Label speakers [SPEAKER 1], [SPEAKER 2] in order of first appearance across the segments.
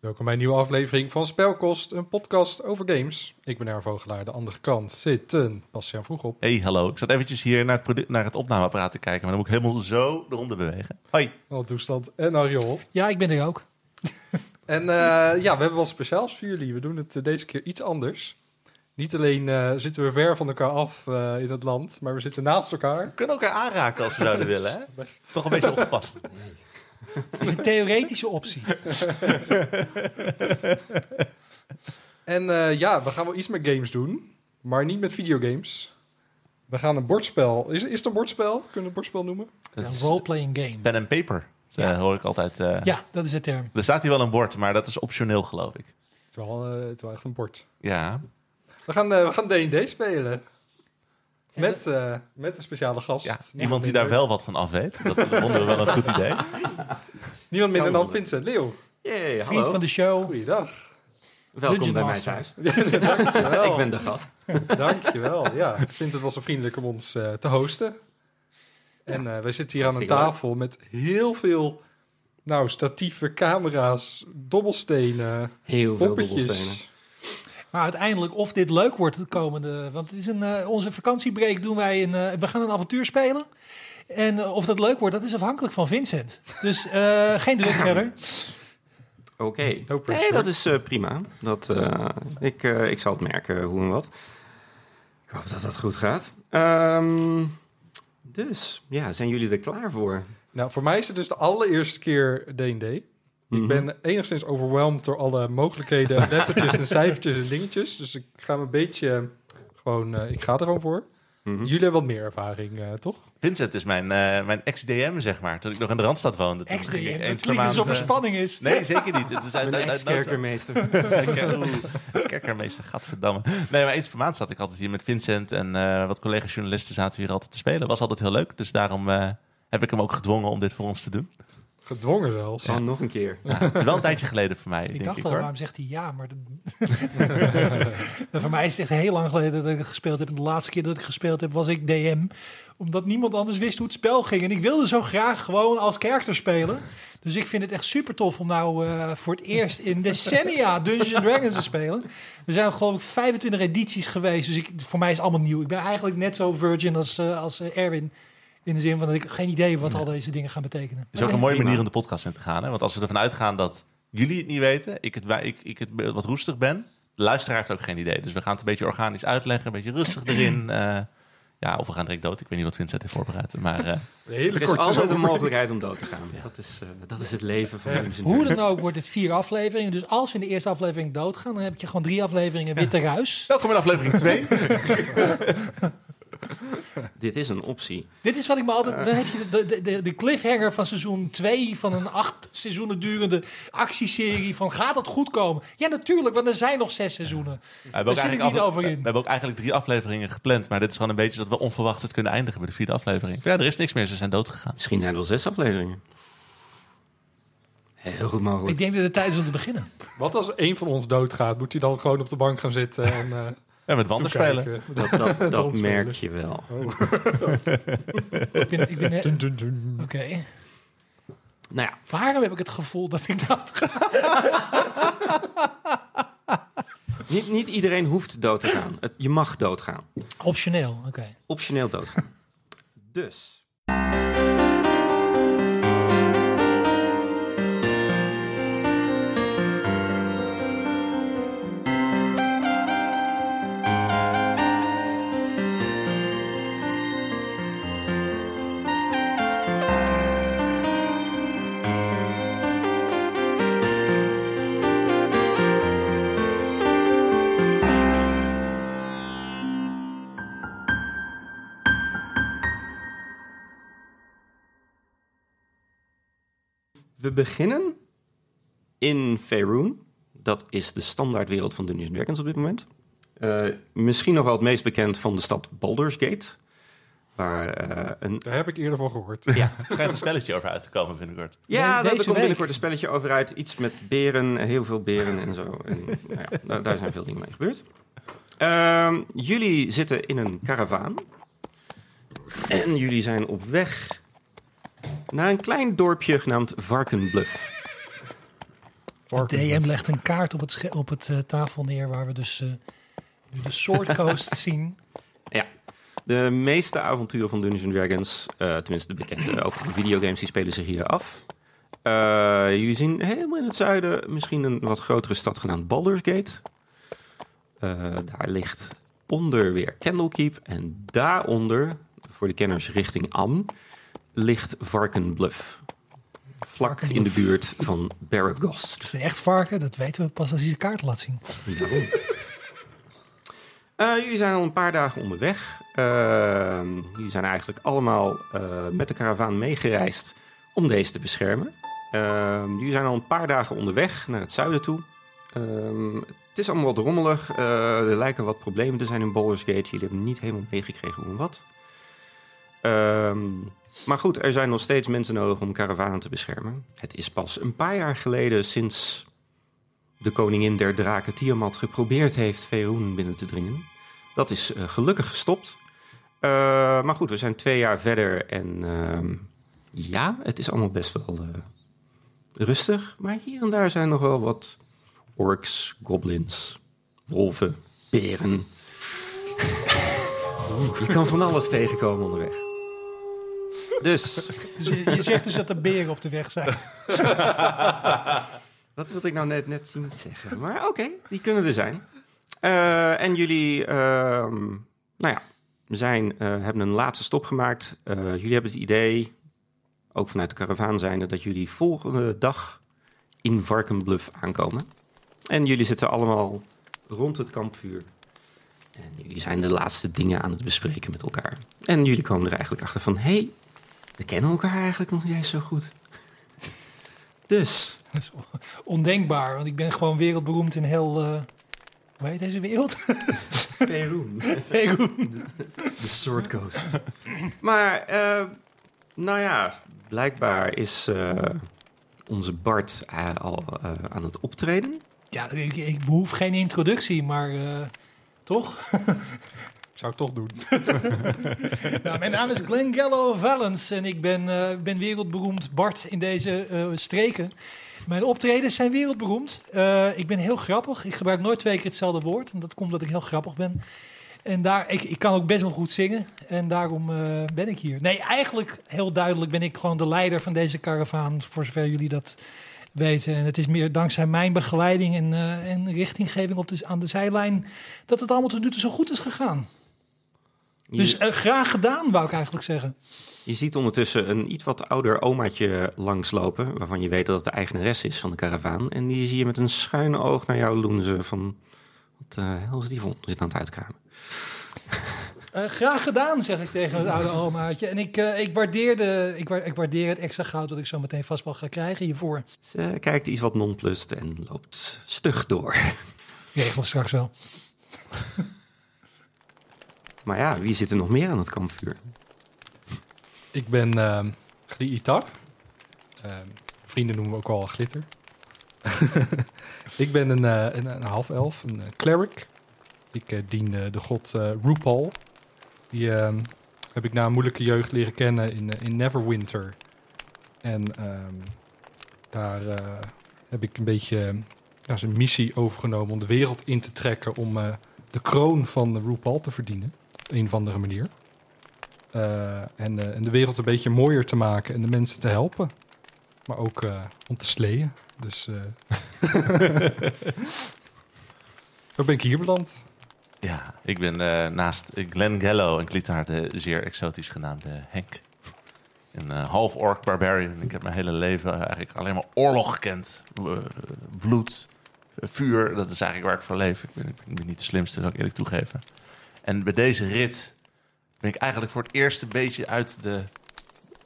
[SPEAKER 1] Welkom bij een nieuwe aflevering van Spelkost, een podcast over games. Ik ben Erwin Vogelaar, de andere kant zitten Bastiaan vroeg op.
[SPEAKER 2] Hey, hallo. Ik zat eventjes hier naar het, produ- naar het opnameapparaat te kijken, maar dan moet ik helemaal zo eronder bewegen. Hoi.
[SPEAKER 1] Al toestand en Ariol.
[SPEAKER 3] Ja, ik ben er ook.
[SPEAKER 1] En eh, ja, we hebben wat speciaals voor jullie. We doen het eh, deze keer iets anders. Niet alleen eh, zitten we ver van elkaar af eh, in het land, maar we zitten naast elkaar.
[SPEAKER 2] We kunnen elkaar aanraken als we zouden willen, hè? Toch een beetje opgepast.
[SPEAKER 3] Het is een theoretische optie.
[SPEAKER 1] En eh, ja, we gaan wel iets met games doen, maar niet met videogames. We gaan een bordspel. Is, is het een bordspel? Kunnen we het bordspel noemen?
[SPEAKER 2] Dat
[SPEAKER 3] Een
[SPEAKER 2] is
[SPEAKER 3] role-playing game.
[SPEAKER 2] pen en paper, Dat,
[SPEAKER 3] Ja.
[SPEAKER 2] eh, hoor ik altijd. eh.
[SPEAKER 3] Ja, dat is de term.
[SPEAKER 2] Er staat hier wel een bord, maar dat is optioneel, geloof ik.
[SPEAKER 1] Het is wel, eh, het is wel echt een bord.
[SPEAKER 2] Ja.
[SPEAKER 1] We gaan eh, we gaan D&D spelen. Met, eh, met een speciale gast.
[SPEAKER 2] ja.
[SPEAKER 1] Niemand
[SPEAKER 2] Iemand die
[SPEAKER 1] minder-
[SPEAKER 2] daar wel wat van af weet. Dat vonden we wel een goed idee.
[SPEAKER 1] Niemand minder dan
[SPEAKER 4] Kan wel.
[SPEAKER 1] Vincent Leeuw.
[SPEAKER 4] Jee,
[SPEAKER 3] Vriend
[SPEAKER 4] hallo.
[SPEAKER 3] van de show.
[SPEAKER 1] Goeiedag.
[SPEAKER 4] Welkom
[SPEAKER 3] Dungeon
[SPEAKER 4] bij mij
[SPEAKER 3] Master.
[SPEAKER 4] thuis.
[SPEAKER 1] Dankjewel.
[SPEAKER 4] Ik ben de gast.
[SPEAKER 1] Dankjewel. Ja, Vincent was zo vriendelijk om ons eh, te hosten. En eh, wij zitten hier aan een
[SPEAKER 4] Hartstikke leuk.
[SPEAKER 1] tafel met heel veel nou, statieven, camera's, dobbelstenen,
[SPEAKER 4] Heel veel dobbelstenen.
[SPEAKER 1] poppetjes.
[SPEAKER 3] Maar uiteindelijk, of dit leuk wordt het komende... Want het is een, eh, onze vakantiebreak doen wij een... eh, we gaan een avontuur spelen. En eh, of dat leuk wordt, dat is afhankelijk van Vincent. Dus eh, geen druk verder.
[SPEAKER 4] Oké.
[SPEAKER 1] No pressure.
[SPEAKER 4] Nee, dat is eh, prima. Dat, eh, ik, eh, ik zal het merken hoe en wat. Ik hoop dat dat goed gaat. Ehm, dus, ja, zijn jullie er klaar voor?
[SPEAKER 1] Nou, voor mij is het dus de allereerste keer D&D. Ik
[SPEAKER 4] Mhm.
[SPEAKER 1] ben enigszins overweldigd door alle mogelijkheden, en lettertjes en cijfertjes en dingetjes. Dus ik ga me een beetje eh, gewoon, eh, ik ga er gewoon voor.
[SPEAKER 4] Mhm.
[SPEAKER 1] Jullie hebben wat meer ervaring, eh, toch?
[SPEAKER 2] Vincent is mijn, eh, mijn ex-DM, zeg maar. Toen ik nog in de Randstad woonde. Toen ging ik
[SPEAKER 3] XDM,
[SPEAKER 2] eens
[SPEAKER 3] het
[SPEAKER 2] per
[SPEAKER 3] klinkt
[SPEAKER 2] maand,
[SPEAKER 3] alsof er
[SPEAKER 2] eh,
[SPEAKER 3] spanning is.
[SPEAKER 2] Nee, zeker niet. Het is uit,
[SPEAKER 4] Een
[SPEAKER 2] uit, uit noodzaak.
[SPEAKER 4] ex-kerkermeester.
[SPEAKER 2] Oeh, Kerkermeester, gadverdamme. Nee, maar eens per maand zat ik altijd hier met Vincent en eh, wat collega-journalisten zaten hier altijd te spelen. Was altijd heel leuk, dus daarom eh, heb ik hem ook gedwongen om dit voor ons te doen.
[SPEAKER 1] Gedwongen zelfs.
[SPEAKER 4] Dan nog een keer.
[SPEAKER 2] Ja, het is wel een tijdje geleden voor mij,
[SPEAKER 3] Ik
[SPEAKER 2] denk
[SPEAKER 3] dacht
[SPEAKER 2] ik
[SPEAKER 3] al,
[SPEAKER 2] hoor.
[SPEAKER 3] waarom zegt hij ja? Maar dat... Nou, voor mij is het echt heel lang geleden dat ik het gespeeld heb. En de laatste keer dat ik gespeeld heb, was ik DM. Omdat niemand anders wist hoe het spel ging. En ik wilde zo graag gewoon als character spelen. Dus ik vind het echt super tof om nou eh, voor het eerst in decennia Dungeons and Dragons te spelen. Er zijn geloof ik 25 edities geweest. Dus ik, voor mij is het allemaal nieuw. Ik ben eigenlijk net zo virgin als, eh, als eh, Erwin. In de zin van dat ik geen idee heb wat al deze dingen gaan betekenen.
[SPEAKER 2] Het is ook een mooie
[SPEAKER 4] Prima.
[SPEAKER 2] manier om de podcast in te gaan. Hè? Want als we ervan uitgaan dat jullie het niet weten, ik het, wij- ik, ik het wat roestig ben, de luisteraar heeft ook geen idee. Dus we gaan het een beetje organisch uitleggen, een beetje rustig erin. eh, ja, of we gaan direct dood. Ik weet niet wat Vincent heeft voorbereid. Maar eh,
[SPEAKER 1] Een hele
[SPEAKER 4] Er is
[SPEAKER 1] korte
[SPEAKER 4] altijd een
[SPEAKER 1] zomer.
[SPEAKER 4] mogelijkheid om dood te gaan. Dat, is, eh, dat is het leven van Dungeon
[SPEAKER 3] Hoe
[SPEAKER 4] Dragons.
[SPEAKER 3] dan ook wordt het vier afleveringen. Dus als we in de eerste aflevering doodgaan, dan heb je gewoon drie afleveringen weer te ruis.
[SPEAKER 2] welkom in aflevering 2.
[SPEAKER 4] Dit is een optie.
[SPEAKER 3] Dit is wat ik me altijd. Dan heb je de, de, de, de cliffhanger van seizoen 2 van een acht seizoenen durende actieserie. Van gaat dat goed komen? Ja, natuurlijk, want er zijn nog zes seizoenen.
[SPEAKER 2] We hebben,
[SPEAKER 3] Daar
[SPEAKER 2] ook
[SPEAKER 3] zit ik
[SPEAKER 2] eigenlijk
[SPEAKER 3] niet
[SPEAKER 2] af-
[SPEAKER 3] over
[SPEAKER 2] we
[SPEAKER 3] in.
[SPEAKER 2] hebben ook eigenlijk drie afleveringen gepland. Maar dit is gewoon een beetje dat we onverwacht het kunnen eindigen bij de vierde aflevering. Ja, er is niks meer. Ze zijn doodgegaan.
[SPEAKER 4] Misschien zijn er wel zes afleveringen. Heel goed mogelijk.
[SPEAKER 3] Ik denk dat het tijd is om te beginnen.
[SPEAKER 1] Wat als één van ons doodgaat? Moet hij dan gewoon op de bank gaan zitten en eh
[SPEAKER 2] En met wanden spelen.
[SPEAKER 1] toekijken?
[SPEAKER 4] Dat, dat, dat
[SPEAKER 1] Transferen.
[SPEAKER 4] merk je wel.
[SPEAKER 3] Ik ben, ik ben, Oké.
[SPEAKER 1] Dun, dun, dun.
[SPEAKER 4] Nou ja,
[SPEAKER 3] Waarom heb ik het gevoel dat ik dat ga?
[SPEAKER 4] niet, niet iedereen hoeft dood te gaan. Het- je mag doodgaan.
[SPEAKER 3] Optioneel, oké.
[SPEAKER 4] Optioneel doodgaan. Dus. We beginnen in Faerun. Dat is de standaardwereld van Dungeons Dragons op dit moment. Eh, misschien nog wel het meest bekend van de stad Baldur's Gate. Waar eh, een...
[SPEAKER 1] Daar heb ik eerder van gehoord.
[SPEAKER 3] eh,
[SPEAKER 2] Er schijnt een spelletje over uit te komen binnenkort.
[SPEAKER 4] Ja, daar
[SPEAKER 3] deze
[SPEAKER 4] komt
[SPEAKER 3] week.
[SPEAKER 4] binnenkort een spelletje over uit. Iets met beren, heel veel beren en zo. En, nou ja, daar, daar zijn veel dingen mee gebeurd. Ehm, jullie zitten in een karavaan. En jullie zijn op weg naar een klein dorpje genaamd Varkenbluff.
[SPEAKER 3] De
[SPEAKER 1] Varkens.
[SPEAKER 3] DM legt een kaart op het, sche- op het eh, tafel neer waar we dus eh, nu de Sword Coast zien.
[SPEAKER 4] De meeste avonturen van Dungeons Dragons, eh, tenminste de bekende, ook van de videogames, die spelen zich hier af. Eh, jullie zien helemaal in het zuiden misschien een wat grotere stad genaamd Baldur's Gate. Eh, daar ligt onder weer Candlekeep en daaronder, voor de kenners richting Am, ligt Varkenbluff. Vlak in de buurt van Baragos.
[SPEAKER 3] Dus een echt varken, dat weten we pas als hij zijn kaart laat zien.
[SPEAKER 4] Eh, jullie zijn al een paar dagen onderweg. Eh, jullie zijn eigenlijk allemaal eh, met de karavaan meegereisd om deze te beschermen. Eh, jullie zijn al een paar dagen onderweg naar het zuiden toe. Ehm, het is allemaal wat rommelig. Eh, er lijken wat problemen te zijn in Baldur's Gate. Jullie hebben niet helemaal meegekregen hoe en wat. Ehm, maar goed, er zijn nog steeds mensen nodig om karavanen te beschermen. Het is pas een paar jaar geleden sinds de koningin der draken Tiamat geprobeerd heeft Veroen binnen te dringen. Dat is eh, gelukkig gestopt. Eh, maar goed, we zijn twee jaar verder en ehm, ja, het is allemaal best wel eh, rustig. Maar hier en daar zijn nog wel wat orks, goblins, wolven, beren. Oeh, Je kan van alles tegenkomen onderweg. Dus,
[SPEAKER 3] Dus je, je zegt dus dat er beren op de weg zijn.
[SPEAKER 4] Dat wilde ik nou net, net niet zeggen. Maar oké, die kunnen er zijn. Eh, en jullie, ehm, nou ja, we zijn, eh, hebben een laatste stop gemaakt. Eh, jullie hebben het idee, ook vanuit de karavaan zijnde, dat jullie volgende dag in Varkenbluff aankomen. En jullie zitten allemaal rond het kampvuur. En jullie zijn de laatste dingen aan het bespreken met elkaar. En jullie komen er eigenlijk achter van, hé, hey, we kennen elkaar eigenlijk nog niet eens zo goed. Dus,
[SPEAKER 3] Dat is on- ondenkbaar, want ik ben gewoon wereldberoemd in heel... eh hoe heet deze wereld?
[SPEAKER 4] Peroen.
[SPEAKER 3] Heel goed.
[SPEAKER 4] De Sword Coast. maar, eh, nou ja, blijkbaar is eh, onze Bart eh, al eh, aan het optreden.
[SPEAKER 3] ja, ik, ik behoef geen introductie, maar eh, toch?
[SPEAKER 1] Ik zou het toch doen.
[SPEAKER 3] Nou, mijn naam is Glenn Gallo Valens en ik ben, eh, ik ben wereldberoemd Bart in deze eh, streken. Mijn optredens zijn wereldberoemd. Eh, ik ben heel grappig. Ik gebruik nooit twee keer hetzelfde woord. En dat komt omdat ik heel grappig ben. En daar, ik, ik kan ook best wel goed zingen. En daarom eh, ben ik hier. Nee, eigenlijk heel duidelijk ben ik gewoon de leider van deze karavaan. Voor zover jullie dat weten. En het is meer dankzij mijn begeleiding en, eh, en richtinggeving op de, aan de zijlijn. dat het allemaal tot nu toe zo goed is gegaan.
[SPEAKER 4] Je,
[SPEAKER 3] Dus eh, graag gedaan, wou ik eigenlijk zeggen.
[SPEAKER 4] je ziet ondertussen een iets wat ouder omaatje langslopen... waarvan je weet dat het de eigenares is van de karavaan. En die zie je met een schuin oog naar jou loenzen van... Wat eh, de hel is die vond? Zit aan het uitkramen.
[SPEAKER 3] Eh, graag gedaan, zeg ik tegen het oude omaatje. En ik, eh, ik, waardeer de, ik, wa- ik waardeer het extra goud dat ik zo meteen vast wel ga krijgen hiervoor.
[SPEAKER 4] Ze kijkt iets wat nonplust en loopt stug door.
[SPEAKER 3] Regel straks wel.
[SPEAKER 4] Maar ja, wie zit er nog meer aan het kampvuur?
[SPEAKER 1] Ik ben ehm Gli Itar. Ehm, vrienden noemen we ook al Glitter. ik ben een, eh, een, een half-elf, een eh, cleric. Ik eh, dien eh, de god eh Rupal. Die ehm, heb ik na een moeilijke jeugd leren kennen in, eh, in Neverwinter. En ehm, daar eh, heb ik een beetje eh, ja, zijn missie overgenomen om de wereld in te trekken om eh, de kroon van Rupal te verdienen. Op een of andere manier. Eh, en, eh, en de wereld een beetje mooier te maken en de mensen te helpen. Maar ook eh, om te sleeën. Dus. eh Zo ben ik hier beland.
[SPEAKER 2] Ja, ik ben eh, naast Glenn Gallo en Klitaar de zeer exotisch genaamde Henk. Een eh, half orc barbarian. Ik heb mijn hele leven eh, eigenlijk alleen maar oorlog gekend. Eh, bloed, eh, vuur, dat is eigenlijk waar ik voor leef. Ik ben, ik ben niet de slimste, zal ik eerlijk toegeven. En bij deze rit ben ik eigenlijk voor het eerst een beetje uit de,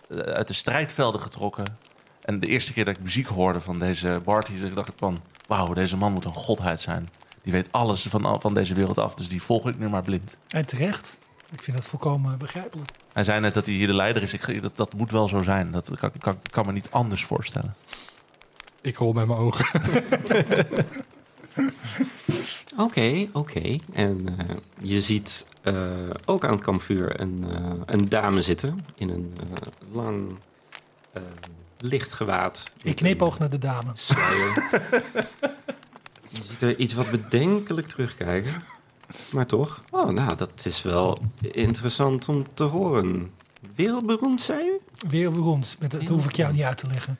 [SPEAKER 2] eh, uit de strijdvelden getrokken. En de eerste keer dat ik muziek hoorde van deze Barty, dacht ik van... Wauw, deze man moet een godheid zijn. Die weet alles van, van deze wereld af, dus die volg ik nu maar blind.
[SPEAKER 3] En terecht. Ik vind dat volkomen begrijpelijk.
[SPEAKER 2] Hij zei net dat hij hier de leider is. Ik, ge- dat, dat moet wel zo zijn. Dat kan, kan, kan me niet anders voorstellen.
[SPEAKER 1] Ik rol met mijn ogen.
[SPEAKER 4] Oké, oké. En eh, je ziet eh, ook aan het kampvuur een, eh, een dame zitten in een eh, lang eh, lichtgewaad.
[SPEAKER 3] Ik knipoog naar de dame.
[SPEAKER 4] Sluier. Je ziet er iets wat bedenkelijk terugkijken. Maar toch, oh, nou, dat is wel interessant om te horen. Wereldberoemd, zei u?
[SPEAKER 3] Weer beroemd. Met, dat hoef ik jou niet uit te leggen.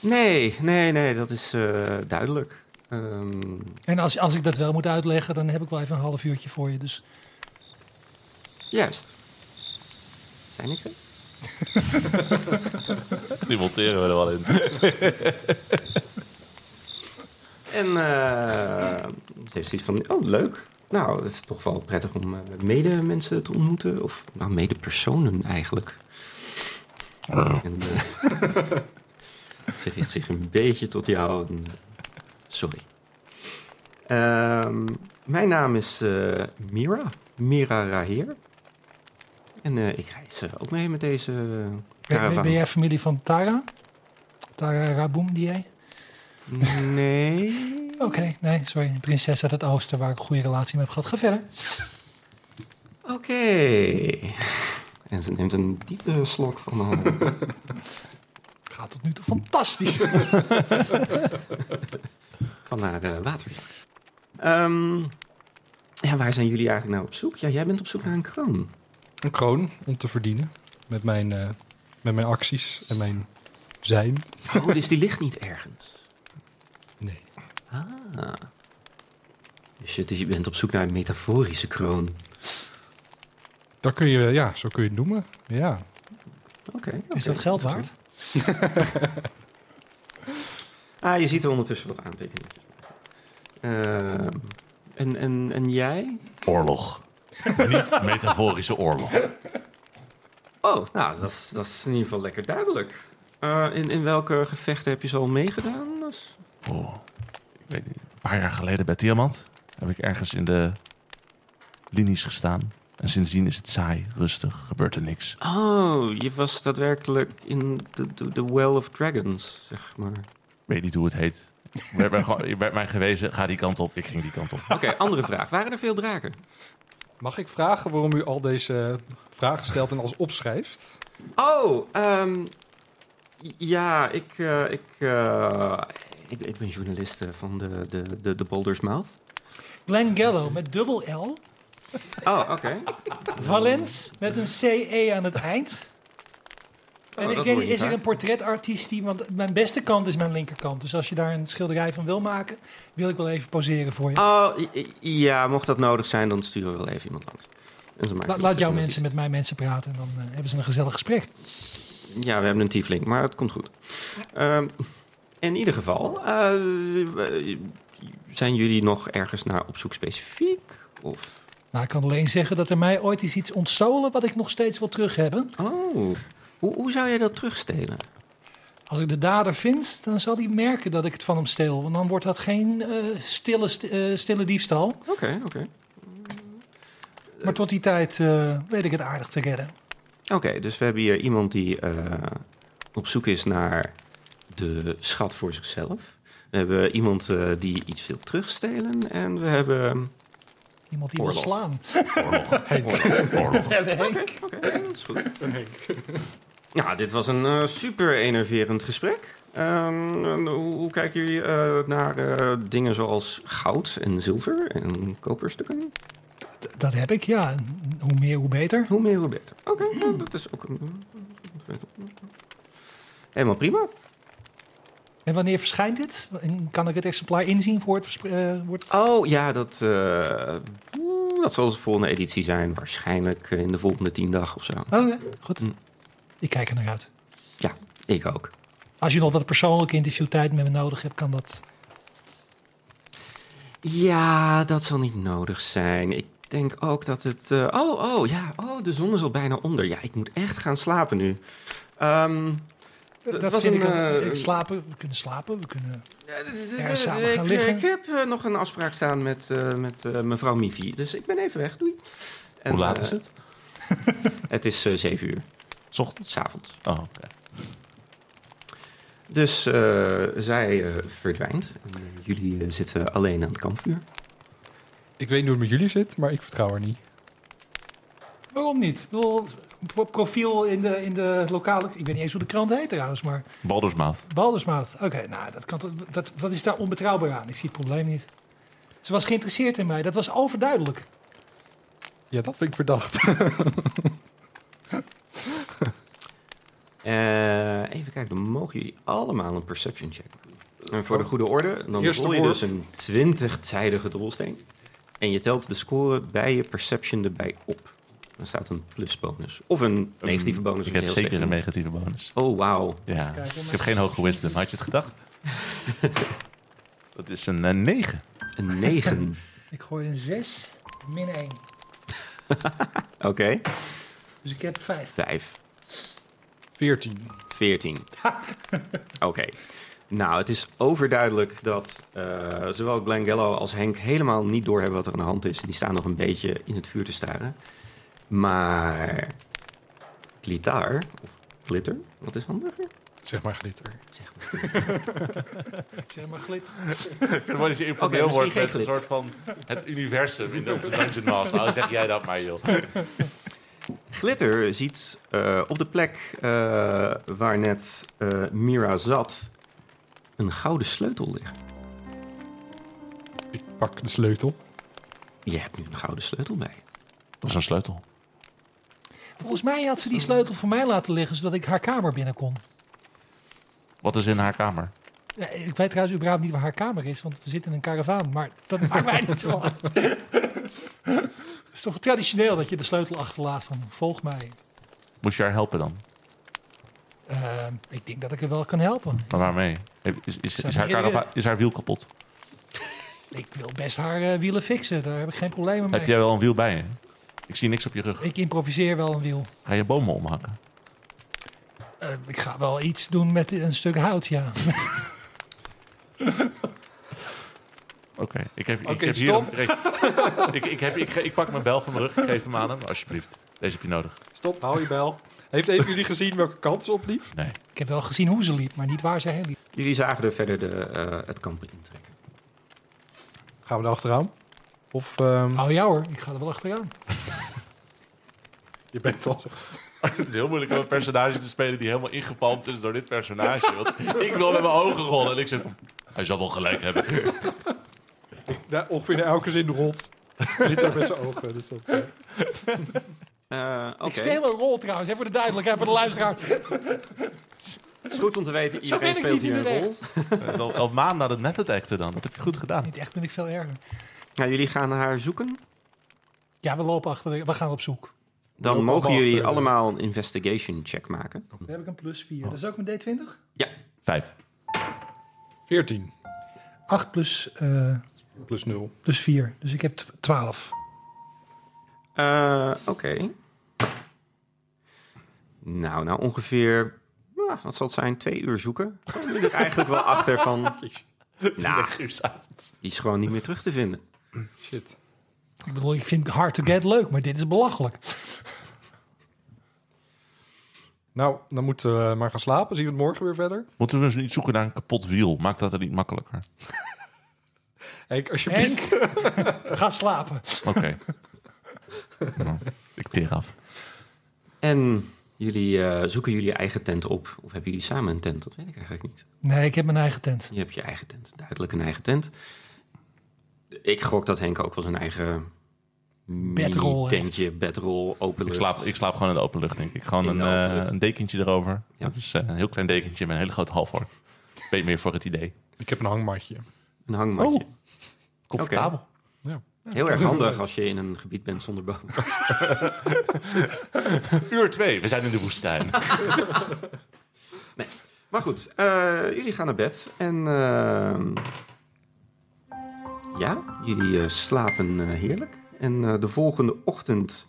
[SPEAKER 4] Nee, nee, nee, dat is eh, duidelijk. Ehm,
[SPEAKER 3] En als, als ik dat wel moet uitleggen, dan heb ik wel even een half uurtje voor je. Dus
[SPEAKER 4] juist. Zijn ik er?
[SPEAKER 2] Die monteren we er wel in.
[SPEAKER 4] En eh, ze heeft zoiets van, oh, leuk. Nou, het is toch wel prettig om eh, mede mensen te ontmoeten. Of, nou, mede personen eigenlijk. En, eh, ze richt zich een beetje tot jou. en- sorry. Ehm, mijn naam is eh, Mira. Mira Rahir. En eh, ik reis eh, ook mee met deze
[SPEAKER 3] ben, ben
[SPEAKER 4] caravan.
[SPEAKER 3] jij familie van Tara? Tara Raboom, die jij?
[SPEAKER 4] eh, Nee.
[SPEAKER 3] Oké, nee, sorry. Prinses uit het oosten, waar ik een goede relatie mee heb gehad. Ga verder.
[SPEAKER 4] Oké. En ze neemt een diepe slok van eh, haar
[SPEAKER 3] Gaat tot nu toe fantastisch.
[SPEAKER 4] van haar eh, watervlak. Ehm, ja, waar zijn jullie eigenlijk naar op zoek? Ja, jij bent op zoek naar een kroon.
[SPEAKER 1] Een kroon om te verdienen met mijn, eh, met mijn acties en mijn zijn.
[SPEAKER 4] Oh, dus die ligt niet ergens.
[SPEAKER 1] Nee.
[SPEAKER 4] Ah. Dus je, dus je bent op zoek naar een metaforische kroon.
[SPEAKER 1] Dat kun je, ja, zo kun je het noemen. Ja.
[SPEAKER 4] Oké.
[SPEAKER 3] Is
[SPEAKER 4] oké,
[SPEAKER 3] dat geld waard?
[SPEAKER 4] Ah, je ziet er ondertussen wat aantekeningen. Ehm, en, en, en jij?
[SPEAKER 2] Oorlog. Niet metaforische oorlog.
[SPEAKER 4] Oh, nou, dat is, dat is in ieder geval lekker duidelijk. Eh, in, in welke gevechten heb je zo al meegedaan? Dat is-
[SPEAKER 2] Oh, ik weet niet, een paar jaar geleden bij Diamant heb ik ergens in de linies gestaan. En sindsdien is het saai, rustig, gebeurt er niks.
[SPEAKER 4] Oh, je was daadwerkelijk in de, de, de Well of Dragons, zeg maar. Oké,
[SPEAKER 2] Ik weet niet hoe het heet. Je werd, mij gewoon- je werd mij gewezen, ga die kant op. Ik ging die kant op.
[SPEAKER 4] andere vraag. Waren er veel draken?
[SPEAKER 1] Mag ik vragen waarom u al deze vragen stelt en als opschrijft?
[SPEAKER 4] Oh, ehm, ja, ik, eh, ik, eh, ik, ik ben journalist eh, van de, de, de, de Boulder's Mouth.
[SPEAKER 3] Glenn Gallo met dubbel L.
[SPEAKER 4] Oh, oké.
[SPEAKER 3] Valens met een CE aan het eind.
[SPEAKER 4] Oh,
[SPEAKER 3] en
[SPEAKER 4] dat
[SPEAKER 3] ik
[SPEAKER 4] hoor
[SPEAKER 3] weet niet,
[SPEAKER 4] je
[SPEAKER 3] is er
[SPEAKER 4] vaak.
[SPEAKER 3] een portretartiest die... Want mijn beste kant is mijn linkerkant. Dus als je daar een schilderij van wil maken, wil ik wel even poseren voor je.
[SPEAKER 4] Oh, i- i- ja, mocht dat nodig zijn, dan sturen we wel even iemand langs. En ze maken
[SPEAKER 3] La-
[SPEAKER 4] een
[SPEAKER 3] laat jouw
[SPEAKER 4] fotografiek.
[SPEAKER 3] mensen met mijn mensen praten en dan eh, hebben ze een gezellig gesprek.
[SPEAKER 4] Ja, we hebben een tiefling, maar het komt goed. Ehm, in ieder geval, eh, eh, zijn jullie nog ergens naar op zoek specifiek? Of...
[SPEAKER 3] Nou, ik kan alleen zeggen dat er mij ooit is iets ontstolen wat ik nog steeds wil terug hebben.
[SPEAKER 4] Oh, hoe, hoe zou jij dat terugstelen?
[SPEAKER 3] Als ik de dader vind, dan zal hij merken dat ik het van hem steel. Want dan wordt dat geen eh, stille, st- eh, stille diefstal.
[SPEAKER 4] Oké, oké.
[SPEAKER 3] Maar tot die tijd eh, weet ik het aardig te redden.
[SPEAKER 4] Oké, dus we hebben hier iemand die eh, op zoek is naar de schat voor zichzelf. We hebben iemand eh, die iets wil terugstelen. En we hebben...
[SPEAKER 3] Iemand die wil
[SPEAKER 4] Oorlog.
[SPEAKER 3] slaan.
[SPEAKER 2] Oorlog. Oorlog. Oorlog.
[SPEAKER 4] Oké, dat is goed. Nou, dit was een eh, super enerverend gesprek. Ehm, en hoe, hoe kijken jullie eh, naar eh, dingen zoals goud en zilver en koperstukken?
[SPEAKER 3] D- Dat heb ik, ja. Hoe meer, hoe beter.
[SPEAKER 4] Hoe meer, hoe beter. Oké, nou, dat is ook een... Helemaal prima.
[SPEAKER 3] En wanneer verschijnt dit? En kan ik het exemplaar inzien voor het verspre- eh, wordt...
[SPEAKER 4] Oh, ja, dat, eh, dat zal de volgende editie zijn. Waarschijnlijk eh, in de volgende tien dag of zo.
[SPEAKER 3] Oh, ja, goed.
[SPEAKER 4] Hm.
[SPEAKER 3] Ik kijk er naar uit.
[SPEAKER 4] Ja, ik ook.
[SPEAKER 3] Als je nog wat persoonlijke interviewtijd met me nodig hebt, kan dat.
[SPEAKER 4] Ja, dat zal niet nodig zijn. Ik denk ook dat het. eh, oh, oh, ja. Oh, de zon is al bijna onder. Ja, ik moet echt gaan slapen nu. Ehm, Dat was
[SPEAKER 3] vind
[SPEAKER 4] een,
[SPEAKER 3] ik ook-
[SPEAKER 4] eh,
[SPEAKER 3] ik slapen, we kunnen slapen, we kunnen... Ja, samen gaan
[SPEAKER 4] ik,
[SPEAKER 3] liggen.
[SPEAKER 4] ik heb eh, nog een afspraak staan met, eh, met eh, mevrouw Mivi. Dus ik ben even weg. Doei. En,
[SPEAKER 2] Hoe laat
[SPEAKER 4] eh,
[SPEAKER 2] is het?
[SPEAKER 4] Het is eh, zeven uur,
[SPEAKER 2] S ochtends?
[SPEAKER 4] s'avonds.
[SPEAKER 2] Oh, oké.
[SPEAKER 4] Dus eh, zij eh, verdwijnt. En, eh, jullie eh, zitten alleen aan het kampvuur.
[SPEAKER 1] Ik weet niet hoe het met jullie zit, maar ik vertrouw haar niet.
[SPEAKER 3] Waarom niet? Ik bedoel, pro- profiel in de, in de lokale... Ik weet niet eens hoe de krant heet trouwens, maar...
[SPEAKER 2] Baldersmaat.
[SPEAKER 3] Baldersmaat. Oké, nou, dat kan, toch- dat, wat is daar onbetrouwbaar aan? Ik zie het probleem niet. Ze was geïnteresseerd in mij. Dat was overduidelijk.
[SPEAKER 1] Ja, dat vind ik verdacht.
[SPEAKER 4] Eh, even kijken, dan mogen jullie allemaal een perception check maken. En voor
[SPEAKER 2] Oh.
[SPEAKER 4] de goede orde, dan
[SPEAKER 1] Eerste
[SPEAKER 4] rol je
[SPEAKER 1] worp.
[SPEAKER 4] dus een 20-zijdige doelsteen. En je telt de score bij je perception erbij op. Dan staat een plusbonus. Of een negatieve bonus.
[SPEAKER 2] Ehm, Ik heb
[SPEAKER 4] als je heel
[SPEAKER 2] zeker een
[SPEAKER 4] slecht
[SPEAKER 2] negatieve bonus.
[SPEAKER 4] bent. Oh, wauw.
[SPEAKER 2] Ja,
[SPEAKER 3] kijken,
[SPEAKER 2] ik
[SPEAKER 3] maar-
[SPEAKER 2] heb geen hoge wisdom. Had je het gedacht? dat is een eh, 9.
[SPEAKER 4] Een 9.
[SPEAKER 3] Ik gooi een 6 min 1.
[SPEAKER 4] Oké.
[SPEAKER 3] Dus ik heb 5.
[SPEAKER 4] 5.
[SPEAKER 1] 14.
[SPEAKER 4] 14. Oké. Nou, het is overduidelijk dat eh, zowel Glengello als Henk helemaal niet doorhebben wat er aan de hand is. En die staan nog een beetje in het vuur te staren. Maar Glitar, of Glitter, wat is handiger?
[SPEAKER 1] Zeg maar glitter.
[SPEAKER 3] Ik zeg maar glit.
[SPEAKER 2] Wat is je
[SPEAKER 4] informeel Oké, Oh, misschien wordt geen met een glit. soort
[SPEAKER 2] van het universum in onze Dungeon Master? Nou, zeg jij dat maar, joh.
[SPEAKER 4] Glitter ziet eh, op de plek eh, waar net eh, Mira zat een gouden sleutel liggen.
[SPEAKER 1] Ik pak de sleutel.
[SPEAKER 4] Je hebt nu een gouden sleutel bij. je.
[SPEAKER 2] Dat is een sleutel.
[SPEAKER 3] Volgens mij had ze die sleutel voor mij laten liggen, zodat ik haar kamer binnen kon.
[SPEAKER 2] Wat is in haar kamer?
[SPEAKER 3] Ja, ik weet trouwens überhaupt niet waar haar kamer is, want we zitten in een karavaan. Maar dat maakt mij niet zo uit. Het is toch traditioneel dat je de sleutel achterlaat van volg mij.
[SPEAKER 2] Moest je haar helpen dan?
[SPEAKER 3] Eh, ik denk dat ik er wel kan helpen.
[SPEAKER 2] Maar waarmee? Is, is, is,
[SPEAKER 3] Zijn Oh,
[SPEAKER 2] is haar,
[SPEAKER 3] meerdere-
[SPEAKER 2] karava- is haar wiel kapot?
[SPEAKER 3] Ik wil best haar eh, wielen fixen, daar heb ik geen problemen mee.
[SPEAKER 2] Heb jij wel een wiel bij je? Ik zie niks op je rug.
[SPEAKER 3] Ik improviseer wel een wiel.
[SPEAKER 2] Ga je bomen omhakken?
[SPEAKER 3] Eh, ik ga wel iets doen met een stuk hout, ja.
[SPEAKER 2] Oké, ik heb, ik
[SPEAKER 1] Oké,
[SPEAKER 2] heb
[SPEAKER 1] stop.
[SPEAKER 2] hier... Ik, ik, heb, ik, ge- ik pak mijn bel van mijn rug, ik geef hem aan hem. Alsjeblieft, deze heb je nodig.
[SPEAKER 1] Stop, hou je bel. Heeft een van jullie gezien welke kant ze opliep?
[SPEAKER 2] Nee.
[SPEAKER 3] Ik heb wel gezien hoe ze liep, maar niet waar ze heen liep.
[SPEAKER 4] Jullie zagen er verder de, eh, het kamp intrekken.
[SPEAKER 1] Gaan we er achteraan? Of ehm,
[SPEAKER 3] Oh ja hoor, ik ga er wel achteraan.
[SPEAKER 1] je bent al...
[SPEAKER 2] Het is heel moeilijk om een personage te spelen die helemaal ingepalmd is door dit personage. Want ik wil met mijn ogen rollen en ik zeg... Hij zal wel gelijk hebben.
[SPEAKER 1] Ja, ongeveer in elke zin rot. Dit ook met zijn ogen. Dus dat, eh.
[SPEAKER 4] Eh, Oké.
[SPEAKER 3] Ik speel een rol trouwens, hè, voor de duidelijkheid, voor de luisteraar.
[SPEAKER 4] Het is goed om te weten,
[SPEAKER 3] Zo
[SPEAKER 4] iedereen
[SPEAKER 3] ben ik
[SPEAKER 4] speelt
[SPEAKER 3] niet in
[SPEAKER 4] hier
[SPEAKER 3] het
[SPEAKER 4] een rol.
[SPEAKER 3] echt.
[SPEAKER 2] Al, al maanden na het net acten dan. Dat heb je goed gedaan.
[SPEAKER 3] Niet echt ben ik veel erger.
[SPEAKER 4] Nou, jullie gaan haar zoeken.
[SPEAKER 3] Ja, we lopen achter, de- we gaan op zoek.
[SPEAKER 4] Dan
[SPEAKER 1] lopen
[SPEAKER 4] mogen
[SPEAKER 1] allemaal
[SPEAKER 4] jullie
[SPEAKER 1] achter de-
[SPEAKER 4] allemaal een investigation check maken.
[SPEAKER 3] Dan heb ik een plus 4. Dat is ook mijn D20?
[SPEAKER 4] Ja,
[SPEAKER 2] Vijf.
[SPEAKER 1] 14
[SPEAKER 3] 8 plus, eh,
[SPEAKER 1] plus 0.
[SPEAKER 3] plus 4, dus ik heb 12.
[SPEAKER 4] eh, oké. Nou, nou ongeveer, nou, wat zal het zijn, twee uur zoeken. Komen jullie er eigenlijk wel achter van, nou, die is gewoon niet meer terug te vinden.
[SPEAKER 1] Shit.
[SPEAKER 3] Ik bedoel, ik vind hard to get leuk, maar dit is belachelijk.
[SPEAKER 1] Nou, dan moeten we maar gaan slapen. Zien we het morgen weer verder.
[SPEAKER 2] Moeten we dus niet zoeken naar een kapot wiel? Maakt dat het niet makkelijker?
[SPEAKER 1] Henk, alsjeblieft.
[SPEAKER 3] Henk, ga slapen.
[SPEAKER 2] Oké. Nou, ik teer af.
[SPEAKER 4] En jullie eh, zoeken jullie eigen tent op. Of hebben jullie samen een tent? Dat weet ik eigenlijk niet.
[SPEAKER 3] Nee, ik heb mijn eigen tent.
[SPEAKER 4] Je hebt je eigen tent, duidelijk een eigen tent. Ik gok dat Henk ook wel zijn eigen
[SPEAKER 3] Bedrol heeft.
[SPEAKER 4] tentje, bedrol, open
[SPEAKER 2] Ik slaap, ik slaap gewoon in de open lucht, denk ik. Gewoon
[SPEAKER 4] In
[SPEAKER 2] een,
[SPEAKER 4] de open
[SPEAKER 2] eh,
[SPEAKER 4] lucht.
[SPEAKER 2] een dekentje erover.
[SPEAKER 4] Ja.
[SPEAKER 2] Dat is eh, een heel klein dekentje met een hele grote halfhoor. Weet meer voor het idee.
[SPEAKER 1] Ik heb een hangmatje.
[SPEAKER 4] Een hangmatje.
[SPEAKER 2] Oh. Comfortabel.
[SPEAKER 4] Heel erg handig als je in een gebied bent zonder boom.
[SPEAKER 2] Uur twee, we zijn in de woestijn.
[SPEAKER 4] Maar goed, eh, jullie gaan naar bed en ehm, ja, jullie eh, slapen eh, heerlijk. En eh, de volgende ochtend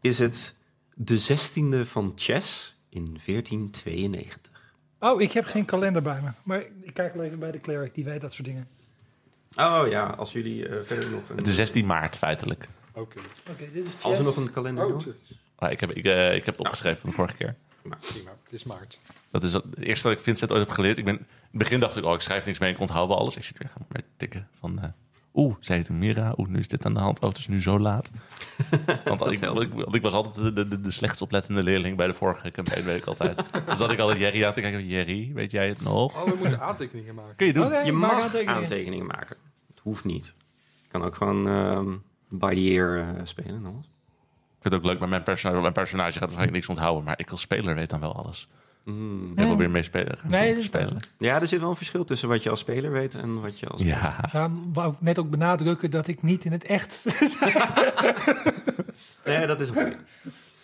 [SPEAKER 4] is het de 16e van Chess in 1492.
[SPEAKER 3] Oh, ik heb geen kalender bij me. Maar ik kijk wel even bij de cleric, die weet dat soort dingen.
[SPEAKER 4] Oh ja, als jullie eh, verder nog een...
[SPEAKER 2] Het is 16 maart, feitelijk.
[SPEAKER 1] Oké.
[SPEAKER 3] Oké, dit is
[SPEAKER 4] Als er nog een kalender
[SPEAKER 1] Oh,
[SPEAKER 4] nog-
[SPEAKER 1] het
[SPEAKER 2] Maar ik, heb, ik, eh, ik heb het opgeschreven van de vorige keer.
[SPEAKER 1] is maart.
[SPEAKER 2] Dat is wat- het eerste dat ik Vincent ooit heb geleerd. Ik ben, in het begin dacht ik, oh, ik schrijf niks mee, ik onthoud wel alles. Ik zit weer helemaal weer tikken van... eh, Oeh, zei het toen Mira. Oeh, nu is dit aan de hand. Oh, het is nu zo laat. Want ik,
[SPEAKER 4] helpt.
[SPEAKER 2] ik- want ik was altijd de, de, de, de slechtst oplettende leerling bij de vorige campaign, weet ik altijd. dus dat ik altijd Jerry aan te kijken. Jerry, weet jij het nog?
[SPEAKER 1] Oh, we moeten aantekeningen maken.
[SPEAKER 2] Kun je doen.
[SPEAKER 3] Oké,
[SPEAKER 4] Je
[SPEAKER 3] maak
[SPEAKER 4] mag aantekeningen.
[SPEAKER 3] aantekeningen.
[SPEAKER 4] maken. Het hoeft niet. Je kan ook gewoon ehm by the ear eh, spelen en alles.
[SPEAKER 2] Ik vind het ook leuk, maar mijn personage, mijn personage gaat waarschijnlijk niks onthouden. Maar ik als speler weet dan wel alles.
[SPEAKER 4] Mm.
[SPEAKER 2] Ik heb wel weer mee spelen. gaan
[SPEAKER 3] Nee, dat is-
[SPEAKER 2] spelen.
[SPEAKER 4] Ja, er zit wel een verschil tussen wat je als speler weet en wat je als...
[SPEAKER 2] Ja.
[SPEAKER 3] Ja, wou ik net ook benadrukken dat ik niet in het echt...
[SPEAKER 4] Nee, dat is oké.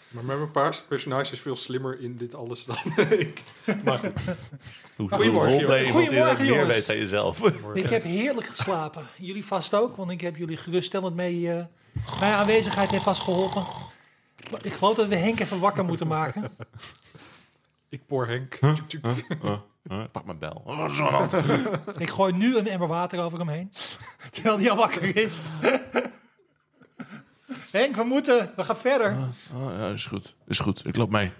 [SPEAKER 1] Maar mijn paars personage is veel slimmer in dit alles dan ik. Maar goed.
[SPEAKER 2] Hoe
[SPEAKER 1] Goedemorgen, jongens.
[SPEAKER 2] roleplay iemand die dat
[SPEAKER 3] Goedemorgen,
[SPEAKER 2] meer
[SPEAKER 3] jongens.
[SPEAKER 2] weet dan jezelf.
[SPEAKER 3] ik heb heerlijk geslapen. Jullie vast ook, want ik heb jullie geruststellend mee... eh, mijn aanwezigheid heeft vast geholpen. Maar Ik geloof dat we Henk even wakker moeten maken.
[SPEAKER 1] Ik poor Henk. Tjuk, tjuk.
[SPEAKER 2] Huh? Pak mijn bel. Oh, zo'n hand.
[SPEAKER 3] Ik gooi nu een emmer water over hem heen. Terwijl hij al wakker is. Henk, we moeten. We gaan verder.
[SPEAKER 2] Oh, ja, is goed. Is goed. Ik loop mee.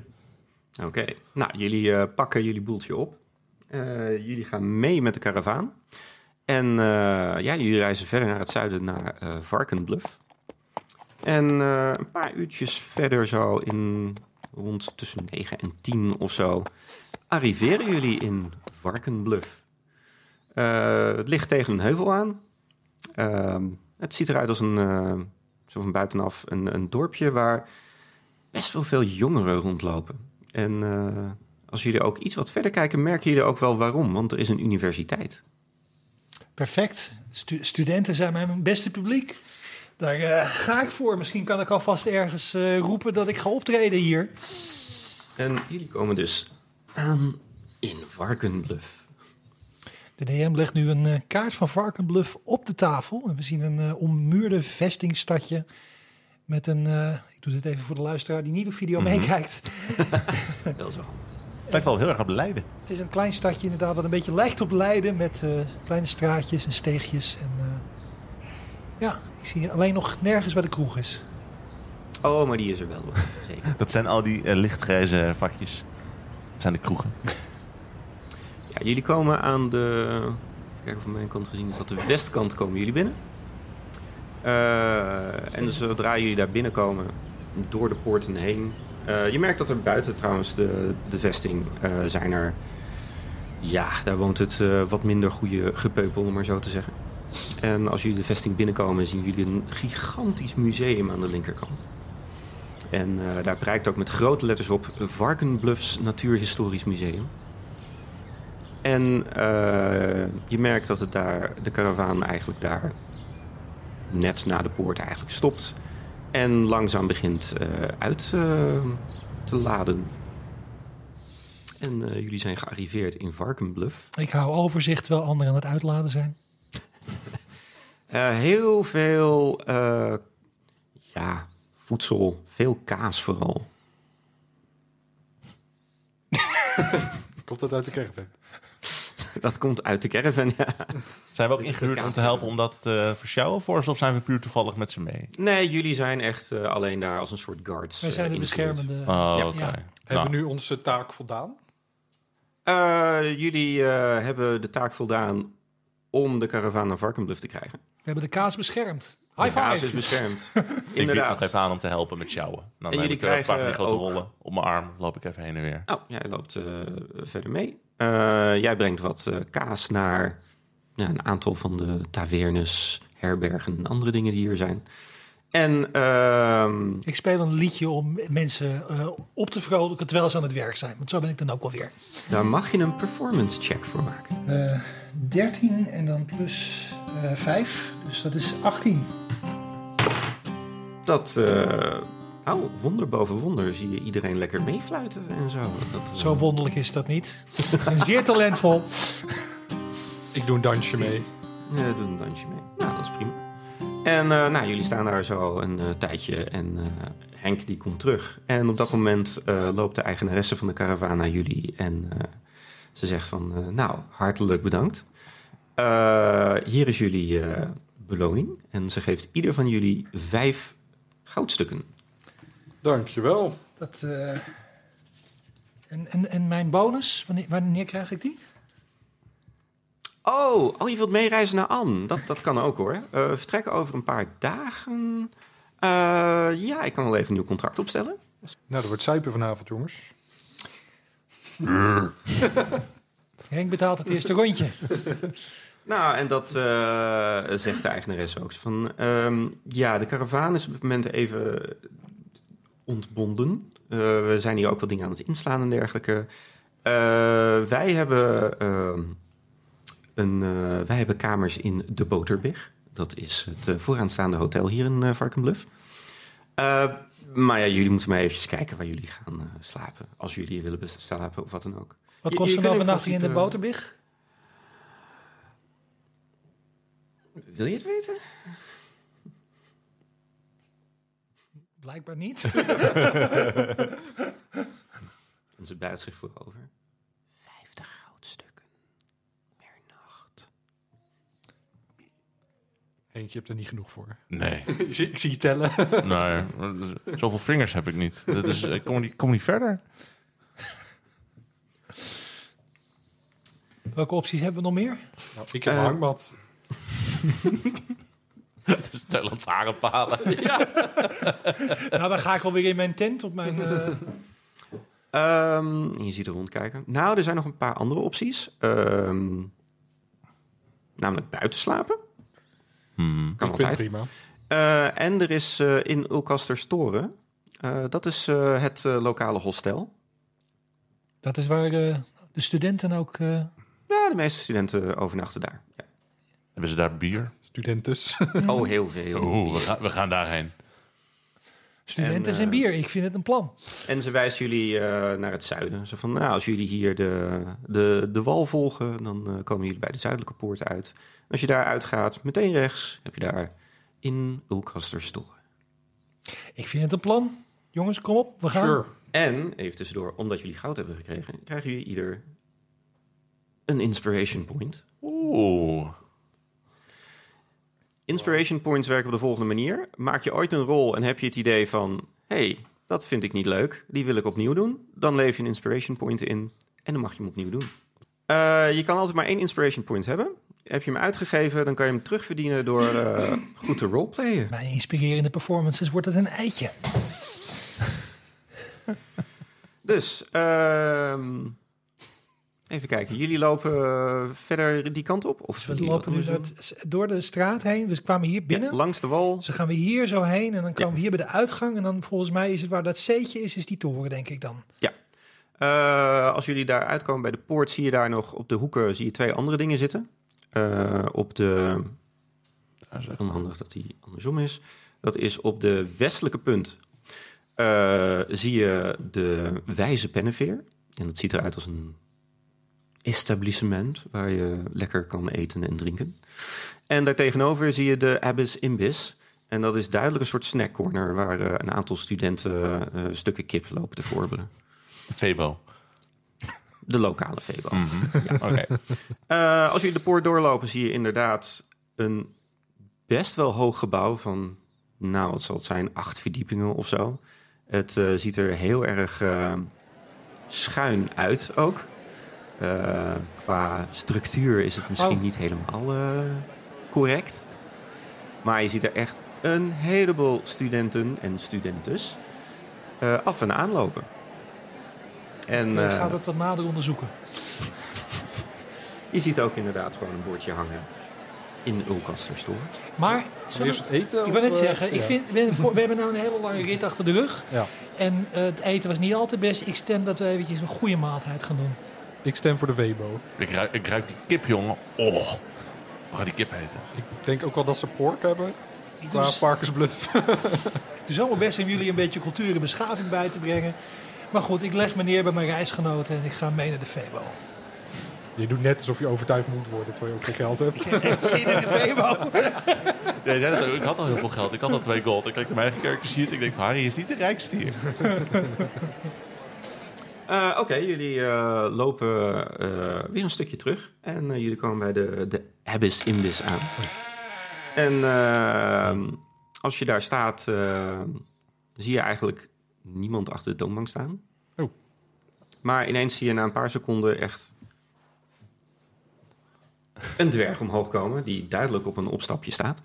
[SPEAKER 4] Oké. Nou, jullie eh, pakken jullie boeltje op. Eh, jullie gaan mee met de karavaan. En eh, ja, jullie reizen verder naar het zuiden, naar eh Varkenbluff. En eh, een paar uurtjes verder, zo in rond tussen 9 en 10 of zo, arriveren jullie in Varkenbluff. Eh, het ligt tegen een heuvel aan. Ehm, het ziet eruit als een, eh, zo van buitenaf, een, een dorpje waar best wel veel jongeren rondlopen. En eh, als jullie ook iets wat verder kijken, merken jullie ook wel waarom. Want er is een universiteit.
[SPEAKER 3] Perfect. Stu- studenten zijn mijn beste publiek. Daar eh, ga ik voor. Misschien kan ik alvast ergens eh, roepen dat ik ga optreden hier.
[SPEAKER 4] En jullie komen dus aan in Varkenbluff.
[SPEAKER 3] De DM legt nu een eh, kaart van Varkenbluff op de tafel. En we zien een eh, ommuurde vestingstadje. Met een. eh, ik doe dit even voor de luisteraar die niet op video
[SPEAKER 4] Mhm.
[SPEAKER 3] meekijkt.
[SPEAKER 4] Wel zo handig.
[SPEAKER 2] Lijkt wel heel erg op Leiden.
[SPEAKER 3] Het is een klein stadje inderdaad, wat een beetje lijkt op Leiden. Met eh, kleine straatjes en steegjes. En, eh, ja, ik zie alleen nog nergens waar de kroeg is.
[SPEAKER 4] Oh, maar die is er wel. hoor. Zeker.
[SPEAKER 2] Dat zijn al die eh, lichtgrijze vakjes. Dat zijn de kroegen.
[SPEAKER 4] Ja, jullie komen aan de... Even kijken van mijn kant gezien is dat de westkant komen jullie binnen. Eh, en zodra jullie daar binnenkomen, door de poorten heen... eh, je merkt dat er buiten trouwens de, de vesting eh, zijn er... Ja, daar woont het eh, wat minder goede gepeupel, om maar zo te zeggen. En als jullie de vesting binnenkomen, zien jullie een gigantisch museum aan de linkerkant. En eh, daar prijkt ook met grote letters op Varkenbluffs Natuurhistorisch Museum. En eh, je merkt dat het daar, de karavaan eigenlijk daar net na de poort eigenlijk stopt. En langzaam begint eh, uit eh, te laden. En eh, jullie zijn gearriveerd in Varkenbluff.
[SPEAKER 3] Ik hou overzicht terwijl anderen aan het uitladen zijn.
[SPEAKER 4] Eh, heel veel eh, ja, voedsel, veel kaas vooral.
[SPEAKER 1] Komt dat uit de caravan?
[SPEAKER 4] Dat komt uit de caravan, ja.
[SPEAKER 2] Zijn we ook
[SPEAKER 4] Dit is de
[SPEAKER 2] ingehuurd om te
[SPEAKER 4] kaas.
[SPEAKER 2] helpen om dat te versjouwen voor ze? Of zijn we puur toevallig met ze mee?
[SPEAKER 4] Nee, jullie zijn echt eh, alleen daar als een soort guards.
[SPEAKER 3] Wij
[SPEAKER 4] eh,
[SPEAKER 3] zijn de
[SPEAKER 4] ingehuurd.
[SPEAKER 3] beschermende.
[SPEAKER 2] Oh,
[SPEAKER 4] Ja.
[SPEAKER 2] oké.
[SPEAKER 3] Ja.
[SPEAKER 2] Nou,
[SPEAKER 1] Hebben we nu onze taak voldaan?
[SPEAKER 4] Eh, jullie eh, hebben de taak voldaan om de karavaan naar Varkenbluff te krijgen.
[SPEAKER 3] We hebben de kaas beschermd.
[SPEAKER 4] de
[SPEAKER 3] High
[SPEAKER 4] kaas
[SPEAKER 3] five.
[SPEAKER 4] is beschermd.
[SPEAKER 2] ik bied nog
[SPEAKER 4] Inderdaad.
[SPEAKER 2] even aan om te helpen met sjouwen. Dan
[SPEAKER 4] En
[SPEAKER 2] heb
[SPEAKER 4] jullie
[SPEAKER 2] ik eh, een paar van die
[SPEAKER 4] krijgen
[SPEAKER 2] grote
[SPEAKER 4] ook-
[SPEAKER 2] rollen op mijn arm. Loop ik even heen en weer.
[SPEAKER 4] Oh, jij loopt eh, verder mee. Eh, jij brengt wat eh, kaas naar nou, een aantal van de tavernes, herbergen en andere dingen die hier zijn. En ehm,
[SPEAKER 3] Ik speel een liedje om mensen eh, op te vrolijken terwijl ze aan het werk zijn. Want zo ben ik dan ook alweer.
[SPEAKER 4] daar mag je een performance check voor maken.
[SPEAKER 3] Eh 13 en dan plus eh 5. Dus dat is 18.
[SPEAKER 4] Dat, eh oh, wonder boven wonder zie je iedereen lekker meefluiten en zo. Dat, eh,
[SPEAKER 3] Zo wonderlijk is dat niet. En zeer talentvol.
[SPEAKER 1] Ik doe een dansje mee.
[SPEAKER 4] Eh, doet een dansje mee. Nou, dat is prima. En eh, nou, jullie staan daar zo een eh, tijdje en eh, Henk die komt terug. En op dat moment eh, loopt de eigenaresse van de karavaan naar jullie en eh, ze zegt van, eh, nou, hartelijk bedankt. Eh, hier is jullie eh, beloning en ze geeft ieder van jullie vijf goudstukken.
[SPEAKER 1] Dankjewel.
[SPEAKER 3] Dat, eh, en, en, en mijn bonus, wanneer, wanneer krijg ik die?
[SPEAKER 4] Oh, oh, je wilt meereizen naar Am. Dat, dat kan ook hoor. Eh, vertrekken over een paar dagen. Eh, ja, ik kan wel even een nieuw contract opstellen.
[SPEAKER 1] Nou, er wordt zuipen vanavond, jongens.
[SPEAKER 3] Henk betaalt het eerste rondje.
[SPEAKER 4] Nou, en dat eh, zegt de eigenares ook. Van, ehm, ja, de karavaan is op het moment even ontbonden. Eh, we zijn hier ook wat dingen aan het inslaan en dergelijke. Eh, wij, hebben, ehm, een, eh, wij hebben kamers in de Boterberg. Dat is het eh, vooraanstaande hotel hier in eh Varkenbluff. Eh, maar ja, jullie moeten maar eventjes kijken waar jullie gaan eh, slapen. Als jullie willen bes- slapen of wat dan ook.
[SPEAKER 3] Wat
[SPEAKER 4] Je-
[SPEAKER 3] kost
[SPEAKER 4] je
[SPEAKER 3] een
[SPEAKER 4] kunt in
[SPEAKER 3] overnachting in de
[SPEAKER 4] principe-
[SPEAKER 3] boterbig?
[SPEAKER 4] Wil je het weten?
[SPEAKER 3] Blijkbaar niet.
[SPEAKER 4] En ze buigt zich voorover. Vijftig goudstukken per nacht.
[SPEAKER 1] Eentje, je hebt er niet genoeg voor.
[SPEAKER 2] Nee,
[SPEAKER 1] ik, zie, ik zie je tellen.
[SPEAKER 2] nee. Zoveel vingers heb ik niet. Dat is, eh, ik kom niet, kom niet verder.
[SPEAKER 3] Welke opties hebben we nog meer?
[SPEAKER 1] Nou, ik heb een
[SPEAKER 4] Eh.
[SPEAKER 1] hangmat.
[SPEAKER 2] Het is twee lantaarnpalen.
[SPEAKER 3] Nou, dan ga ik alweer in mijn tent op mijn... eh,
[SPEAKER 4] Ehm, en je ziet er rondkijken. Nou, er zijn nog een paar andere opties. Ehm, namelijk buiten slapen.
[SPEAKER 2] Hmm.
[SPEAKER 4] Kan
[SPEAKER 1] ik vind het
[SPEAKER 4] altijd.
[SPEAKER 1] prima.
[SPEAKER 4] Eh, en er is eh, in Ulcaster Storen. eh, dat is eh, het eh, lokale hostel.
[SPEAKER 3] dat is waar eh, de studenten ook... eh,
[SPEAKER 4] Ja, de meeste studenten overnachten daar. Ja.
[SPEAKER 2] Hebben ze daar bier?
[SPEAKER 1] Studentes.
[SPEAKER 4] Oh, heel veel.
[SPEAKER 2] Oeh, we gaan, we gaan daarheen.
[SPEAKER 3] studenten
[SPEAKER 4] En, eh,
[SPEAKER 3] zijn bier. Ik vind het een plan.
[SPEAKER 4] En ze wijst jullie eh, naar het zuiden. Zo van, nou, als jullie hier de, de, de wal volgen, dan eh, komen jullie bij de zuidelijke poort uit. Als je daar uitgaat, meteen rechts, heb je daar in Ulcasterstoren.
[SPEAKER 3] Ik vind het een plan. Jongens, kom op. We gaan.
[SPEAKER 1] Sure.
[SPEAKER 4] En, even tussendoor, omdat jullie goud hebben gekregen, krijgen jullie ieder een inspiration point.
[SPEAKER 2] Oeh.
[SPEAKER 4] Inspiration points werken op de volgende manier. Maak je ooit een rol en heb je het idee van, hey, dat vind ik niet leuk, die wil ik opnieuw doen. Dan leef je een inspiration point in en dan mag je hem opnieuw doen. Eh, je kan altijd maar één inspiration point hebben. Heb je hem uitgegeven, dan kan je hem terugverdienen door eh, goed te roleplayen.
[SPEAKER 3] Bij inspirerende performances wordt het een eitje.
[SPEAKER 4] Dus, ehm, even kijken. Jullie lopen eh, verder die kant op? Of
[SPEAKER 3] We
[SPEAKER 4] zullen jullie
[SPEAKER 3] lopen
[SPEAKER 4] wat
[SPEAKER 3] nu
[SPEAKER 4] anders
[SPEAKER 3] door,
[SPEAKER 4] doen?
[SPEAKER 3] het- door de straat heen. Dus kwamen hier binnen.
[SPEAKER 4] Ja, langs de wal.
[SPEAKER 3] Dus dan gaan we hier zo heen en dan kwamen we hier bij de uitgang. En dan volgens mij is het waar dat C'tje is, is die toren, denk ik dan.
[SPEAKER 4] Eh, als jullie daar uitkomen bij de poort, zie je daar nog op de hoeken zie je twee andere dingen zitten. Eh, op de.
[SPEAKER 2] Daar is echt-
[SPEAKER 4] Onhandig dat die andersom is. Dat is op de westelijke punt. eh, zie je de wijze penneveer. En dat ziet eruit als een establishment waar je lekker kan eten en drinken. En daartegenover zie je de Abyss Imbis. En dat is duidelijk een soort snackcorner waar eh, een aantal studenten eh, stukken kip lopen te vorberen.
[SPEAKER 2] Febo.
[SPEAKER 4] De lokale Febo.
[SPEAKER 2] Mhm. Oké.
[SPEAKER 4] Eh, als jullie de poort doorlopen, zie je inderdaad een best wel hoog gebouw van, nou, wat zal het zijn, acht verdiepingen of zo. Het eh, ziet er heel erg eh, schuin uit ook. Eh, qua structuur is het misschien
[SPEAKER 3] Oh.
[SPEAKER 4] niet helemaal eh, correct. Maar je ziet er echt een heleboel studenten en studentes eh, af en aan lopen. En,
[SPEAKER 3] Dan
[SPEAKER 4] eh,
[SPEAKER 3] gaat het wat nader onderzoeken.
[SPEAKER 4] je ziet ook inderdaad gewoon een bordje hangen in Ulcaster Store.
[SPEAKER 3] Maar,
[SPEAKER 1] Zullen we eerst het eten?
[SPEAKER 3] ik
[SPEAKER 1] of,
[SPEAKER 3] wil net
[SPEAKER 1] eh,
[SPEAKER 3] zeggen, ik
[SPEAKER 1] ja.
[SPEAKER 3] vind, we, voor- we hebben nou een hele lange rit achter de rug.
[SPEAKER 1] Ja.
[SPEAKER 3] En eh, het eten was niet al te best. Ik stem dat we eventjes een goede maaltijd gaan doen.
[SPEAKER 1] Ik stem voor de Webo.
[SPEAKER 2] Ik, ruik, ik ruik die kip, jongen. Oh. We gaan die kip heten.
[SPEAKER 1] Ik denk ook wel dat ze pork hebben.
[SPEAKER 3] Ik doe,
[SPEAKER 1] Qua
[SPEAKER 3] s-
[SPEAKER 1] varkensbluff.
[SPEAKER 3] ik doe zo mijn best om jullie een beetje cultuur en beschaving bij te brengen. Maar goed, ik leg me neer bij mijn reisgenoten en ik ga mee naar de Febo.
[SPEAKER 1] je doet net alsof je overtuigd moet worden terwijl je ook geen geld hebt.
[SPEAKER 3] Echt zin in de Febo.
[SPEAKER 2] Ja, je zei net ook, ik had al heel veel geld. Ik had al twee gold. Ik kijk naar mijn eigen kerkjes hier. Ik denk, Harry is niet de rijkste hier.
[SPEAKER 4] Eh, Oké, jullie eh, lopen eh, weer een stukje terug. En eh, jullie komen bij de, de Abyss Imbis aan. En eh, als je daar staat, eh, zie je eigenlijk niemand achter de toonbank staan.
[SPEAKER 1] Oh.
[SPEAKER 4] Maar ineens zie je na een paar seconden echt een dwerg omhoog komen, die duidelijk op een opstapje staat.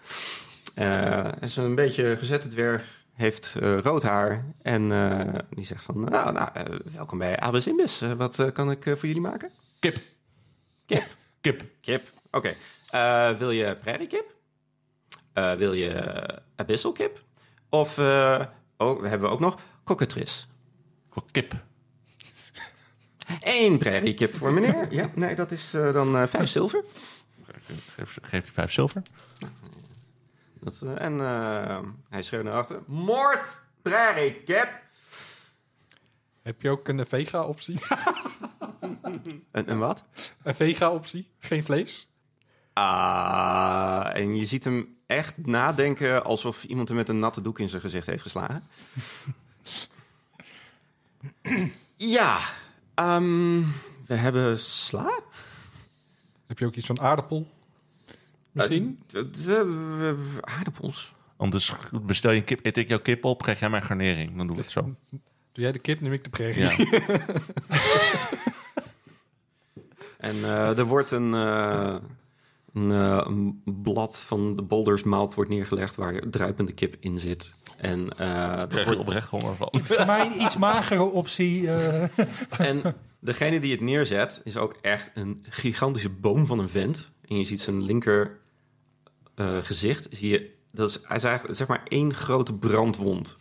[SPEAKER 4] Eh en zo'n beetje gezette dwerg heeft eh, rood haar en eh, die zegt van, nou, nou eh, welkom bij Abba Zimbus. Eh, wat eh, kan ik eh, voor jullie maken?
[SPEAKER 2] Kip.
[SPEAKER 4] Kip.
[SPEAKER 2] Kip.
[SPEAKER 4] Kip. Oké. Eh, wil je prairie kip? Eh, wil je abyssal kip? Of eh, oh, we hebben we ook nog cockatrice.
[SPEAKER 2] Ik wil Kip.
[SPEAKER 4] Eén prairie kip voor meneer. ja, nee, dat is eh, dan eh, vijf zilver.
[SPEAKER 2] Geef, geef je vijf zilver.
[SPEAKER 4] Dat, eh, en eh, hij schreeuwt naar achter. Moord prairie kip.
[SPEAKER 1] Heb je ook een vega-optie?
[SPEAKER 4] Een, een wat?
[SPEAKER 1] een vega-optie? Geen vlees?
[SPEAKER 4] Ah, en je ziet hem echt nadenken alsof iemand hem met een natte doek in zijn gezicht heeft geslagen. ja, ehm, we hebben sla.
[SPEAKER 1] Heb je ook iets van aardappel? Misschien?
[SPEAKER 4] Eh, d- d- Aardappels.
[SPEAKER 2] Anders bestel je een kip, eet ik jouw kip op, krijg jij mijn garnering. Dan doen we het zo.
[SPEAKER 1] Doe jij de kip, neem ik de prairie.
[SPEAKER 2] Ja.
[SPEAKER 4] En eh, er wordt een, eh, een, eh, een blad van de Boulders mouth wordt neergelegd waar druipende kip in zit. En, eh, er
[SPEAKER 2] Krijg je
[SPEAKER 4] wordt-
[SPEAKER 2] oprecht honger van.
[SPEAKER 3] Voor mij een iets magere optie. eh,
[SPEAKER 4] en degene die het neerzet is ook echt een gigantische boom van een vent. En je ziet zijn linker eh, gezicht. Zie je, dat is, hij is eigenlijk zeg maar één grote brandwond.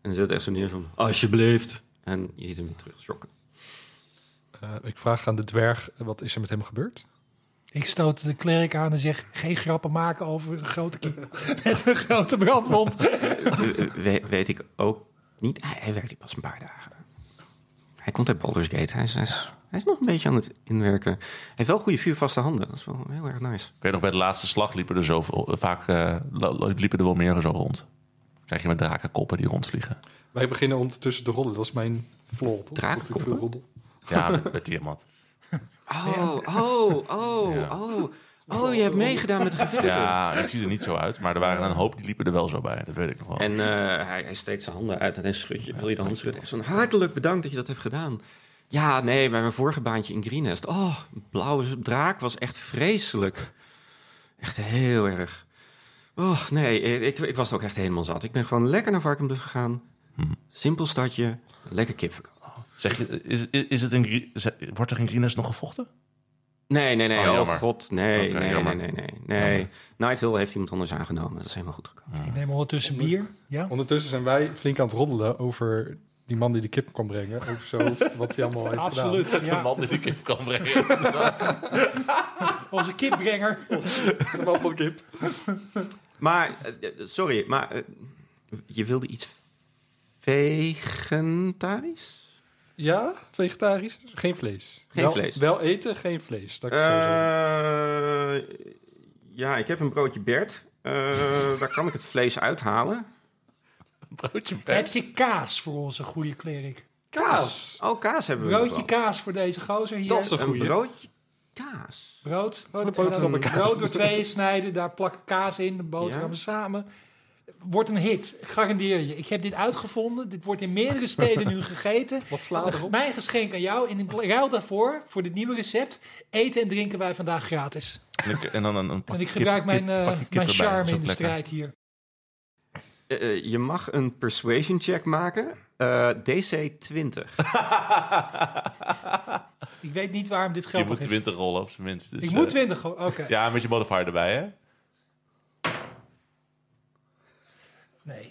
[SPEAKER 4] En hij zet echt zo neer van, alsjeblieft. En je ziet hem weer terug schokken.
[SPEAKER 1] Eh, ik vraag aan de dwerg, eh, wat is er met hem gebeurd?
[SPEAKER 3] ik stoot de klerk aan en zeg: geen grappen maken over een grote kip met een grote brandwond.
[SPEAKER 4] We- we- weet ik ook niet. Hij, hij werkt hier pas een paar dagen. Hij komt uit Baldur's Gate. Hij is, hij is, hij is nog een beetje aan het inwerken. Hij heeft wel goede vuurvaste handen. Dat is wel heel erg nice.
[SPEAKER 2] Ik weet nog, bij de laatste slag liepen er, zoveel, vaak, eh, lo- lo- liepen er wel meer zo rond. Krijg je met drakenkoppen die rondvliegen.
[SPEAKER 1] Wij beginnen ondertussen te rollen. Dat is mijn flaw, toch?
[SPEAKER 4] Drakenkoppen?
[SPEAKER 1] Dat ik veel roddel.
[SPEAKER 2] Ja, met, met diamant.
[SPEAKER 4] Oh, oh, oh,
[SPEAKER 2] Ja.
[SPEAKER 4] oh. Oh, je hebt meegedaan met de gevechten.
[SPEAKER 2] Ja, ik zie er niet zo uit, maar er waren een hoop die liepen er wel zo bij. Dat weet ik nog wel.
[SPEAKER 4] En eh, hij, hij steekt zijn handen uit en hij schudt je, wil je de hand schudden. Echt zo'n hartelijk bedankt dat je dat hebt gedaan. Ja, nee, bij mijn vorige baantje in Greenest. Oh, blauwe draak was echt vreselijk. Echt heel erg. Oh, nee, ik, ik was het ook echt helemaal zat. Ik ben gewoon lekker naar Varkenduf gegaan.
[SPEAKER 2] Mhm.
[SPEAKER 4] Simpel stadje, lekker kipverkoop.
[SPEAKER 2] Zeg, je, is, is, is het een, gri- ze- wordt er in Greenest nog gevochten?
[SPEAKER 4] Nee, nee, nee.
[SPEAKER 2] Oh,
[SPEAKER 4] Oh,
[SPEAKER 2] jammer.
[SPEAKER 4] god, nee,
[SPEAKER 2] Oké,
[SPEAKER 4] nee, nee,
[SPEAKER 2] jammer.
[SPEAKER 4] nee, nee, nee. Night Hill heeft iemand anders aangenomen. Dat is helemaal goed gekomen.
[SPEAKER 3] Ik neem ondertussen bier. Ja.
[SPEAKER 1] Ondertussen zijn wij flink aan het roddelen over die man die de kip kwam brengen. Over zo, wat hij allemaal heeft gedaan.
[SPEAKER 3] Absoluut. Ja.
[SPEAKER 2] man die de kip kan brengen.
[SPEAKER 3] Onze kipbrenger.
[SPEAKER 1] De man van de kip.
[SPEAKER 4] Maar, eh, eh, sorry, maar eh, je wilde iets vegetarisch?
[SPEAKER 1] Ja, vegetarisch. Geen vlees.
[SPEAKER 4] Geen
[SPEAKER 1] wel,
[SPEAKER 4] vlees.
[SPEAKER 1] Wel eten, geen vlees. Dat is sowieso.
[SPEAKER 4] Eh, ja, ik heb een broodje Bert. Eh, daar kan ik het vlees uithalen.
[SPEAKER 2] Broodje
[SPEAKER 3] Heb
[SPEAKER 2] pet.
[SPEAKER 3] je kaas voor onze goede klerk?
[SPEAKER 1] Kaas.
[SPEAKER 4] Oh, kaas hebben we nog
[SPEAKER 3] Broodje kaas voor deze gozer hier.
[SPEAKER 1] Dat is een
[SPEAKER 4] wel. Een
[SPEAKER 1] goeie.
[SPEAKER 4] broodje kaas.
[SPEAKER 3] Brood.
[SPEAKER 1] Oh, de
[SPEAKER 3] Wat we
[SPEAKER 1] boterhammen
[SPEAKER 3] dan-
[SPEAKER 1] kaas.
[SPEAKER 3] Brood door tweeën snijden, daar plakken kaas in, de boterhammen
[SPEAKER 4] Ja.
[SPEAKER 3] samen. Wordt een hit, garandeer je. Ik heb dit uitgevonden. Dit wordt in meerdere steden nu gegeten.
[SPEAKER 1] Wat slaat erop?
[SPEAKER 3] Mijn geschenk aan jou. En in ruil daarvoor, voor dit nieuwe recept, eten en drinken wij vandaag gratis.
[SPEAKER 2] En, ik- en dan een, een
[SPEAKER 3] En
[SPEAKER 2] pakje
[SPEAKER 3] ik gebruik
[SPEAKER 2] kip- kip-
[SPEAKER 3] mijn, eh,
[SPEAKER 2] pakje kip
[SPEAKER 3] mijn
[SPEAKER 2] erbij. Dat
[SPEAKER 3] charme
[SPEAKER 2] is
[SPEAKER 3] in
[SPEAKER 2] ook
[SPEAKER 3] de
[SPEAKER 2] lekker.
[SPEAKER 3] strijd hier.
[SPEAKER 4] Eh, eh, je mag een persuasion check maken. Eh, DC 20.
[SPEAKER 3] Ik weet niet waarom dit
[SPEAKER 2] Je
[SPEAKER 3] grappig
[SPEAKER 2] moet
[SPEAKER 3] is.
[SPEAKER 2] 20 rollen op zijn minst. Dus,
[SPEAKER 3] Ik
[SPEAKER 2] eh,
[SPEAKER 3] moet 20, gewoon, oké.
[SPEAKER 2] Ja, met je modifier erbij, hè?
[SPEAKER 3] Nee.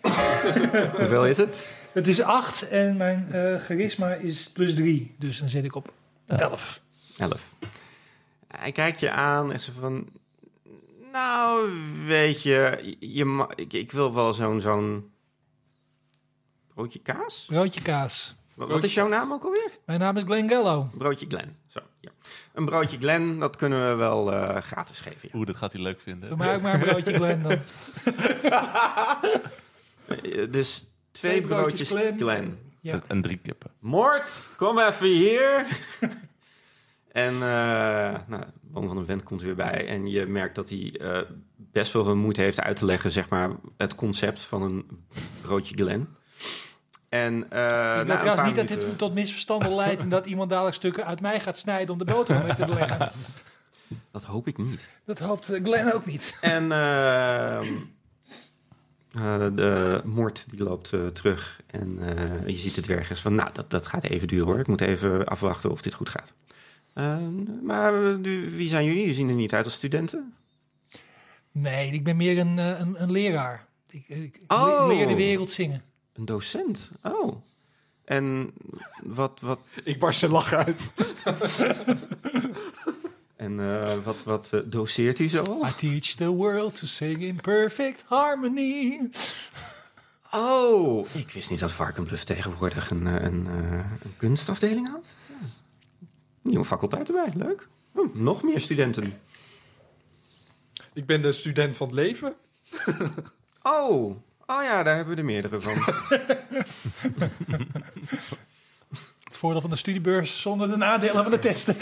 [SPEAKER 4] Hoeveel is het?
[SPEAKER 3] Het is 8 en mijn eh, charisma is plus 3. Dus dan zit ik op 11.
[SPEAKER 4] 11. Hij kijkt je aan en zegt van... Nou, weet je, je ma- ik, ik wil wel zo'n... zo'n broodje kaas?
[SPEAKER 3] Broodje kaas.
[SPEAKER 4] Wa- Wat is jouw naam ook alweer?
[SPEAKER 3] Mijn naam is Glenn Gallo.
[SPEAKER 4] Broodje Glen. Zo, ja. Een broodje Glen, dat kunnen we wel eh, gratis geven. ja.
[SPEAKER 2] Oeh, dat gaat hij leuk
[SPEAKER 3] Doe
[SPEAKER 2] vinden.
[SPEAKER 3] mij ook maar een broodje Glenn dan.
[SPEAKER 4] Eh, dus twee, broodjes,
[SPEAKER 3] broodjes Glen.
[SPEAKER 4] Glen.
[SPEAKER 3] Ja.
[SPEAKER 2] En- En drie kippen.
[SPEAKER 4] Moord, kom even hier. en eh nou, Boom van een Vent komt weer bij. En je merkt dat hij eh, best wel veel moeite heeft uit te leggen, zeg maar, het concept van een broodje Glen. En, eh
[SPEAKER 3] ik
[SPEAKER 4] na
[SPEAKER 3] wil
[SPEAKER 4] een
[SPEAKER 3] trouwens
[SPEAKER 4] paar
[SPEAKER 3] niet dat dit
[SPEAKER 4] minuten-
[SPEAKER 3] tot misverstanden leidt... en dat iemand dadelijk stukken uit mij gaat snijden om de boterham mee te leggen.
[SPEAKER 4] Dat hoop ik niet.
[SPEAKER 3] Dat hoopt eh, Glenn ook niet.
[SPEAKER 4] En ehm, eh, de moord die loopt eh, terug. En eh, je ziet het ergens van, nou, dat, dat gaat even duren hoor. Ik moet even afwachten of dit goed gaat. Eh, maar eh, nu- wie zijn jullie? Jullie zien er niet uit als studenten.
[SPEAKER 3] Nee, ik ben meer een, eh, een, een leraar. Ik, ik, ik
[SPEAKER 4] Oh.
[SPEAKER 3] leer de wereld zingen.
[SPEAKER 4] Een docent. Oh. En wat, wat,
[SPEAKER 1] Ik barst een lach uit.
[SPEAKER 4] en, eh, wat, wat eh, doseert hij zo?
[SPEAKER 3] I teach the world to sing in perfect harmony.
[SPEAKER 4] Oh. Ik wist niet dat Varkenbluff tegenwoordig een, eh, een, eh, een kunstafdeling had. Ja. Nieuwe faculteit erbij, leuk. Hm, nog meer studenten.
[SPEAKER 1] Ik ben de student van het leven.
[SPEAKER 4] Oh, oh ja, daar hebben we er meerdere van.
[SPEAKER 3] Het voordeel van de studiebeurs zonder de nadelen van de testen.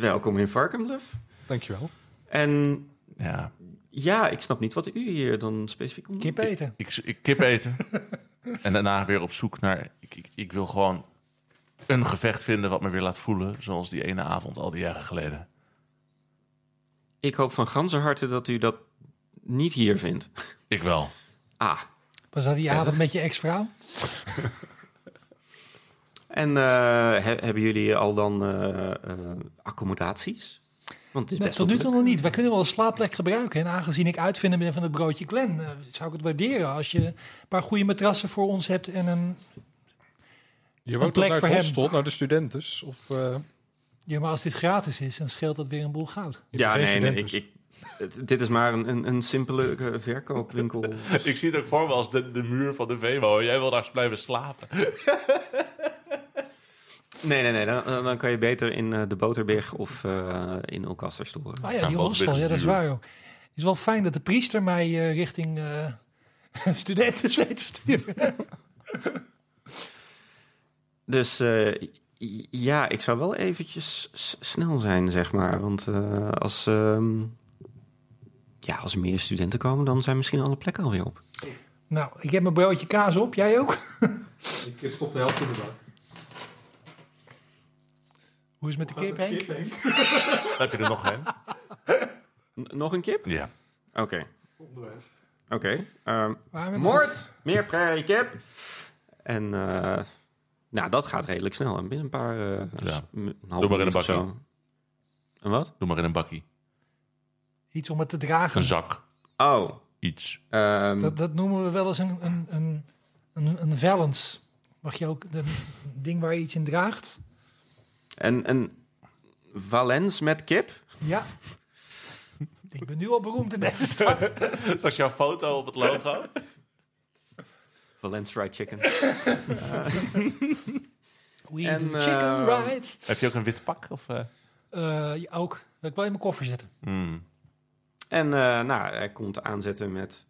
[SPEAKER 4] Welkom in Varkenbluff.
[SPEAKER 1] Dankjewel.
[SPEAKER 4] En
[SPEAKER 2] Ja,
[SPEAKER 4] ja, ik snap niet wat u hier dan specifiek om doet.
[SPEAKER 3] Kip eten.
[SPEAKER 2] ik, ik kip eten. en daarna weer op zoek naar... Ik, ik, ik wil gewoon een gevecht vinden wat me weer laat voelen... zoals die ene avond al die jaren geleden.
[SPEAKER 4] Ik hoop van ganzer harte dat u dat niet hier vindt.
[SPEAKER 2] Ik wel.
[SPEAKER 4] Ah,
[SPEAKER 3] Was dat die avond met je ex-vrouw?
[SPEAKER 4] en eh, he- hebben jullie al dan eh, eh, accommodaties? Want het is
[SPEAKER 3] Nee,
[SPEAKER 4] best
[SPEAKER 3] tot
[SPEAKER 4] wel
[SPEAKER 3] nu toe nog niet. Wij kunnen wel een slaapplek gebruiken. En aangezien ik uitvinder ben van het broodje Glen, eh, zou ik het waarderen als je een paar goede matrassen voor ons hebt en een.
[SPEAKER 1] Je woont
[SPEAKER 3] plek
[SPEAKER 1] naar
[SPEAKER 3] voor
[SPEAKER 1] het
[SPEAKER 3] hem.
[SPEAKER 1] hostel, naar de studentes. Of, eh,
[SPEAKER 3] Ja, maar als dit gratis is, dan scheelt dat weer een boel goud.
[SPEAKER 1] je
[SPEAKER 4] Ja,
[SPEAKER 1] hebt geen
[SPEAKER 4] nee, nee ik,
[SPEAKER 1] studentes.
[SPEAKER 4] ik, het- dit is maar een, een, een simpele eh, verkoopwinkel.
[SPEAKER 2] Ik zie het ook voor me als de, de muur van de Vemo. Jij wil daar blijven slapen.
[SPEAKER 4] Nee, nee, nee, dan, dan kan je beter in eh, de Boterberg of eh, in Olkaster storen.
[SPEAKER 3] Ah ja, die
[SPEAKER 2] Ja,
[SPEAKER 3] hostel,
[SPEAKER 2] wat
[SPEAKER 3] ja, dat is
[SPEAKER 2] duur.
[SPEAKER 3] waar ook. Het is wel fijn dat de priester mij eh, richting eh studenten weet te sturen.
[SPEAKER 4] Dus eh, j- ja, ik zou wel eventjes s- snel zijn, zeg maar. Want eh, als, ehm, ja, als er meer studenten komen, dan zijn misschien alle plekken alweer op.
[SPEAKER 3] Nou, ik heb mijn broodje kaas op, jij ook?
[SPEAKER 1] Ik stop de helft in de bak.
[SPEAKER 3] Hoe is het met de kip, Henk?
[SPEAKER 2] Heb je er nog een?
[SPEAKER 4] N- nog een kip?
[SPEAKER 2] Ja.
[SPEAKER 4] Oké, oké. Ehm,
[SPEAKER 3] Waarom heb ik het?
[SPEAKER 4] moord, meer prairie kip. En eh, nou, dat gaat redelijk snel. En binnen een paar... eh,
[SPEAKER 2] Ja.
[SPEAKER 4] s- m- een half
[SPEAKER 2] Doe maar in een
[SPEAKER 4] minuut of
[SPEAKER 2] bakkie.
[SPEAKER 4] zo. Een wat?
[SPEAKER 2] Doe maar in een bakkie.
[SPEAKER 3] Iets om het te
[SPEAKER 2] Een
[SPEAKER 3] dragen.
[SPEAKER 2] zak.
[SPEAKER 4] Oh,
[SPEAKER 2] Iets.
[SPEAKER 4] ehm,
[SPEAKER 3] Dat, dat noemen we wel eens een, een, een, een, een valance. Mag je ook een ding waar je iets in draagt?
[SPEAKER 4] en een Valens met kip?
[SPEAKER 3] Ja. Ik ben nu al beroemd in deze stad.
[SPEAKER 2] Straks jouw foto op het logo.
[SPEAKER 4] Valens fried chicken.
[SPEAKER 3] We
[SPEAKER 4] En,
[SPEAKER 3] do chicken
[SPEAKER 4] eh,
[SPEAKER 3] right.
[SPEAKER 2] Heb je ook een wit pak? Of, eh?
[SPEAKER 3] Eh, ja, ook. Wil ik wel in mijn koffer zetten.
[SPEAKER 2] Hmm.
[SPEAKER 4] En eh, nou, hij komt aanzetten met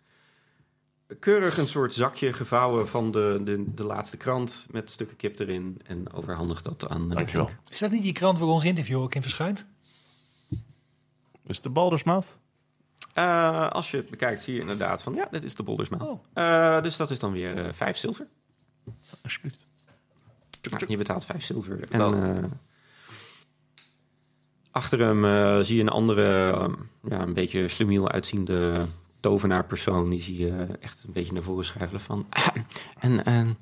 [SPEAKER 4] keurig een soort zakje gevouwen van de, de, de laatste krant met stukken kip erin en overhandigt dat aan. eh,
[SPEAKER 2] Dankjewel.
[SPEAKER 4] Henk.
[SPEAKER 3] Is dat niet die krant waar ons interview ook in verschijnt?
[SPEAKER 2] Is de Baldur's Mouth?
[SPEAKER 4] Eh, als je het bekijkt, zie je inderdaad van ja, dit is de boldersmaat.
[SPEAKER 3] Oh.
[SPEAKER 4] dus dat is dan weer eh, vijf zilver.
[SPEAKER 2] Alsjeblieft.
[SPEAKER 4] Nou, je betaalt vijf zilver. En
[SPEAKER 2] Dan-
[SPEAKER 4] eh, achter hem eh, zie je een andere, eh, ja, een beetje slumiel uitziende tovenaarpersoon. Die zie je eh, echt een beetje naar voren schuiven van... en, eh, een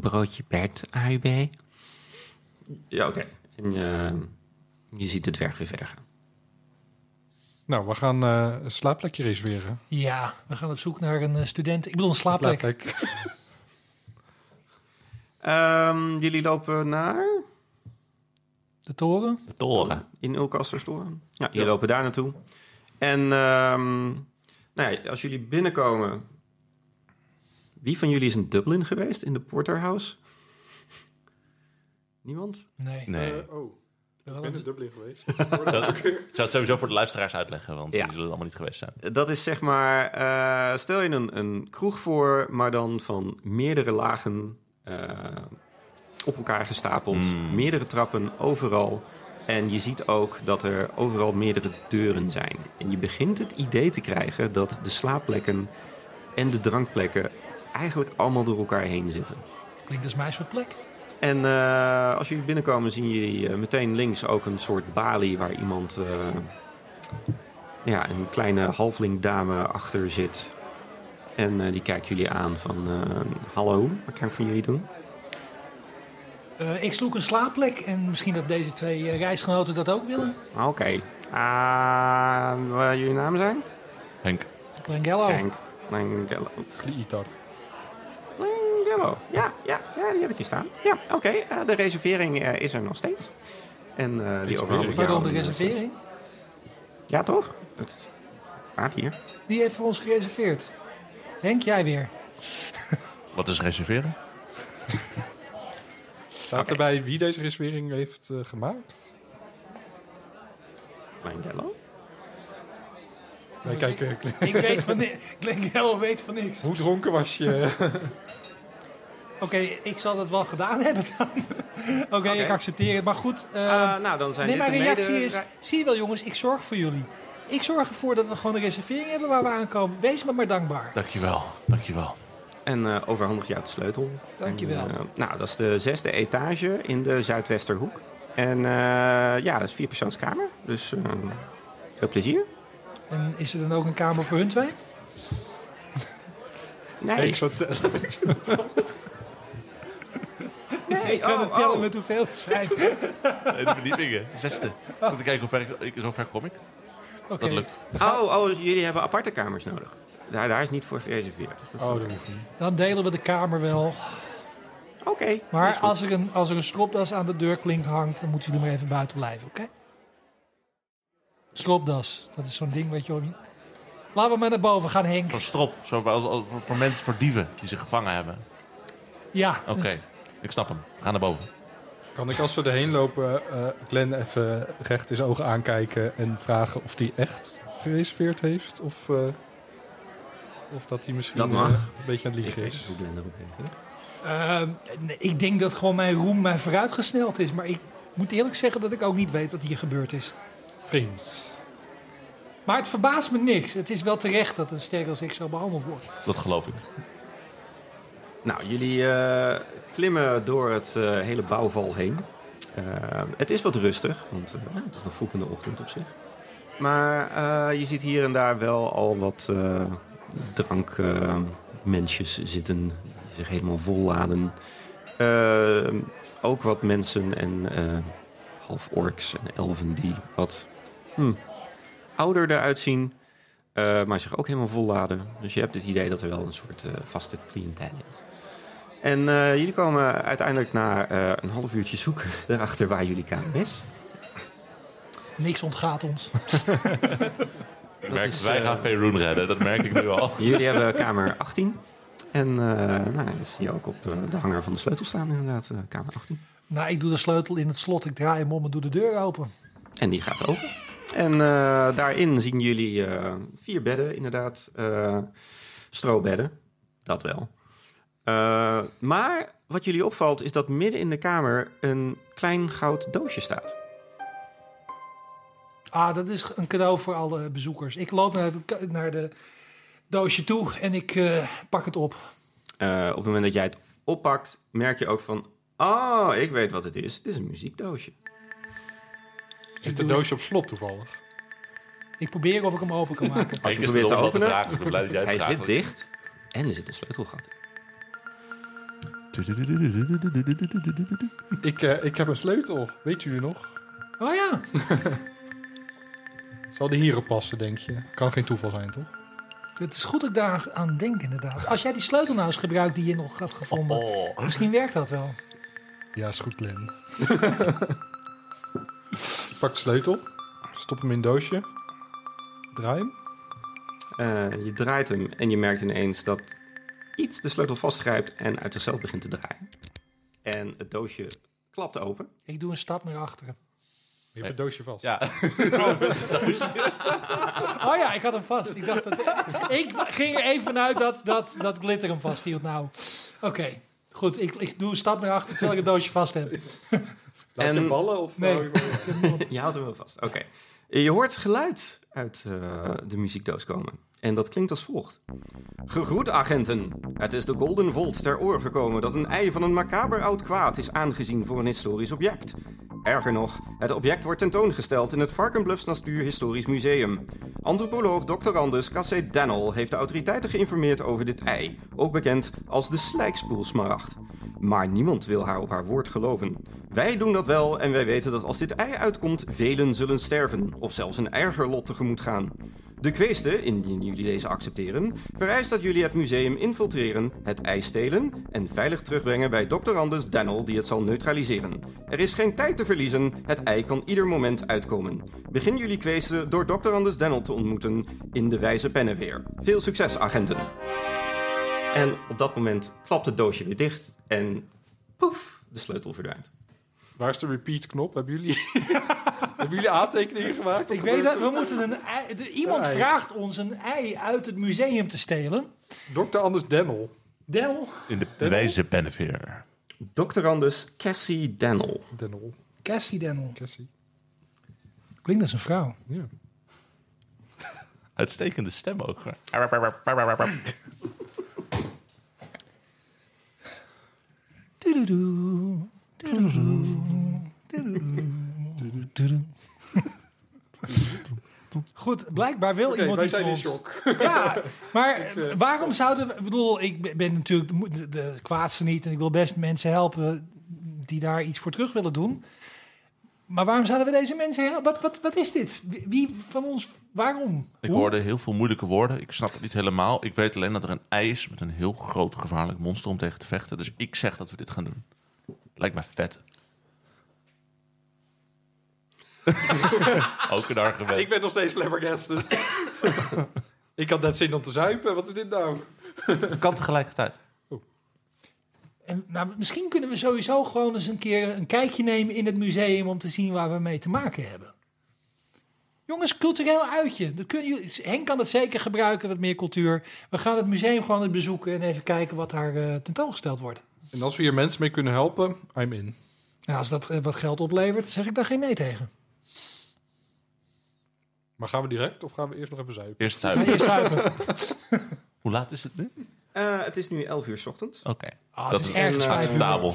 [SPEAKER 4] broodje Bert, AUB. Ja, oké. En eh, je ziet het dwerg weer verder gaan.
[SPEAKER 1] Nou, we gaan eh, een slaapplekje reserveren.
[SPEAKER 3] Ja, we gaan op zoek naar een eh, student. Ik bedoel, een slaapplek.
[SPEAKER 1] Slaapplek.
[SPEAKER 4] Ehm, jullie lopen naar...
[SPEAKER 3] De toren.
[SPEAKER 2] De toren.
[SPEAKER 4] In Ulkasterstoren. Ja, jullie
[SPEAKER 2] Ja.
[SPEAKER 4] lopen daar naartoe. En ehm, nou ja, als jullie binnenkomen... Wie van jullie is in Dublin geweest? In de Porterhouse? Niemand?
[SPEAKER 3] Nee.
[SPEAKER 2] Nee.
[SPEAKER 1] oh,
[SPEAKER 3] We hadden-
[SPEAKER 1] Dublin geweest.
[SPEAKER 2] zou, Eh. ik zou het sowieso voor de luisteraars uitleggen, want
[SPEAKER 4] Ja.
[SPEAKER 2] die zullen er allemaal niet geweest zijn.
[SPEAKER 4] Dat is zeg maar... eh, stel je een, een kroeg voor, maar dan van meerdere lagen eh, op elkaar gestapeld.
[SPEAKER 2] Mm.
[SPEAKER 4] Meerdere trappen, overal. En je ziet ook dat er overal meerdere deuren zijn. En je begint het idee te krijgen dat de slaapplekken en de drankplekken eigenlijk allemaal door elkaar heen zitten.
[SPEAKER 3] Klinkt dus mijn soort plek.
[SPEAKER 4] En eh, als jullie binnenkomen zien jullie eh, meteen links ook een soort balie waar iemand, eh, ja, een kleine halflingdame achter zit. En eh, die kijkt jullie aan van, eh, hallo, wat kan ik voor jullie doen?
[SPEAKER 3] Eh, ik sloeg een slaapplek en misschien dat deze twee eh, reisgenoten dat ook willen.
[SPEAKER 4] Ah, Oké. Ah, wat jullie namen zijn?
[SPEAKER 2] Henk.
[SPEAKER 3] Glengello.
[SPEAKER 4] Frank. Langello.
[SPEAKER 1] Kliitar.
[SPEAKER 4] Langello. Ja, ja, ja, die heb ik hier staan. Ja, oké. eh, de reservering eh, is er nog steeds. En eh die overhandig ik
[SPEAKER 3] Pardon,
[SPEAKER 4] jou.
[SPEAKER 3] de reservering.
[SPEAKER 4] Ja, toch? Het staat hier.
[SPEAKER 3] Die heeft voor ons gereserveerd. Henk, jij weer.
[SPEAKER 2] Wat is reserveren?
[SPEAKER 1] Staat erbij wie deze reservering heeft eh, gemaakt?
[SPEAKER 4] Langello.
[SPEAKER 1] Nee, kijk, eh, Kle-
[SPEAKER 3] Ik weet van niks. Glengello weet van niks.
[SPEAKER 1] hoe dronken was je?
[SPEAKER 3] Oké, ik zal dat wel gedaan hebben dan. Oké, ik accepteer het. Maar goed, eh,
[SPEAKER 4] Eh, nou, dan zijn
[SPEAKER 3] nee,
[SPEAKER 4] dit
[SPEAKER 3] mijn
[SPEAKER 4] de
[SPEAKER 3] reactie
[SPEAKER 4] mede-
[SPEAKER 3] is... Zie je wel jongens, ik zorg voor jullie. Ik zorg ervoor dat we gewoon een reservering hebben waar we aankomen. Wees me maar dankbaar.
[SPEAKER 2] Dankjewel, dankjewel.
[SPEAKER 4] En eh, overhandig jou de sleutel.
[SPEAKER 3] Dankjewel.
[SPEAKER 4] En, eh, nou, dat is de zesde etage in de Zuidwesterhoek. En eh, ja, dat is vierpersoonskamer. Dus eh, veel plezier.
[SPEAKER 3] En is er dan ook een kamer voor hun twee?
[SPEAKER 4] Nee,
[SPEAKER 1] Ik zou tellen.
[SPEAKER 4] nee.
[SPEAKER 3] ik kan
[SPEAKER 4] oh,
[SPEAKER 3] het tellen
[SPEAKER 4] oh.
[SPEAKER 3] met hoeveel ze zijn. Oké.
[SPEAKER 2] Eh, De verdiepingen, zesde. Ik zat te kijken hoe ver, ik, ik- zo ver kom ik. Dat lukt.
[SPEAKER 4] Oh, oh, dus jullie hebben aparte kamers nodig. Daar, daar is niet voor gereserveerd. Dus dat is-
[SPEAKER 1] Oh, dat hoeft niet.
[SPEAKER 3] Dan delen we de kamer wel.
[SPEAKER 4] Oké.
[SPEAKER 3] Maar
[SPEAKER 4] is goed.
[SPEAKER 3] als er, een, als er een stropdas aan de deurklink hangt, dan moeten jullie maar even buiten blijven, oké? Stropdas, dat is zo'n ding, weet je wel. Laten we maar naar boven gaan, Henk.
[SPEAKER 2] Zo'n strop, zo, als, als- voor mensen, voor dieven die zich gevangen hebben.
[SPEAKER 3] Ja,
[SPEAKER 2] Oké, ik snap hem. We gaan naar boven.
[SPEAKER 1] Kan ik als we erheen lopen, eh Glenn even recht in zijn ogen aankijken en vragen of die echt gereserveerd heeft? Of, eh, of dat hij misschien
[SPEAKER 4] Dat mag.
[SPEAKER 1] eh, een beetje aan het
[SPEAKER 4] Ik
[SPEAKER 1] liegen
[SPEAKER 4] weet
[SPEAKER 1] is?
[SPEAKER 4] niet hoe Glenn erop reageert.
[SPEAKER 3] eh, nee, ik denk dat gewoon mijn roem mij vooruitgesneld is. Maar ik moet eerlijk zeggen dat ik ook niet weet wat hier gebeurd is.
[SPEAKER 1] Vreemd.
[SPEAKER 3] Maar het verbaast me niks. Het is wel terecht dat een sterk als ik zo behandeld wordt.
[SPEAKER 2] Dat geloof ik.
[SPEAKER 4] Nou, jullie eh, klimmen door het eh, hele bouwval heen. Eh, het is wat rustig, want eh, ja, het is nog vroeg in de ochtend op zich. Maar eh, je ziet hier en daar wel al wat eh drankmensjes eh, zitten die zich helemaal volladen. Eh, ook wat mensen en eh, half orks en elfen die wat hm, ouder eruit zien, eh, maar zich ook helemaal volladen. Dus je hebt het idee dat er wel een soort eh, vaste cliënteel is. En eh, jullie komen uiteindelijk na eh, een half uurtje zoeken erachter waar jullie kamer is.
[SPEAKER 3] Niks ontgaat ons.
[SPEAKER 2] Ik merk,
[SPEAKER 4] is,
[SPEAKER 2] wij
[SPEAKER 4] eh,
[SPEAKER 2] gaan Faerun redden, dat merk ik nu al.
[SPEAKER 4] Jullie hebben kamer 18. En eh, nou, dat zie je ook op eh, de hanger van de sleutel staan inderdaad, eh, kamer 18.
[SPEAKER 3] nou, ik doe de sleutel in het slot. Ik draai hem om en doe de deur open.
[SPEAKER 4] En die gaat open. En eh, daarin zien jullie eh, vier bedden, inderdaad. eh, stroobedden, dat wel. Eh, maar wat jullie opvalt is dat midden in de kamer een klein goud doosje staat.
[SPEAKER 3] Ah, dat is een cadeau voor alle bezoekers. Ik loop naar, het, naar de doosje toe en ik eh, pak het op.
[SPEAKER 4] Eh, op het moment dat jij het oppakt, merk je ook van... Oh, ik weet wat het is. Het is een muziekdoosje.
[SPEAKER 1] Zit een doosje op slot toevallig?
[SPEAKER 3] Ik probeer of ik hem open kan maken.
[SPEAKER 4] Als je
[SPEAKER 2] ik is
[SPEAKER 4] probeert
[SPEAKER 2] het
[SPEAKER 4] te
[SPEAKER 2] om dat te
[SPEAKER 4] openen,
[SPEAKER 2] vragen, dus ik ben blij dat jij het
[SPEAKER 4] Hij
[SPEAKER 2] vraagt.
[SPEAKER 4] zit dicht en er zit een sleutelgat in.
[SPEAKER 1] Ik, eh, ik heb een sleutel, weet jullie nog?
[SPEAKER 3] Oh ja,
[SPEAKER 1] Zal die hierop passen, denk je? Kan geen toeval zijn, toch?
[SPEAKER 3] het is goed dat ik daar aan denk inderdaad. Als jij die sleutel nou eens gebruikt die je nog had gevonden,
[SPEAKER 2] Oh.
[SPEAKER 3] misschien werkt dat wel.
[SPEAKER 1] Ja, is goed, Glenn. Ik Pak de sleutel, stop hem in het doosje, draai hem.
[SPEAKER 4] Eh, je draait hem en je merkt ineens dat iets de sleutel vastgrijpt en uit zichzelf begint te draaien. En het doosje klapt open.
[SPEAKER 3] Ik doe een stap naar achteren.
[SPEAKER 1] Je hebt het doosje vast.
[SPEAKER 2] Ja,
[SPEAKER 3] Oh ja, ik had hem vast. Ik, dacht dat, ik ging er even vanuit dat, dat, dat glitter hem vasthield. Nou, oké. Goed, ik, ik doe een stap naar achter terwijl ik het doosje vast heb.
[SPEAKER 1] Laat je
[SPEAKER 4] En-
[SPEAKER 1] hem vallen of...
[SPEAKER 3] Nee.
[SPEAKER 4] Je houdt hem wel vast. Oké. Je hoort geluid uit eh, de eh, muziekdoos komen. En dat klinkt als volgt. Gegroet agenten. Het is de Golden Volt ter oor gekomen dat een ei van een macaber oud kwaad is aangezien voor een historisch object. Erger nog, het object wordt tentoongesteld in het Varkenbluffs Natuur Historisch Museum. Antropoloog Dr. Anders Cassé Dennel heeft de autoriteiten geïnformeerd over dit ei, ook bekend als de slijkspoelsmaragd. Maar niemand wil haar op haar woord geloven. Wij doen dat wel en wij weten dat als dit ei uitkomt, velen zullen sterven of zelfs een erger lot tegemoet gaan. De kweeste, indien jullie deze accepteren, vereist dat jullie het museum infiltreren, het ei stelen en veilig terugbrengen bij Dr. Anders Dennel die het zal neutraliseren. Er is geen tijd te verliezen, het ei kan ieder moment uitkomen. Begin jullie kweeste door Dr. Anders Dennel te ontmoeten in de wijze pennenweer. Veel succes, agenten! En op dat moment klapt het doosje weer dicht en poef, de sleutel verdwijnt.
[SPEAKER 1] Waar is de repeat-knop? Hebben jullie, hebben jullie aantekeningen gemaakt?
[SPEAKER 3] Ik weet dat, we moeten een ei, de- iemand
[SPEAKER 1] Een ei.
[SPEAKER 3] vraagt ons een ei uit het museum te stelen.
[SPEAKER 1] Dr. Anders Demmel.
[SPEAKER 3] Del,
[SPEAKER 2] In de wijze Benneveer.
[SPEAKER 4] Dr. Anders Cassie Dennel.
[SPEAKER 1] Dennel.
[SPEAKER 3] Cassie Dennel.
[SPEAKER 1] Cassie.
[SPEAKER 3] Klinkt als een vrouw.
[SPEAKER 1] Ja.
[SPEAKER 2] Uitstekende stem ook. hoor.
[SPEAKER 3] Doedoedoe, doedoedoe, doedoedoe, doedoedoe. Goed, blijkbaar wil
[SPEAKER 1] Oké,
[SPEAKER 3] iemand
[SPEAKER 1] wij
[SPEAKER 3] iets
[SPEAKER 1] zijn
[SPEAKER 3] van
[SPEAKER 1] in
[SPEAKER 3] ons.
[SPEAKER 1] shock.
[SPEAKER 3] Ja, maar waarom zouden we... Ik bedoel, ik ben natuurlijk de, de, de kwaadste niet... en ik wil best mensen helpen die daar iets voor terug willen doen. Maar waarom zouden we deze mensen helpen? Wat, wat, wat is dit? Wie- Wie van ons... Waarom?
[SPEAKER 2] Ik
[SPEAKER 3] Hoe?
[SPEAKER 2] hoorde heel veel moeilijke woorden. Ik snap het niet helemaal. Ik weet alleen dat er een ei is met een heel groot gevaarlijk monster om tegen te vechten. Dus ik zeg dat we dit gaan doen. Lijkt me vet. ook een argument.
[SPEAKER 1] Ik ben nog steeds flabbergasted. ik had net zin om te zuipen. Wat is dit nou?
[SPEAKER 2] Het kan tegelijkertijd.
[SPEAKER 3] En, nou, misschien kunnen we sowieso gewoon eens een keer een kijkje nemen in het museum om te zien waar we mee te maken hebben. Jongens, cultureel uitje. Dat kunnen jullie, Henk kan dat zeker gebruiken, wat meer cultuur. We gaan het museum gewoon eens bezoeken en even kijken wat daar eh, tentoongesteld wordt.
[SPEAKER 1] En als we hier mensen mee kunnen helpen, I'm in.
[SPEAKER 3] Nou, als dat eh, wat geld oplevert, zeg ik daar geen nee tegen.
[SPEAKER 1] Maar gaan we direct of gaan we eerst nog even zuipen?
[SPEAKER 2] Eerst
[SPEAKER 3] Ga
[SPEAKER 2] zuipen.
[SPEAKER 3] eerst zuipen.
[SPEAKER 2] Hoe laat is het nu?
[SPEAKER 4] Eh, het is nu 11 uur 's ochtends.
[SPEAKER 2] Oké.
[SPEAKER 3] Ah, het
[SPEAKER 2] Dat
[SPEAKER 3] is
[SPEAKER 2] is
[SPEAKER 3] ergens
[SPEAKER 4] een, eh,
[SPEAKER 3] vijf uur.
[SPEAKER 2] Acceptabel.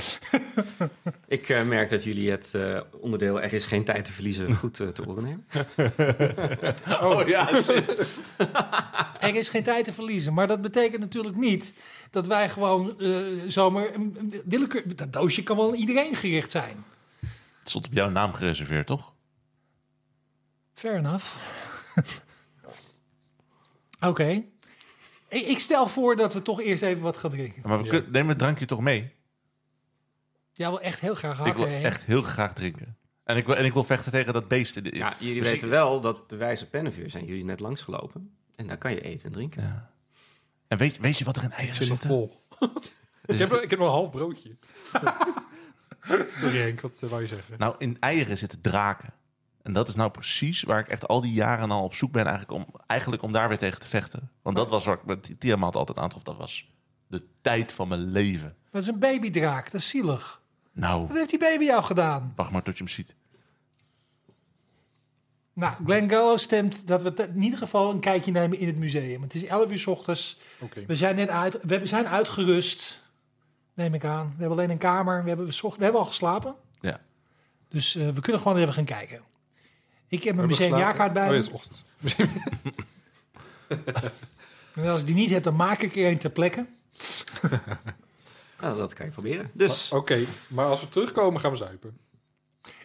[SPEAKER 4] Ik eh, merk dat jullie het eh, onderdeel Er is geen tijd te verliezen goed eh, te oren nemen.
[SPEAKER 2] Oh ja, shit.
[SPEAKER 3] Er is geen tijd te verliezen, maar dat betekent natuurlijk niet dat wij gewoon eh, zomaar een- een willekeur. Dat doosje kan wel aan iedereen gericht zijn.
[SPEAKER 2] Het stond op jouw naam gereserveerd, toch?
[SPEAKER 3] Fair enough. Oké. Ik, ik stel voor dat we toch eerst even wat gaan drinken.
[SPEAKER 2] Maar we
[SPEAKER 1] Ja.
[SPEAKER 2] kun- neem het drankje toch mee?
[SPEAKER 3] Jij wil echt heel graag
[SPEAKER 2] Ik
[SPEAKER 3] hakken.
[SPEAKER 2] wil
[SPEAKER 3] hè?
[SPEAKER 2] echt heel graag drinken. En ik wil, en ik wil vechten tegen dat beest. in de-
[SPEAKER 4] Ja, jullie
[SPEAKER 2] Misschien-
[SPEAKER 4] weten wel dat de wijze pennenvuur zijn jullie net langsgelopen. En daar kan je eten en drinken.
[SPEAKER 2] Ja. En weet, weet je wat er in eieren
[SPEAKER 1] Ik zit nog
[SPEAKER 2] zit?
[SPEAKER 1] vol. ik, heb, ik heb nog een half broodje. Sorry Henk, wat eh, wou je zeggen?
[SPEAKER 2] Nou, in eieren zitten draken. En dat is nou precies waar ik echt al die jaren al op zoek ben eigenlijk om, eigenlijk om daar weer tegen te vechten. Want dat was waar ik met Tiamat altijd aantrof. Dat was de tijd van mijn leven.
[SPEAKER 3] Dat is een babydraak, dat is zielig. Wat
[SPEAKER 2] Nou,
[SPEAKER 3] heeft die baby jou gedaan?
[SPEAKER 2] wacht maar tot je hem ziet.
[SPEAKER 3] Nou, Glenn Gallo stemt dat we te- in ieder geval een kijkje nemen in het museum. Het is 11 uur 's ochtends.
[SPEAKER 1] Oké.
[SPEAKER 3] We zijn net uit, we hebben- zijn uitgerust, neem ik aan. We hebben alleen een kamer. We hebben, we zocht- we hebben al geslapen.
[SPEAKER 2] Ja.
[SPEAKER 3] Dus eh, we kunnen gewoon even gaan kijken. Ik heb mijn
[SPEAKER 1] We hebben
[SPEAKER 3] museumjaarkaart bij
[SPEAKER 1] geslapen.
[SPEAKER 3] me.
[SPEAKER 1] Oh, ja, het is ochtend.
[SPEAKER 3] En als ik die niet heb, dan maak ik er een ter plekke.
[SPEAKER 4] Nou, dat kan je proberen. Dus
[SPEAKER 1] Oké, maar als we terugkomen gaan we zuipen.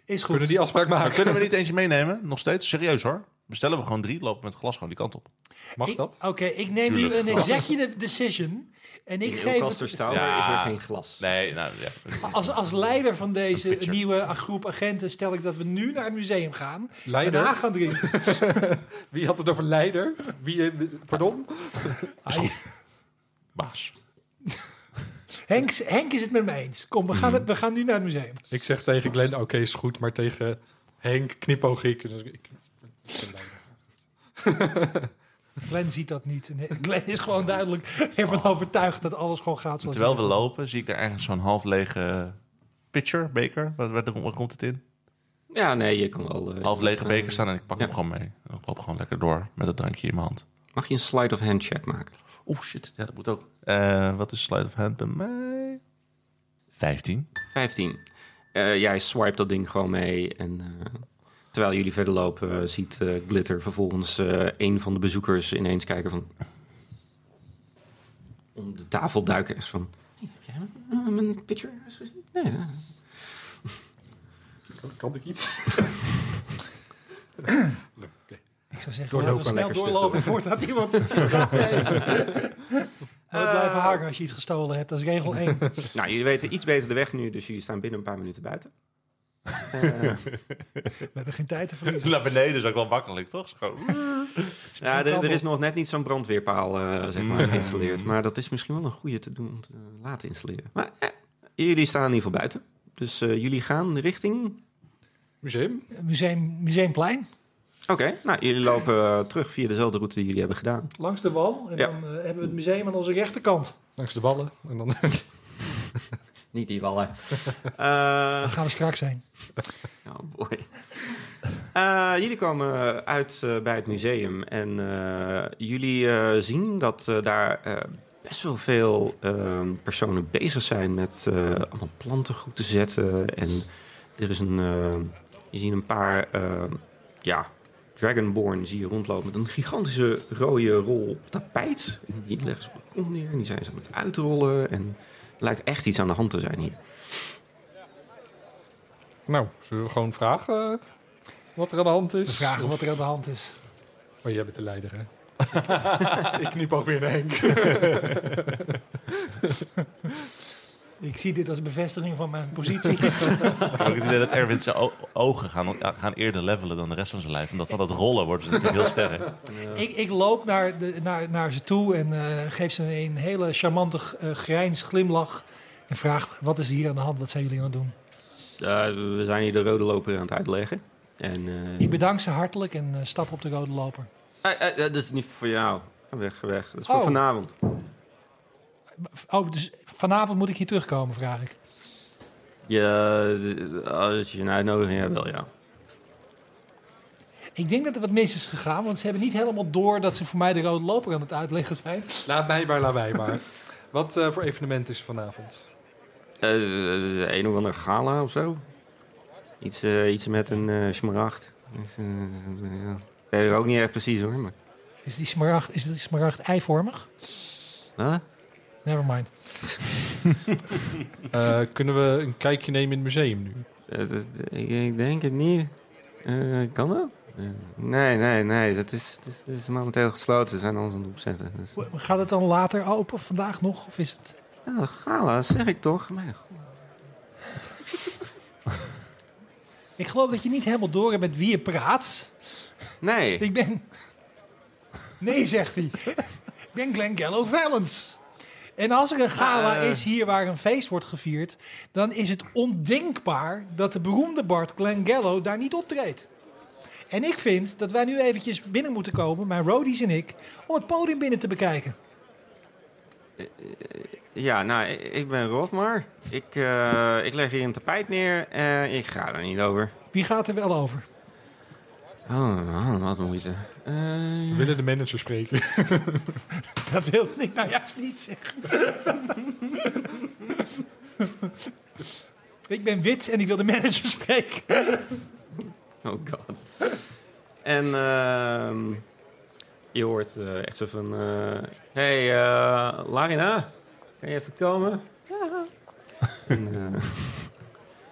[SPEAKER 3] Is goed.
[SPEAKER 1] Kunnen die afspraak
[SPEAKER 2] Maar
[SPEAKER 1] maken?
[SPEAKER 2] kunnen we niet eentje meenemen? Nog steeds? Serieus hoor. Bestellen we gewoon drie, lopen met het glas gewoon die kant op.
[SPEAKER 1] Mag
[SPEAKER 3] Ik-
[SPEAKER 1] dat?
[SPEAKER 3] Oké, ik neem nu
[SPEAKER 2] Tuurlijk.
[SPEAKER 3] een executive decision. En ik
[SPEAKER 4] in
[SPEAKER 3] geef
[SPEAKER 4] Roelcaster
[SPEAKER 3] het,
[SPEAKER 4] Stouwer
[SPEAKER 2] Ja.
[SPEAKER 4] is er geen glas.
[SPEAKER 2] Nee, nou ja.
[SPEAKER 3] als, als leider van deze
[SPEAKER 2] Picture.
[SPEAKER 3] nieuwe a- groep agenten... stel ik dat we nu naar het museum gaan.
[SPEAKER 1] Leider?
[SPEAKER 3] Daarna gaan drinken.
[SPEAKER 1] Wie had het over leider? Wie, eh, pardon?
[SPEAKER 3] Ai,
[SPEAKER 2] Baas.
[SPEAKER 3] Henk, Henk is het met me eens. Kom, we
[SPEAKER 1] Hmm.
[SPEAKER 3] gaan, het- we gaan nu naar het museum.
[SPEAKER 1] Ik zeg tegen Glenn, oké is goed, maar tegen Henk knipoog ik. Dus ik, ik ben leider.
[SPEAKER 3] Glenn ziet dat niet. En Glenn is gewoon duidelijk ervan overtuigd... dat alles gewoon gaat zoals
[SPEAKER 2] Terwijl we lopen zie ik daar ergens zo'n half lege pitcher, beker. Waar, waar, waar komt het in?
[SPEAKER 4] Ja, nee, je eh, kan wel... eh,
[SPEAKER 2] half lege beker staan en ik pak
[SPEAKER 4] Ja.
[SPEAKER 2] hem gewoon mee. Ik loop gewoon lekker door met het drankje in mijn hand.
[SPEAKER 4] Mag je een slide of hand check maken?
[SPEAKER 2] Oeh, Oh, shit. Ja, dat moet ook. Eh, wat is slide of hand bij mij? 15.
[SPEAKER 4] 15. Eh, jij swipe dat ding gewoon mee. En eh, terwijl jullie verder lopen, eh, ziet eh, Glitter vervolgens eh, een van de bezoekers ineens kijken van. om de tafel duiken. Is van. "Hey, heb jij mijn, mijn picture eens gezien? Nee. eh."
[SPEAKER 5] Kan, kan ik iets?
[SPEAKER 3] Ik zou zeggen,
[SPEAKER 1] Doorlopen
[SPEAKER 3] laten we snel
[SPEAKER 4] lekker stuk
[SPEAKER 3] doorlopen voordat iemand het gaat heeft. Nooit blijven hangen als je iets gestolen hebt. Dat is regel 1.
[SPEAKER 4] Nou, jullie weten iets beter de weg nu, dus jullie staan binnen een paar minuten buiten. Eh,
[SPEAKER 3] We hebben geen tijd te verliezen.
[SPEAKER 2] Naar beneden is ook wel makkelijk, toch? Is gewoon-
[SPEAKER 4] ja, er, er is nog net niet zo'n brandweerpaal eh, zeg maar, geïnstalleerd. Maar dat is misschien wel een goede te doen om te eh, laten installeren. Maar eh, jullie staan in ieder geval buiten. Dus eh, jullie gaan richting
[SPEAKER 1] Museum?
[SPEAKER 3] Museum, Museumplein,
[SPEAKER 4] Oké, nou jullie lopen eh, terug via dezelfde route die jullie hebben gedaan.
[SPEAKER 3] langs de wal. En
[SPEAKER 4] Ja.
[SPEAKER 3] dan eh, hebben we het museum aan onze rechterkant.
[SPEAKER 1] Langs de ballen. En dan
[SPEAKER 4] Niet die wallen. Eh,
[SPEAKER 3] Daar gaan we straks zijn.
[SPEAKER 4] oh boy. Eh, jullie komen eh, uit eh, bij het museum en eh, jullie eh, zien dat eh, daar eh, best wel veel eh, personen bezig zijn met eh, allemaal planten goed te zetten. En er is een, eh, je ziet een paar, eh, ja, Dragonborn zie je rondlopen met een gigantische rode rol tapijt. En die leggen ze op de grond neer en die zijn ze aan het uitrollen. En er lijkt echt iets aan de hand te zijn hier.
[SPEAKER 1] nou, zullen we gewoon vragen eh, wat er aan de hand
[SPEAKER 3] We
[SPEAKER 1] is?
[SPEAKER 3] vragen wat er aan de hand is.
[SPEAKER 1] Oh, jij bent de leider, hè? ik kniep ook weer naar Henk.
[SPEAKER 3] Ik zie dit als een bevestiging van mijn positie.
[SPEAKER 2] Ik heb ook het idee dat Erwin zijn o- ogen gaan, gaan eerder levelen dan de rest van zijn lijf. En dat dat rollen wordt dus natuurlijk heel sterk.
[SPEAKER 3] ik, ik loop naar, de, naar, naar ze toe en eh, geef ze een hele charmante eh, grijns, glimlach. En vraag, wat is hier aan de hand? Wat zijn jullie aan het doen?
[SPEAKER 4] Eh, we zijn hier de rode loper aan het uitleggen. En, eh,
[SPEAKER 3] Ik bedank ze hartelijk en eh, stap op de rode loper.
[SPEAKER 4] Eh, eh, eh, dat is niet voor jou. Weg, weg. Dat is voor
[SPEAKER 3] Oh.
[SPEAKER 4] vanavond.
[SPEAKER 3] Oh, dus vanavond moet ik hier terugkomen, vraag ik.
[SPEAKER 4] Ja, eh, als je een uitnodiging hebt, wel ja.
[SPEAKER 3] Ik denk dat er wat mis is gegaan, want ze hebben niet helemaal door dat ze voor mij de rode loper aan het uitleggen zijn.
[SPEAKER 1] Laat mij maar, laat mij maar. Wat eh, voor evenement is er vanavond?
[SPEAKER 4] Eh, een of andere gala of zo. Iets, eh, iets met een eh smaragd. Dus, eh, ja. Ik weet het ook niet echt precies hoor. Maar...
[SPEAKER 3] Is die smaragd, is die smaragd eivormig?
[SPEAKER 4] Huh?
[SPEAKER 3] Never mind.
[SPEAKER 1] Eh, kunnen we een kijkje nemen in het museum nu?
[SPEAKER 4] Eh, dat- ik, ik denk het niet. Eh, kan dat? Eh, nee, nee, nee. Dat is, dat is, dat is momenteel gesloten. Ze zijn ons aan het opzetten. Dus...
[SPEAKER 3] Gaat het dan later open, vandaag nog? Of is het...
[SPEAKER 4] Ja, gala, zeg ik toch? Maar goed.
[SPEAKER 3] Ik geloof dat je niet helemaal door hebt met wie je praat.
[SPEAKER 4] Nee.
[SPEAKER 3] Ik ben... Nee, zegt hij. Ik ben Glenn Gallo Valens. En als er een gala
[SPEAKER 4] Eh.
[SPEAKER 3] is hier waar een feest wordt gevierd... dan is het ondenkbaar dat de beroemde Bart Glenn Gallo daar niet optreedt. En ik vind dat wij nu eventjes binnen moeten komen, mijn roadies en ik... om het podium binnen te bekijken.
[SPEAKER 4] Eh, Ja, nou, i- ik ben Rotmar. Ik, eh, ik leg hier een tapijt neer en ik ga er niet over.
[SPEAKER 3] Wie gaat er wel over?
[SPEAKER 4] Oh, oh, wat moeite. Eh,
[SPEAKER 1] We willen de manager spreken.
[SPEAKER 3] Dat wil ik nou juist niet zeggen. ik ben wit en ik wil de manager spreken.
[SPEAKER 4] oh god. En ehm, je hoort eh, echt zo van... eh, hey, eh, Larina, kan je even komen? Ja. En, eh,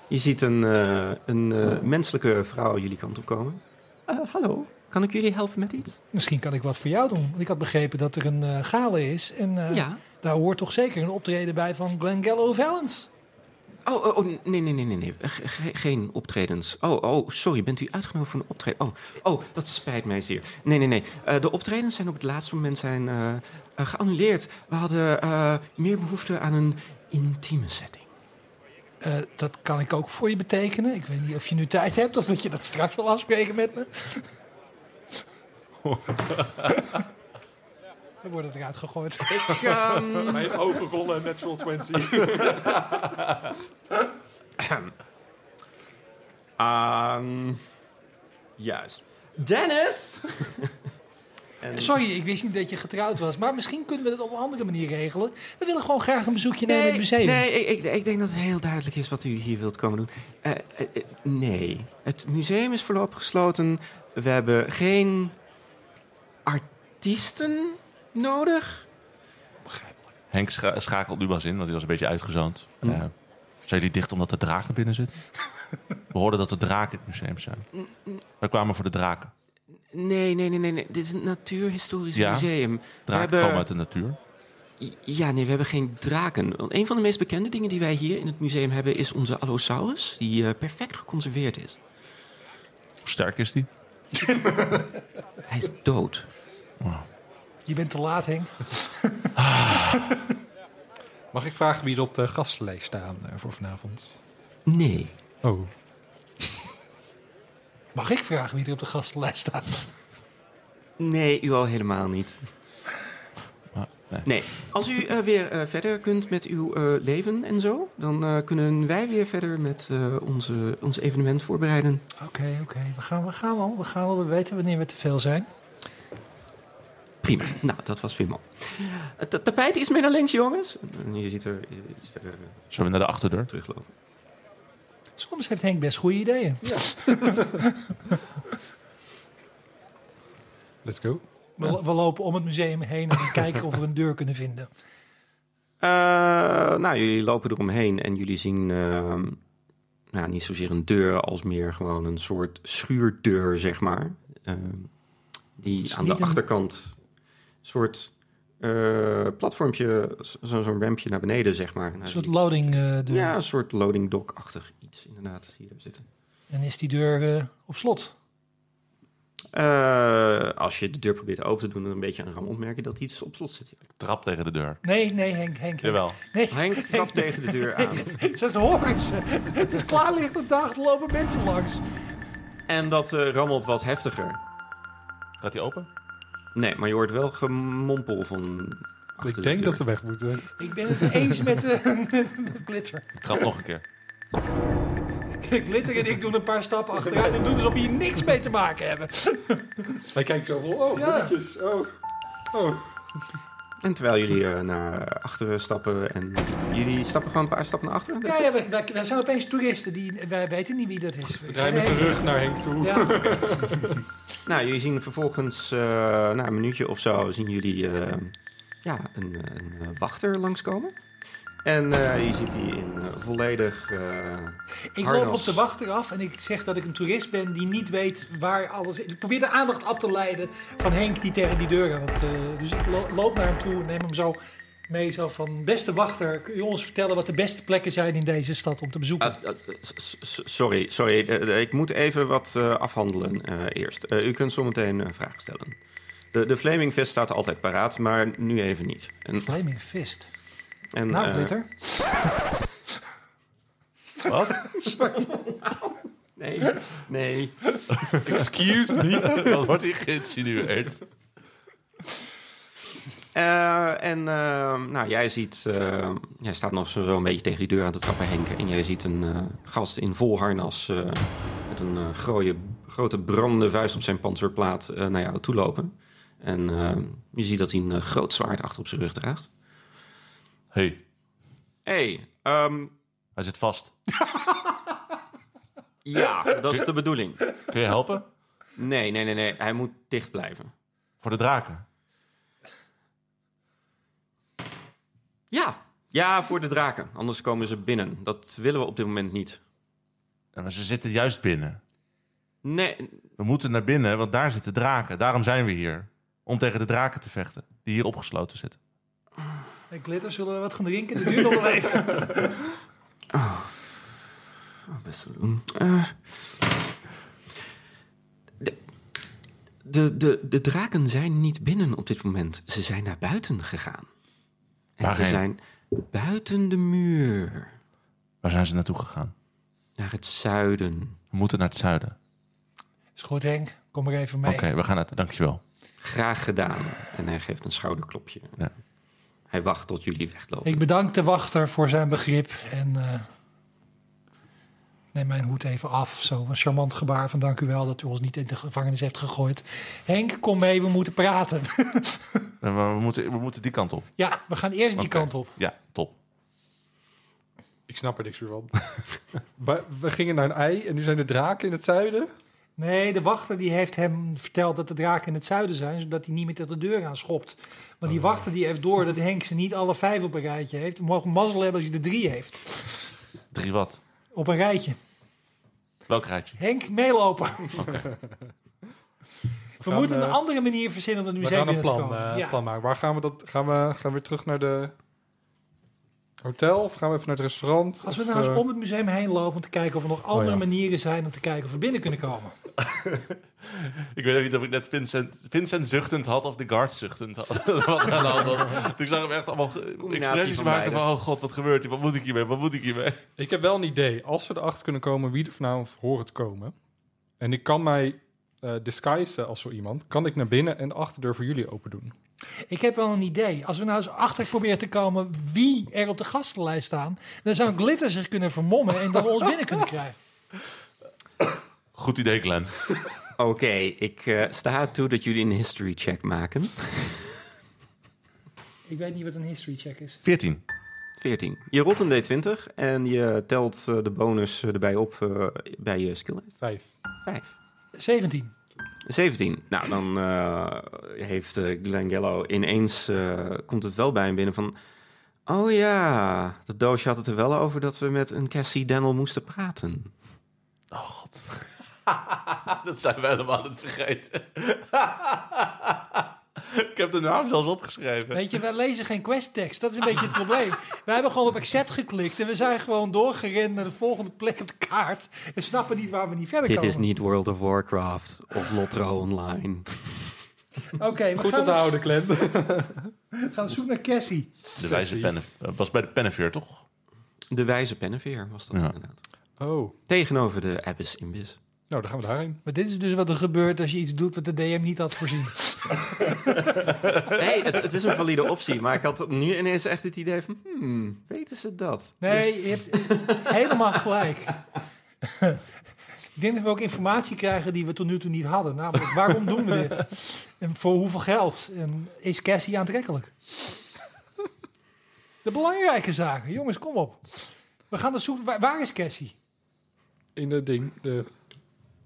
[SPEAKER 4] je ziet een, eh, een eh, menselijke vrouw jullie kant op komen. Eh, hallo, kan ik jullie helpen met iets?
[SPEAKER 3] Misschien kan ik wat voor jou doen. Want ik had begrepen dat er een eh gala is. En eh,
[SPEAKER 4] ja.
[SPEAKER 3] daar hoort toch zeker een optreden bij van Glenn Gallo Valens.
[SPEAKER 4] Oh, oh, oh, nee, nee, nee, nee, nee. Ge- ge- geen optredens. Oh, oh, sorry, bent u uitgenodigd voor een optreden? Oh, oh, dat spijt mij zeer. Nee, nee, nee. Eh, de optredens zijn op het laatste moment zijn, eh, eh, geannuleerd. We hadden eh, meer behoefte aan een intieme setting.
[SPEAKER 3] Eh, dat kan ik ook voor je betekenen. Ik weet niet of je nu tijd hebt of dat je dat straks wil afspreken met me. We worden eruit gegooid.
[SPEAKER 4] Ik, ehm,
[SPEAKER 1] Mijn overrollen Natural 20.
[SPEAKER 4] ehm, juist. Dennis! En-
[SPEAKER 3] Sorry, ik wist niet dat je getrouwd was. Maar misschien kunnen we dat op een andere manier regelen. We willen gewoon graag een bezoekje nemen in het museum.
[SPEAKER 4] Nee, ik, ik, ik denk dat het heel duidelijk is wat u hier wilt komen doen. Eh, eh, eh, nee, het museum is voorlopig gesloten. We hebben geen artiesten nodig.
[SPEAKER 2] Henk scha- schakelt nu pas in, want hij was een beetje uitgezoond. Eh, zijn jullie dicht omdat de draken binnen zitten? We hoorden dat de draken in het museum zijn. We kwamen voor de draken.
[SPEAKER 4] Nee, nee, nee, nee. nee. Dit is een natuurhistorisch
[SPEAKER 2] Ja?
[SPEAKER 4] museum. We
[SPEAKER 2] Draken
[SPEAKER 4] hebben-
[SPEAKER 2] komen uit de natuur.
[SPEAKER 4] Ja, nee, we hebben geen draken. Want een van de meest bekende dingen die wij hier in het museum hebben... is onze Allosaurus, die eh, perfect geconserveerd is.
[SPEAKER 2] Hoe sterk is die?
[SPEAKER 4] Hij is dood.
[SPEAKER 3] Je bent te laat, Henk.
[SPEAKER 1] Mag ik vragen wie er op de gastenlijst staan eh, voor vanavond?
[SPEAKER 4] Nee.
[SPEAKER 1] Oh,
[SPEAKER 3] Mag ik vragen wie er op de gastenlijst staat?
[SPEAKER 4] Nee, u al helemaal niet.
[SPEAKER 2] Maar, nee.
[SPEAKER 4] Nee. Als u eh, weer eh, verder kunt met uw eh, leven en zo, dan eh, kunnen wij weer verder met eh, onze, ons evenement voorbereiden.
[SPEAKER 3] Oké, oké. We, gaan, we gaan al. We gaan al. We weten wanneer we te veel zijn.
[SPEAKER 4] Prima. Nou, dat was Wim al. Het ta- tapijt is mee naar links, jongens. En je ziet er iets verder eh,
[SPEAKER 2] Zullen we naar de achterdeur?
[SPEAKER 4] teruglopen.
[SPEAKER 3] Soms heeft Henk best goede ideeën.
[SPEAKER 1] let's go.
[SPEAKER 3] We, we lopen om het museum heen en kijken of we een deur kunnen vinden.
[SPEAKER 4] Eh, nou, jullie lopen eromheen en jullie zien eh, nou, niet zozeer een deur als meer gewoon een soort schuurdeur, zeg maar. Eh, die
[SPEAKER 3] Is
[SPEAKER 4] aan de
[SPEAKER 3] niet een-
[SPEAKER 4] achterkant een soort eh, platformpje, zo- zo'n rampje naar beneden, zeg maar. Nou,
[SPEAKER 3] Een soort
[SPEAKER 4] die-
[SPEAKER 3] loading eh, deur.
[SPEAKER 4] ja, een soort loading dock-achtig iets, inderdaad, zie je daar zitten.
[SPEAKER 3] En is die deur eh, op slot?
[SPEAKER 4] Eh, als je de deur probeert open te doen en een beetje aan rammelt, merk je dat iets op slot zit.
[SPEAKER 2] Trap tegen de deur.
[SPEAKER 3] Nee, nee, Henk. Henk.
[SPEAKER 2] Jawel.
[SPEAKER 3] Nee,
[SPEAKER 4] Henk trapt tegen de deur aan.
[SPEAKER 3] zegt hoor eens. Het is klaarlichte dag. Er lopen mensen langs.
[SPEAKER 4] En dat eh, rammelt wat heftiger.
[SPEAKER 2] Gaat die open?
[SPEAKER 4] Nee, maar je hoort wel gemompel van. achter de
[SPEAKER 1] ik denk
[SPEAKER 4] deur.
[SPEAKER 1] dat ze weg moeten.
[SPEAKER 3] Ik ben het eens met, eh, met glitter.
[SPEAKER 2] Ik trap nog een keer.
[SPEAKER 3] Glitter en ik doen een paar stappen achteruit en doen alsof we hier niks mee te maken hebben.
[SPEAKER 1] Hij kijkt zo van, oh,
[SPEAKER 3] Ja.
[SPEAKER 1] bloemetjes, oh. Oh,
[SPEAKER 4] En terwijl jullie eh, naar achteren stappen en jullie stappen gewoon een paar stappen naar achteren.
[SPEAKER 3] Ja, ja wij, wij- wij zijn opeens toeristen. Die, wij weten niet wie dat is.
[SPEAKER 1] we draaien met de rug naar Henk toe.
[SPEAKER 3] Ja,
[SPEAKER 4] Nou, jullie zien vervolgens, eh, na een minuutje of zo, zien jullie eh, ja, een, een eh, wachter langskomen. En eh, je ziet die in eh, volledig. eh,
[SPEAKER 3] ik loop
[SPEAKER 4] Harnas.
[SPEAKER 3] op de wachter af en ik zeg dat ik een toerist ben die niet weet waar alles is. Ik probeer de aandacht af te leiden van Henk die tegen die deur aan het... eh, dus ik lo- loop naar hem toe en neem hem zo mee. Zo van, beste wachter, kun je ons vertellen wat de beste plekken zijn in deze stad om te bezoeken?
[SPEAKER 4] ah, ah, s- s- s- sorry, sorry. eh, eh, ik moet even wat eh, afhandelen eh, eerst. Eh, u kunt zometeen eh, vragen stellen. De, de Flaming Vest staat altijd paraat, maar nu even niet. En,
[SPEAKER 3] Flaming Fist.
[SPEAKER 4] en,
[SPEAKER 3] Nou,
[SPEAKER 4] eh,
[SPEAKER 3] glitter.
[SPEAKER 2] Wat?
[SPEAKER 4] Nee, nee.
[SPEAKER 2] Excuse me? Dat wordt hier geïnsinueerd.
[SPEAKER 4] Eh, en eh, nou, jij ziet, eh, jij staat nog zo een beetje tegen die deur aan te trappen, Henk. En jij ziet een eh, gast in vol harnas eh, met een eh, grooie- grote brandende vuist op zijn panzerplaat eh, naar jou toe lopen. En eh, je ziet dat hij een eh, groot zwaard achter op zijn rug draagt.
[SPEAKER 2] hey,
[SPEAKER 4] hey, ehm,
[SPEAKER 2] hij zit vast.
[SPEAKER 4] ja, dat is de bedoeling.
[SPEAKER 2] Kun je helpen?
[SPEAKER 4] Nee, nee, nee, nee, hij moet dicht blijven.
[SPEAKER 2] Voor de draken.
[SPEAKER 4] Ja, ja, voor de draken, anders komen ze binnen. Dat willen we op dit moment niet.
[SPEAKER 2] Ja, Maar ze zitten juist binnen.
[SPEAKER 4] Nee,
[SPEAKER 2] We moeten naar binnen, want daar zitten draken. Daarom zijn we hier. Om tegen de draken te vechten. Die hier opgesloten zitten.
[SPEAKER 3] En glitter, zullen we wat gaan drinken? Dat duurt nog wel even.
[SPEAKER 4] best wel doen. Eh, de, de, de, de draken zijn niet binnen op dit moment. Ze zijn naar buiten gegaan. En
[SPEAKER 2] Waarheen?
[SPEAKER 4] ze zijn buiten de muur.
[SPEAKER 2] Waar zijn ze naartoe gegaan?
[SPEAKER 4] Naar het zuiden.
[SPEAKER 2] We moeten naar het zuiden.
[SPEAKER 3] Is goed, Henk. Kom maar even mee.
[SPEAKER 2] Oké, we gaan naar... Dankjewel.
[SPEAKER 4] Graag gedaan. En hij geeft een schouderklopje.
[SPEAKER 2] Ja.
[SPEAKER 4] Hij wacht tot jullie weglopen.
[SPEAKER 3] Ik bedank de wachter voor zijn begrip. En eh, neem mijn hoed even af. Zo een charmant gebaar van dank u wel dat u ons niet in de gevangenis heeft gegooid. Henk, kom mee, we moeten praten.
[SPEAKER 2] Eh, maar We moeten, we moeten die kant op.
[SPEAKER 3] ja, we gaan eerst die
[SPEAKER 2] Oké.
[SPEAKER 3] kant op.
[SPEAKER 2] Ja, top.
[SPEAKER 1] Ik snap er niks meer van. Maar we gingen naar een ei en nu zijn de draken in het zuiden.
[SPEAKER 3] Nee, de wachter die heeft hem verteld dat de draken in het zuiden zijn, zodat hij niet meer tegen de deur aan schopt.
[SPEAKER 1] Oh.
[SPEAKER 3] Maar die wachter die heeft door dat Henk ze niet alle vijf op een rijtje heeft. We mogen mazzel hebben als hij er drie heeft.
[SPEAKER 2] Drie wat?
[SPEAKER 3] Op een rijtje.
[SPEAKER 2] Welk rijtje?
[SPEAKER 3] Henk, meelopen. We
[SPEAKER 1] gaan,
[SPEAKER 3] moeten een
[SPEAKER 1] eh,
[SPEAKER 3] andere manier verzinnen om het
[SPEAKER 1] We
[SPEAKER 3] museum
[SPEAKER 1] gaan een
[SPEAKER 3] binnen te
[SPEAKER 1] plan,
[SPEAKER 3] komen.
[SPEAKER 1] eh,
[SPEAKER 3] ja.
[SPEAKER 1] plan maken. Waar gaan we dat? Gaan we, gaan we weer terug naar de hotel of gaan we even naar het restaurant?
[SPEAKER 3] Als we
[SPEAKER 1] Of,
[SPEAKER 3] nou eens
[SPEAKER 1] eh, Oh,
[SPEAKER 3] om het museum heen lopen om te kijken of er nog andere
[SPEAKER 1] ja.
[SPEAKER 3] manieren zijn om te kijken of we binnen kunnen komen.
[SPEAKER 2] Ik weet ook niet of ik net Vincent, Vincent zuchtend had of de guard zuchtend had. wat er aan de hand was. Toen ik zag hem echt allemaal ge-
[SPEAKER 4] Combinatie
[SPEAKER 2] expressies
[SPEAKER 4] van
[SPEAKER 2] maken van...
[SPEAKER 4] beide.
[SPEAKER 2] Oh god, wat gebeurt hier? Wat moet ik hiermee? Wat moet ik hiermee?
[SPEAKER 1] Ik heb wel een idee. Als we erachter kunnen komen wie er vanavond hoort komen. En ik kan mij eh disguisen als zo iemand. Kan ik naar binnen en de achterdeur voor jullie open doen.
[SPEAKER 3] Ik heb wel een idee. Als we nou eens achter proberen te komen wie er op de gastenlijst staan, dan zou Glitter zich kunnen vermommen en dan ons binnen kunnen krijgen.
[SPEAKER 2] Goed idee, Glenn.
[SPEAKER 4] Oké, ik eh, sta toe dat jullie een history check maken.
[SPEAKER 3] Ik weet niet wat een history check is.
[SPEAKER 2] 14.
[SPEAKER 4] 14. Je rolt een D20 en je telt eh, de bonus eh, erbij op eh, bij je skill.
[SPEAKER 1] Vijf.
[SPEAKER 4] 5.
[SPEAKER 3] 17.
[SPEAKER 4] 17. Nou, dan eh, heeft eh, Glenn Gallo ineens... eh, komt het wel bij hem binnen van... Oh ja, de doosje had het er wel over dat we met een Cassie Daniel moesten praten.
[SPEAKER 2] Oh god. dat zijn we helemaal aan het vergeten. ik heb de naam zelfs opgeschreven.
[SPEAKER 3] Weet je, wij lezen geen questtekst. Dat is een beetje het probleem. Wij hebben gewoon op accept geklikt en we zijn gewoon doorgerend naar de volgende plek op de kaart. En snappen niet waar we niet verder
[SPEAKER 4] Dit
[SPEAKER 3] komen.
[SPEAKER 4] is niet World of Warcraft of Lotro Online.
[SPEAKER 3] Oké, we
[SPEAKER 1] Goed
[SPEAKER 3] gaan,
[SPEAKER 1] onthouden, Clem.
[SPEAKER 3] we gaan op zoek naar Cassie.
[SPEAKER 2] De wijze pennen. eh, was bij de pennenveer, toch?
[SPEAKER 4] De wijze penneveer was dat
[SPEAKER 2] Ja.
[SPEAKER 4] inderdaad.
[SPEAKER 1] Oh,
[SPEAKER 4] Tegenover de Abyss Imbis.
[SPEAKER 1] nou dan gaan we daarheen.
[SPEAKER 3] Maar dit is dus wat er gebeurt als je iets doet wat de DM niet had voorzien.
[SPEAKER 4] Nee, het, het is een valide optie, maar ik had nu ineens echt het idee van... Hmm, weten ze dat?
[SPEAKER 3] Nee, je hebt eh, helemaal gelijk. Ik denk dat we ook informatie krijgen die we tot nu toe niet hadden. Namelijk, waarom doen we dit? En voor hoeveel geld? En is Cassie aantrekkelijk? De belangrijke zaken. Jongens, kom op. We gaan dat zoeken. Waar, waar is Cassie?
[SPEAKER 1] In het ding, de,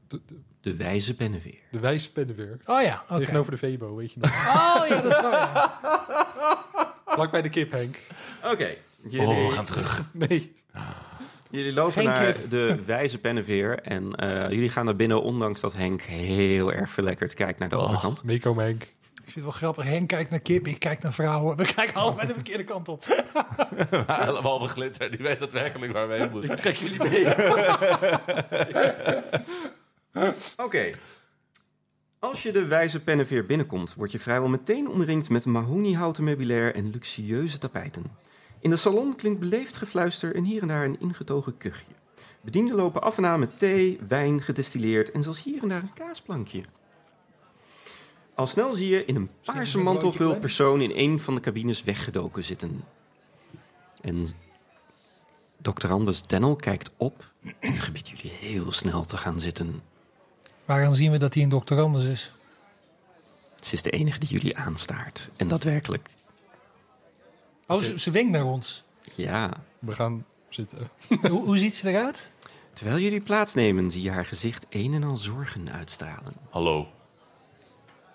[SPEAKER 1] de, de,
[SPEAKER 4] De wijze penneveer.
[SPEAKER 1] de wijspennen weer.
[SPEAKER 3] Oh ja, oké.
[SPEAKER 1] Tegenover de Vebo, weet je nog.
[SPEAKER 3] Oh ja, dat is waar. ja.
[SPEAKER 1] Vlak bij de kip, Henk.
[SPEAKER 4] Oké. Jullie,
[SPEAKER 2] Oh, we gaan terug.
[SPEAKER 1] Nee.
[SPEAKER 4] jullie lopen
[SPEAKER 3] Geen
[SPEAKER 4] naar
[SPEAKER 3] kip.
[SPEAKER 4] de wijze penneveer en eh, jullie gaan naar binnen... ondanks dat Henk heel erg verlekkerd kijkt naar de
[SPEAKER 2] Oh.
[SPEAKER 4] overkant.
[SPEAKER 1] Meekomen, Henk.
[SPEAKER 3] Ik vind het wel grappig. Henk kijkt naar kip, ik kijk naar vrouwen. We kijken allebei de verkeerde kant op.
[SPEAKER 2] Allemaal beglitter. Die weet daadwerkelijk waar we heen moeten.
[SPEAKER 1] Ik trek jullie mee.
[SPEAKER 4] Oké. Als je de wijze penneveer binnenkomt, word je vrijwel meteen omringd met mahoniehouten meubilair en luxueuze tapijten. In de salon klinkt beleefd gefluister en hier en daar een ingetogen kuchje. Bedienden lopen af en aan met thee, wijn gedistilleerd en zelfs hier en daar een kaasplankje. Al snel zie je in een paarse
[SPEAKER 3] een
[SPEAKER 4] mantelgul
[SPEAKER 3] broodje
[SPEAKER 4] persoon in een van de cabines weggedoken zitten. En dokter Anders Dennel kijkt op en gebiedt jullie heel snel te gaan zitten.
[SPEAKER 3] Waaraan zien we dat hij een doctorandus is?
[SPEAKER 4] Ze is de enige die jullie aanstaart. En daadwerkelijk,
[SPEAKER 3] Oh, ze, ze winkt naar ons.
[SPEAKER 4] ja.
[SPEAKER 1] We gaan zitten.
[SPEAKER 3] hoe, hoe ziet ze eruit?
[SPEAKER 4] Terwijl jullie plaatsnemen, zie je haar gezicht een en al zorgen uitstralen.
[SPEAKER 2] Hallo.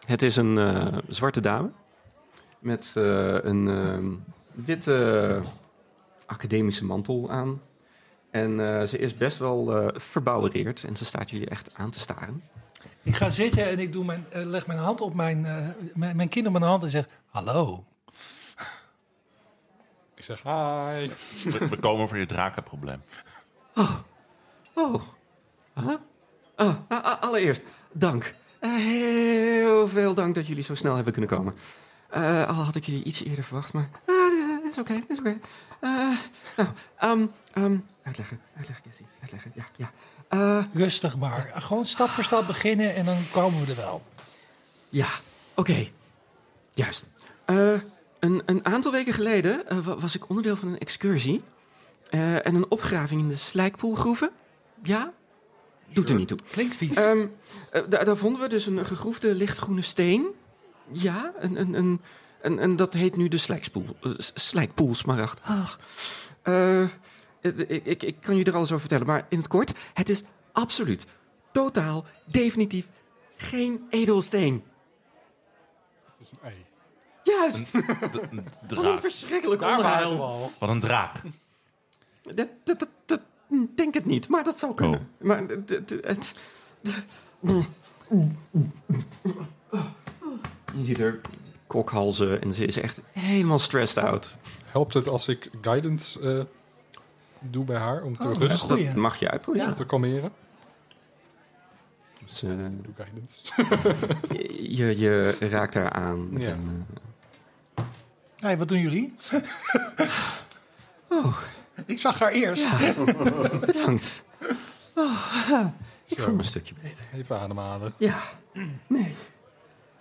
[SPEAKER 4] Het is een eh, zwarte dame met eh, een eh, witte academische mantel aan. En eh, ze is best wel eh verbouwereerd en ze staat jullie echt aan te staren.
[SPEAKER 3] Ik ga zitten en ik doe mijn, eh, leg mijn hand op mijn, eh, mijn, mijn kind op mijn hand en zeg: Hallo.
[SPEAKER 1] Ik zeg hi.
[SPEAKER 2] We, we komen voor je drakenprobleem.
[SPEAKER 4] Oh, huh? oh nou, a- allereerst, dank. Eh, Heel veel dank dat jullie zo snel hebben kunnen komen. Eh, al had ik jullie iets eerder verwacht, maar... Ah, eh, is oké, is oké. Eh, nou, ehm, ehm, uitleggen, uitleggen, Cassie, uitleggen, ja, ja. Eh,
[SPEAKER 3] Rustig maar. Gewoon stap voor stap beginnen en dan komen we er wel.
[SPEAKER 4] ja, oké. Juist. Eh, een, een aantal weken geleden eh, wa- was ik onderdeel van een excursie... eh, en een opgraving in de slijkpoelgroeven. Ja, doet er niet toe.
[SPEAKER 3] Klinkt vies.
[SPEAKER 4] Ehm, eh, daar, daar vonden we dus een gegroefde lichtgroene steen. Ja, een, een, een, een, een- dat heet nu de slijkspoel, eh, s- slijkpoel smaragd. Ach. Eh, eh, ik, ik, ik kan je er alles over vertellen, maar in het kort, het is absoluut, totaal, definitief geen edelsteen.
[SPEAKER 1] Het is een ei.
[SPEAKER 4] Juist,
[SPEAKER 2] D- d-
[SPEAKER 4] wat een
[SPEAKER 2] draak.
[SPEAKER 4] verschrikkelijk
[SPEAKER 1] Daar waren we
[SPEAKER 4] onheil.
[SPEAKER 1] al.
[SPEAKER 2] Wat een draak.
[SPEAKER 4] Dat, dat, dat, dat- denk het niet, maar dat zou kunnen. Maar d- d- d- het... d- Je ziet er kokhalzen en ze is echt helemaal stressed out.
[SPEAKER 1] Helpt het als ik guidance eh, doe bij haar om te
[SPEAKER 3] Oh,
[SPEAKER 1] rustig
[SPEAKER 3] Goeie.
[SPEAKER 4] Dat mag je uitproberen.
[SPEAKER 1] te kalmeren?
[SPEAKER 4] Dus, eh,
[SPEAKER 1] Doe guidance.
[SPEAKER 4] je, je raakt haar aan.
[SPEAKER 1] Ja.
[SPEAKER 4] En, eh,
[SPEAKER 3] Hey, wat doen jullie?
[SPEAKER 4] Oh.
[SPEAKER 3] Ik zag haar eerst.
[SPEAKER 4] eh, ja, bedankt. Oh, ik
[SPEAKER 1] Zo.
[SPEAKER 4] voel me een stukje beter.
[SPEAKER 1] Even ademhalen.
[SPEAKER 4] Ja, nee.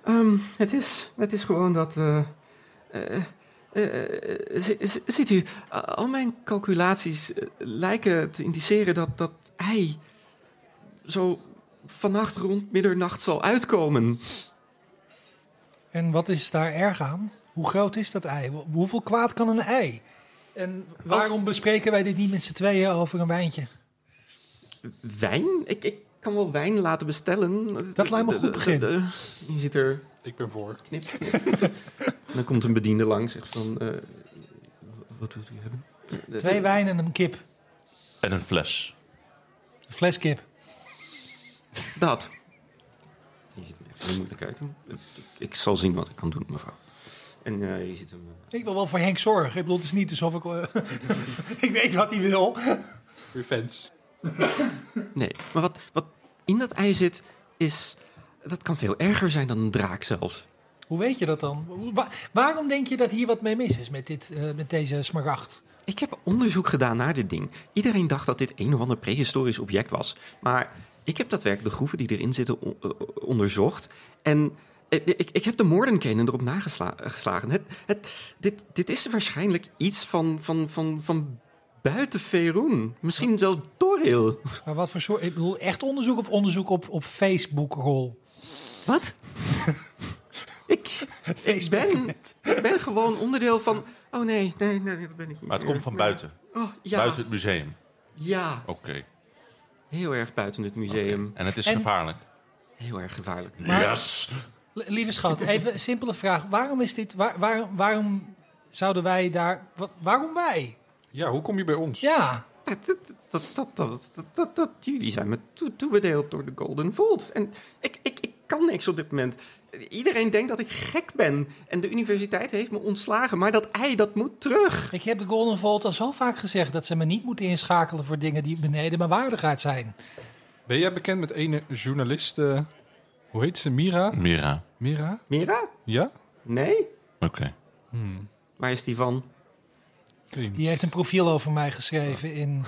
[SPEAKER 4] Ehm, het, is, het is gewoon dat. eh, eh, eh, zi- zi- ziet u, eh, al mijn calculaties eh, lijken te indiceren dat, dat hij zo vannacht rond middernacht zal uitkomen.
[SPEAKER 3] En wat is daar erg aan? Hoe groot is dat ei? Hoe- Hoeveel kwaad kan een ei? En waarom
[SPEAKER 4] Als-
[SPEAKER 3] bespreken wij dit niet met z'n tweeën over een wijntje?
[SPEAKER 4] Wijn? Ik, ik kan wel wijn laten bestellen.
[SPEAKER 3] Dat lijkt me een goed begin.
[SPEAKER 4] Eh, eh, Je ziet er
[SPEAKER 1] Ik ben voor.
[SPEAKER 4] knip. En dan komt een bediende langs, zegt van. eh, wat wilt u hebben? Eh,
[SPEAKER 3] Twee wijn en een kip.
[SPEAKER 2] En een fles.
[SPEAKER 3] Een fles kip.
[SPEAKER 4] Dat. Je ziet hem echt heel moeilijk kijken. Ik, ik zal zien wat ik kan doen, mevrouw. En eh, je ziet hem... eh,
[SPEAKER 3] Ik wil wel voor Henk zorgen. Ik bedoel, het is niet alsof ik... eh, ik weet wat hij wil.
[SPEAKER 1] Revenge.
[SPEAKER 4] Nee, maar wat, wat in dat ei zit, is... Dat kan veel erger zijn dan een draak zelfs.
[SPEAKER 3] Hoe weet je dat dan? Hoe- wa- waarom denk je dat hier wat mee mis is met, dit, eh, met deze smaragd?
[SPEAKER 4] Ik heb onderzoek gedaan naar dit ding. Iedereen dacht dat dit een of ander prehistorisch object was. Maar ik heb daadwerkelijk de groeven die erin zitten o- eh, onderzocht. En eh, ik, ik heb de moordenkenen erop nageslagen. Het, het, dit, dit is waarschijnlijk iets van, van, van, van buiten Faerun. Misschien zelfs Toril.
[SPEAKER 3] Maar wat voor soort... Ik bedoel, echt onderzoek of onderzoek op, op Facebook-rol?
[SPEAKER 4] Wat? ik, ik, ben, ik ben gewoon onderdeel van... Oh nee, nee, nee, dat ben ik niet
[SPEAKER 2] Maar het
[SPEAKER 4] meer.
[SPEAKER 2] komt van buiten.
[SPEAKER 4] Oh, ja,
[SPEAKER 2] Buiten het museum.
[SPEAKER 4] ja,
[SPEAKER 2] Oké.
[SPEAKER 4] heel erg buiten het museum.
[SPEAKER 2] En het is
[SPEAKER 3] En-
[SPEAKER 2] gevaarlijk.
[SPEAKER 4] Heel erg gevaarlijk.
[SPEAKER 3] Maar-
[SPEAKER 2] yes!
[SPEAKER 3] L- Lieve schat, even een simpele vraag. Waarom is dit... waar- waarom, waarom zouden wij daar... wa- waarom wij?
[SPEAKER 1] Ja, hoe kom je bij ons?
[SPEAKER 3] Ja,
[SPEAKER 4] Dat, dat, dat, dat, dat, dat, dat, jullie zijn me toe- toebedeeld door de Golden Vault. En ik, ik, ik kan niks op dit moment. Iedereen denkt dat ik gek ben. En de universiteit heeft me ontslagen. Maar dat ei, dat moet terug.
[SPEAKER 3] ik heb de Golden Vault al zo vaak gezegd... dat ze me niet moeten inschakelen voor dingen die beneden mijn waardigheid zijn.
[SPEAKER 1] Ben jij bekend met ene journalist? eh, hoe heet ze? Mira?
[SPEAKER 2] Mira.
[SPEAKER 1] Mira?
[SPEAKER 4] Mira?
[SPEAKER 1] Ja? Hmm.
[SPEAKER 4] Nee?
[SPEAKER 2] Oké.
[SPEAKER 4] Waar is die van?
[SPEAKER 1] Die
[SPEAKER 3] Die heeft een profiel over mij geschreven in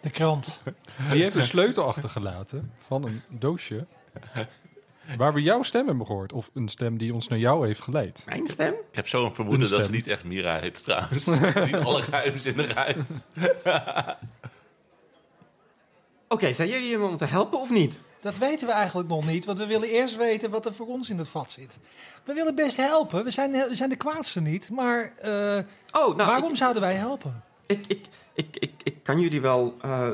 [SPEAKER 3] de krant.
[SPEAKER 1] Die heeft een sleutel achtergelaten van een doosje. Waar we jouw stem hebben gehoord. Of een stem die ons naar jou heeft geleid.
[SPEAKER 4] Mijn stem?
[SPEAKER 2] Ik heb zo'n vermoeden
[SPEAKER 1] Een
[SPEAKER 2] dat ze
[SPEAKER 1] stem.
[SPEAKER 2] niet echt Mira heet trouwens. Ze zien alle geheimzinnig uit.
[SPEAKER 4] Oké, zijn jullie hier om te helpen of niet?
[SPEAKER 3] Dat weten we eigenlijk nog niet, want we willen eerst weten wat er voor ons in het vat zit. We willen best helpen, we zijn, we zijn de kwaadste niet, maar eh,
[SPEAKER 4] Oh, nou,
[SPEAKER 3] waarom zouden wij helpen?
[SPEAKER 4] Ik, ik, ik, ik, ik kan jullie wel eh,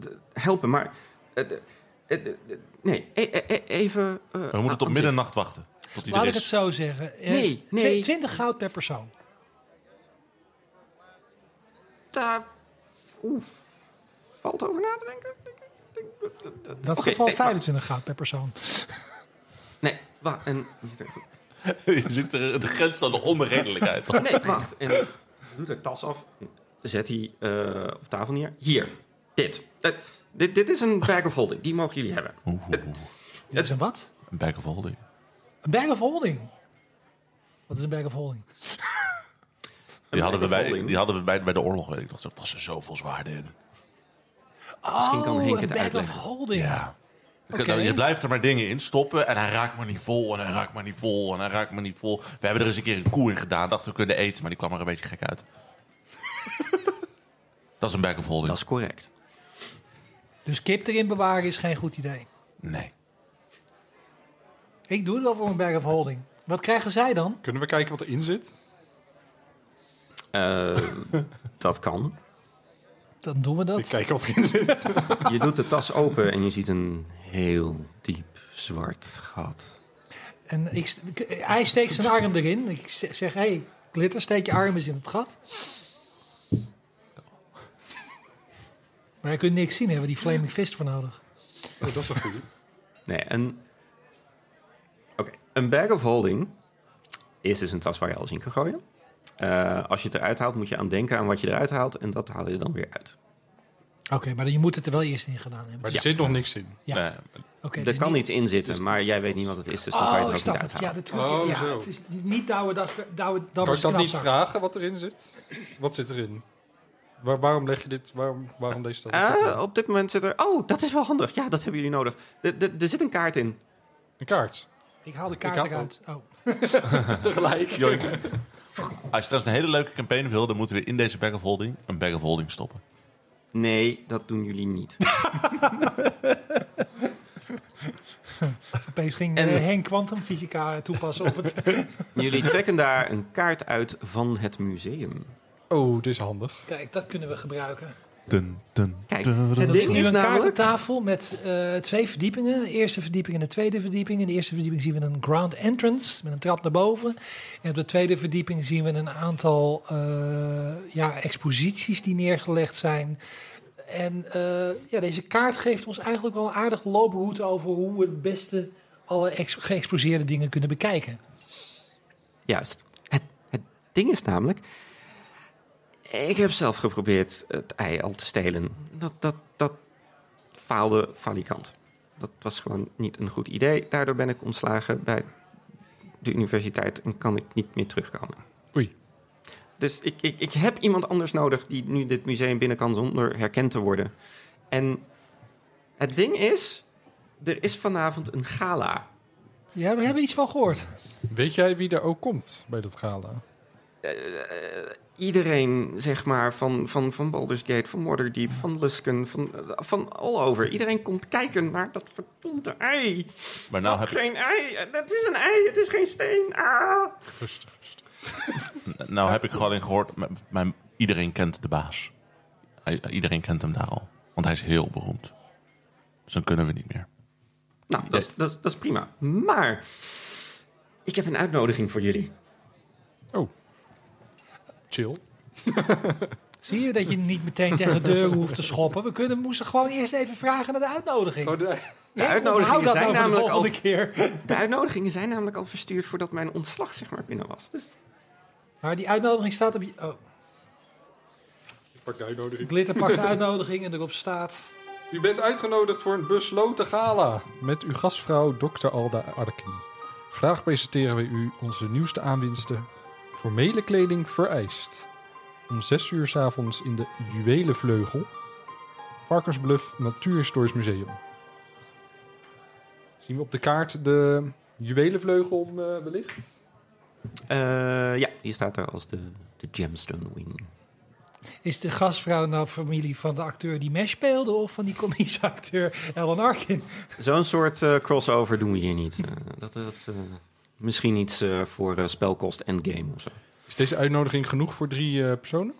[SPEAKER 4] d- helpen, maar... eh, d- eh, d- nee, e- e- e- even... eh,
[SPEAKER 2] We moeten tot
[SPEAKER 4] aan zich.
[SPEAKER 2] middernacht wachten. Tot hij
[SPEAKER 3] Laat
[SPEAKER 2] er
[SPEAKER 3] ik het
[SPEAKER 2] is.
[SPEAKER 3] zo zeggen. Eh,
[SPEAKER 4] Nee,
[SPEAKER 3] twe-
[SPEAKER 4] nee.
[SPEAKER 3] 20 goud per persoon.
[SPEAKER 4] Daar oeh, valt over na te denken.
[SPEAKER 3] In dat
[SPEAKER 4] Oké,
[SPEAKER 3] geval
[SPEAKER 4] nee,
[SPEAKER 3] 25 goud per persoon.
[SPEAKER 4] Nee, wacht. En, moet je even-
[SPEAKER 2] Je zoekt de, de grens aan de onredelijkheid.
[SPEAKER 4] nee, wacht. En doet haar tas af. Zet die eh, op tafel neer. Hier, dit. Eh, dit. Dit is een bag of holding. Die mogen jullie hebben.
[SPEAKER 2] Oeh, oeh, oeh.
[SPEAKER 3] Dit is een wat?
[SPEAKER 2] Een back of holding.
[SPEAKER 3] Een bag of holding. Wat is een bag of holding?
[SPEAKER 2] Die hadden, we
[SPEAKER 4] bag
[SPEAKER 2] bij,
[SPEAKER 4] of holding.
[SPEAKER 2] die hadden we bij, bij de oorlog. weet Ik dacht, er passen zoveel zwaarden in.
[SPEAKER 4] Misschien kan
[SPEAKER 3] Oh,
[SPEAKER 4] Henk
[SPEAKER 3] een
[SPEAKER 4] het
[SPEAKER 3] bag
[SPEAKER 4] uitleggen.
[SPEAKER 3] of holding.
[SPEAKER 2] Ja.
[SPEAKER 3] Oké.
[SPEAKER 2] Nou, Je blijft er maar dingen in stoppen en hij raakt maar niet vol en hij raakt maar niet vol en hij raakt maar niet vol. We hebben er eens een keer een koe in gedaan, dachten we kunnen eten, maar die kwam er een beetje gek uit. dat is een back of holding.
[SPEAKER 4] Dat is correct.
[SPEAKER 3] Dus kip erin bewaren is geen goed idee.
[SPEAKER 2] Nee.
[SPEAKER 3] Ik doe het al voor een bag of holding. Wat krijgen zij dan?
[SPEAKER 1] Kunnen we kijken wat erin zit?
[SPEAKER 4] Eh, dat kan.
[SPEAKER 3] Dan doen we
[SPEAKER 1] Ik
[SPEAKER 3] dat.
[SPEAKER 1] kijk wat erin zit.
[SPEAKER 4] Je doet de tas open en je ziet een heel diep zwart gat.
[SPEAKER 3] En ik, st- ik- hij steekt zijn arm erin. Ik z- zeg, hé, hey, glitter, steek je arm eens in het gat. Maar je kunt niks zien, hebben we die flaming fist voor nodig.
[SPEAKER 1] Oh, dat is een goede.
[SPEAKER 4] Nee, een... Oké, een bag of holding is dus een tas waar je alles in kan gooien. Eh, als je het eruit haalt, moet je aan denken aan wat je eruit haalt en dat haal je dan weer uit.
[SPEAKER 3] Oké, maar je moet het er wel eerst in gedaan hebben.
[SPEAKER 1] Maar er
[SPEAKER 4] Ja.
[SPEAKER 1] zit nog niks in.
[SPEAKER 3] Ja.
[SPEAKER 2] Nee.
[SPEAKER 3] Oké,
[SPEAKER 4] er
[SPEAKER 3] het is
[SPEAKER 4] kan iets in zitten, maar jij weet niet wat het is, dus dan kan je
[SPEAKER 3] Oh,
[SPEAKER 4] het
[SPEAKER 3] ik
[SPEAKER 4] ook niet
[SPEAKER 3] snap het.
[SPEAKER 4] uithalen.
[SPEAKER 3] Ja, natuurlijk.
[SPEAKER 1] Oh,
[SPEAKER 3] ja,
[SPEAKER 1] zo.
[SPEAKER 3] het is niet douwe dag, douwe
[SPEAKER 1] Kan ik dat niet
[SPEAKER 3] knapzak.
[SPEAKER 1] vragen wat erin zit? Wat zit erin? Waar- waarom leg je dit? Waarom, waarom deze dat?
[SPEAKER 4] Ah, op dit moment zit er... Oh, dat is wel handig. Ja, dat hebben jullie nodig. Er- er- er zit een kaart in.
[SPEAKER 1] een kaart.
[SPEAKER 3] Ik haal de
[SPEAKER 1] Ik
[SPEAKER 3] kaart
[SPEAKER 1] haal-
[SPEAKER 3] eruit. Oh.
[SPEAKER 1] Tegelijk.
[SPEAKER 2] Joink. Als je trouwens een hele leuke campaign wil, dan moeten we in deze bag of holding een bag of holding stoppen.
[SPEAKER 4] Nee, dat doen jullie niet.
[SPEAKER 3] Opeens ging
[SPEAKER 4] En-
[SPEAKER 3] eh, Henk kwantumfysica toepassen op het...
[SPEAKER 4] jullie trekken daar een kaart uit van het museum.
[SPEAKER 1] Oh, dit is handig.
[SPEAKER 3] Kijk, dat kunnen we gebruiken.
[SPEAKER 2] Dun, dun,
[SPEAKER 4] Kijk,
[SPEAKER 2] dun, dun.
[SPEAKER 4] Het
[SPEAKER 3] Er ligt
[SPEAKER 4] ding
[SPEAKER 3] nu
[SPEAKER 4] is
[SPEAKER 3] een
[SPEAKER 4] namelijk...
[SPEAKER 3] kaartentafel met eh, twee verdiepingen. De eerste verdieping en de tweede verdieping. In de eerste verdieping zien we een ground entrance met een trap naar boven. En op de tweede verdieping zien we een aantal eh, ja, exposities die neergelegd zijn. En eh, ja, deze kaart geeft ons eigenlijk wel een aardige looproute over hoe we het beste alle ex- geëxposeerde dingen kunnen bekijken.
[SPEAKER 4] Juist. Het, het ding is namelijk... Ik heb zelf geprobeerd het ei al te stelen. Dat, dat, dat faalde falikant. Dat was gewoon niet een goed idee. Daardoor ben ik ontslagen bij de universiteit en kan ik niet meer terugkomen.
[SPEAKER 1] Oei.
[SPEAKER 4] Dus ik, ik, ik heb iemand anders nodig die nu dit museum binnen kan zonder herkend te worden. En het ding is, er is vanavond een gala.
[SPEAKER 3] Ja, daar hebben we iets van gehoord.
[SPEAKER 1] Weet jij wie er ook komt bij dat gala?
[SPEAKER 4] Iedereen, zeg maar, van, van, van Baldur's Gate, van Waterdeep, van Lusken, van, eh, van all over. Iedereen komt kijken naar dat verdomde ei.
[SPEAKER 2] Maar nou heb, ik,
[SPEAKER 4] Geen ei, eh, dat is een ei, het is geen steen. Ah.
[SPEAKER 1] Rustig. rustig.
[SPEAKER 2] nou heb ik gewoon in gehoord, m- mijn, iedereen kent de baas. Hij- Iedereen kent hem daar al. Want hij is heel beroemd. Dus dan kunnen we niet meer.
[SPEAKER 4] Nou, dat, is- dat, is- dat is prima. Maar ik heb een uitnodiging voor jullie.
[SPEAKER 1] Oh. Chill.
[SPEAKER 3] Zie je dat je niet meteen tegen de deur hoeft te schoppen? We kunnen, moesten gewoon eerst even vragen naar de uitnodiging.
[SPEAKER 1] Oh, nee.
[SPEAKER 4] De
[SPEAKER 3] Onthoud
[SPEAKER 4] uitnodigingen
[SPEAKER 3] dat
[SPEAKER 4] zijn
[SPEAKER 3] nou voor de
[SPEAKER 4] namelijk al
[SPEAKER 3] volgende keer.
[SPEAKER 4] De uitnodigingen zijn namelijk al verstuurd voordat mijn ontslag zeg maar binnen was. Dus
[SPEAKER 3] Maar die uitnodiging staat op je... Oh,
[SPEAKER 1] Ik pak de uitnodiging.
[SPEAKER 3] glitter pakt de uitnodiging en erop staat...
[SPEAKER 1] U bent uitgenodigd voor een besloten gala met uw gastvrouw Dr. Alda Arkin. Graag presenteren we u onze nieuwste aanwinsten. Formele kleding vereist. Om 6 uur 's avonds in de Juwelenvleugel. Varkensbluff Natuurhistorisch Museum. Zien we op de kaart de Juwelenvleugel eh, wellicht?
[SPEAKER 4] eh, ja, hier staat er als de, de gemstone wing.
[SPEAKER 3] Is de gastvrouw nou familie van de acteur die Mesh speelde... of van die komische acteur Alan Arkin?
[SPEAKER 4] Zo'n soort eh, crossover doen we hier niet. Eh, dat, dat, eh, misschien iets eh, voor eh, spelkost endgame of zo.
[SPEAKER 1] Is deze uitnodiging genoeg voor drie eh, personen?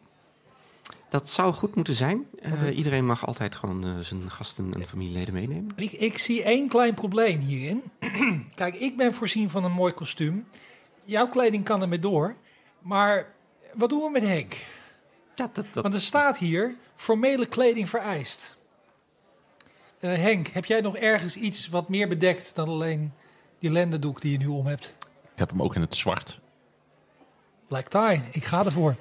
[SPEAKER 4] Dat zou goed moeten zijn. Eh, Iedereen mag altijd gewoon eh, zijn gasten en familieleden meenemen.
[SPEAKER 3] Ik, ik zie één klein probleem hierin. Kijk, ik ben voorzien van een mooi kostuum. Jouw kleding kan ermee door. Maar wat doen we met Henk?
[SPEAKER 4] Ja, dat, dat,
[SPEAKER 3] Want er staat hier, formele kleding vereist. Eh, Henk, heb jij nog ergens iets wat meer bedekt dan alleen die lendendoek die je nu om hebt?
[SPEAKER 2] Ik heb hem ook in het zwart.
[SPEAKER 3] Black tie, ik ga ervoor.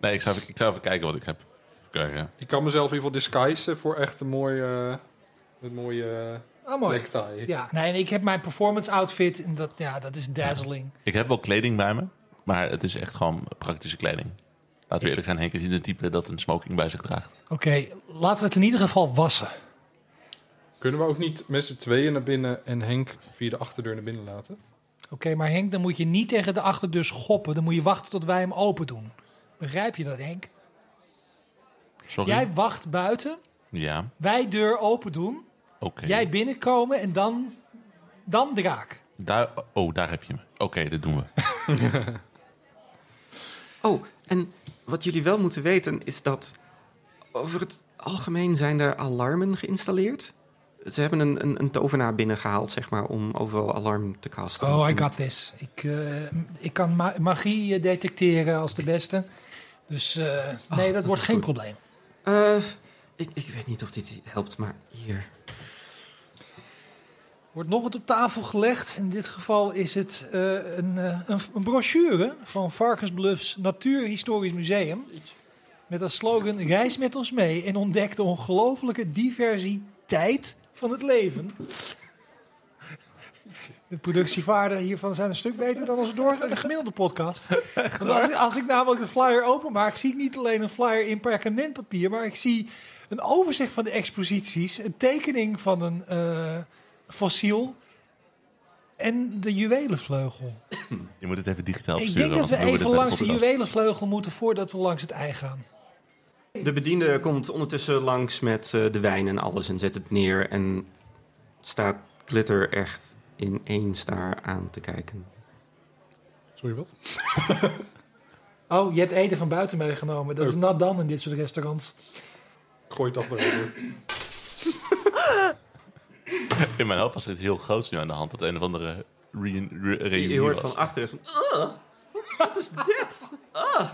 [SPEAKER 2] Nee, ik zou, even- ik zou even kijken wat ik heb. Kijk, ja.
[SPEAKER 1] Ik kan mezelf in ieder geval disguisen voor echt een mooie, eh, een mooie
[SPEAKER 3] Oh,
[SPEAKER 1] uh,
[SPEAKER 3] mooi. Ja, nee, en ik heb mijn performance outfit en dat, ja, dat is dazzling.
[SPEAKER 2] Ik heb wel kleding bij me, maar het is echt gewoon praktische kleding. Laten we eerlijk zijn, Henk is niet een type dat een smoking bij zich draagt.
[SPEAKER 3] Oké, laten we het in ieder geval wassen.
[SPEAKER 1] Kunnen we ook niet met z'n tweeën naar binnen en Henk via de achterdeur naar binnen laten?
[SPEAKER 3] Oké, maar Henk, dan moet je niet tegen de achterdeur schoppen. Dan moet je wachten tot wij hem open doen. Begrijp je dat, Henk?
[SPEAKER 2] Sorry.
[SPEAKER 3] Jij wacht buiten,
[SPEAKER 2] Ja,
[SPEAKER 3] wij deur open doen,
[SPEAKER 2] oké.
[SPEAKER 3] jij binnenkomen en dan, dan draak.
[SPEAKER 2] Daar, oh, daar heb je me. Oké, dat doen we.
[SPEAKER 4] Oh, en wat jullie wel moeten weten is dat over het algemeen zijn er alarmen geïnstalleerd. Ze hebben een, een, een tovenaar binnengehaald, zeg maar, om overal alarm te casten.
[SPEAKER 3] Oh, I
[SPEAKER 4] En-
[SPEAKER 3] got this. Ik, eh, ik kan ma- magie eh, detecteren als de beste. Dus eh, nee, dat, wordt
[SPEAKER 4] is
[SPEAKER 3] geen
[SPEAKER 4] goed.
[SPEAKER 3] probleem.
[SPEAKER 4] Eh, ik, ik weet niet of dit helpt, maar hier.
[SPEAKER 3] Wordt nog wat op tafel gelegd. In dit geval is het eh, een, eh, een, een brochure van Varkensbluffs Natuurhistorisch Museum. Met als slogan Reis met ons mee en ontdek de ongelofelijke diversiteit van het leven. De productievaarden hiervan zijn een stuk beter dan onze door de gemiddelde podcast. Want als, ik- als ik namelijk de flyer openmaak, zie ik niet alleen een flyer in perkamentpapier, maar ik zie een overzicht van de exposities, een tekening van een eh, fossiel en de juwelenvleugel.
[SPEAKER 2] Je moet het even digitaal
[SPEAKER 3] Ik
[SPEAKER 2] sturen.
[SPEAKER 3] denk dat we
[SPEAKER 2] want
[SPEAKER 3] even
[SPEAKER 2] doen
[SPEAKER 3] langs de
[SPEAKER 2] met podcast.
[SPEAKER 3] juwelenvleugel moeten voordat we langs het ei gaan.
[SPEAKER 4] De bediende komt ondertussen langs met eh, de wijn en alles en zet het neer. En staat Glitter echt ineens daar aan te kijken.
[SPEAKER 1] Sorry, wat?
[SPEAKER 3] Oh, je hebt eten van buiten meegenomen. Dat is nat dan in dit soort restaurants.
[SPEAKER 1] Gooi het achterover.
[SPEAKER 2] In mijn hoofd was dit heel groot nu aan de hand. Dat een of andere re- re-
[SPEAKER 4] Je,
[SPEAKER 2] reunie
[SPEAKER 4] hoort
[SPEAKER 2] was.
[SPEAKER 4] van achteren. Van, "Ugh, wat is dit?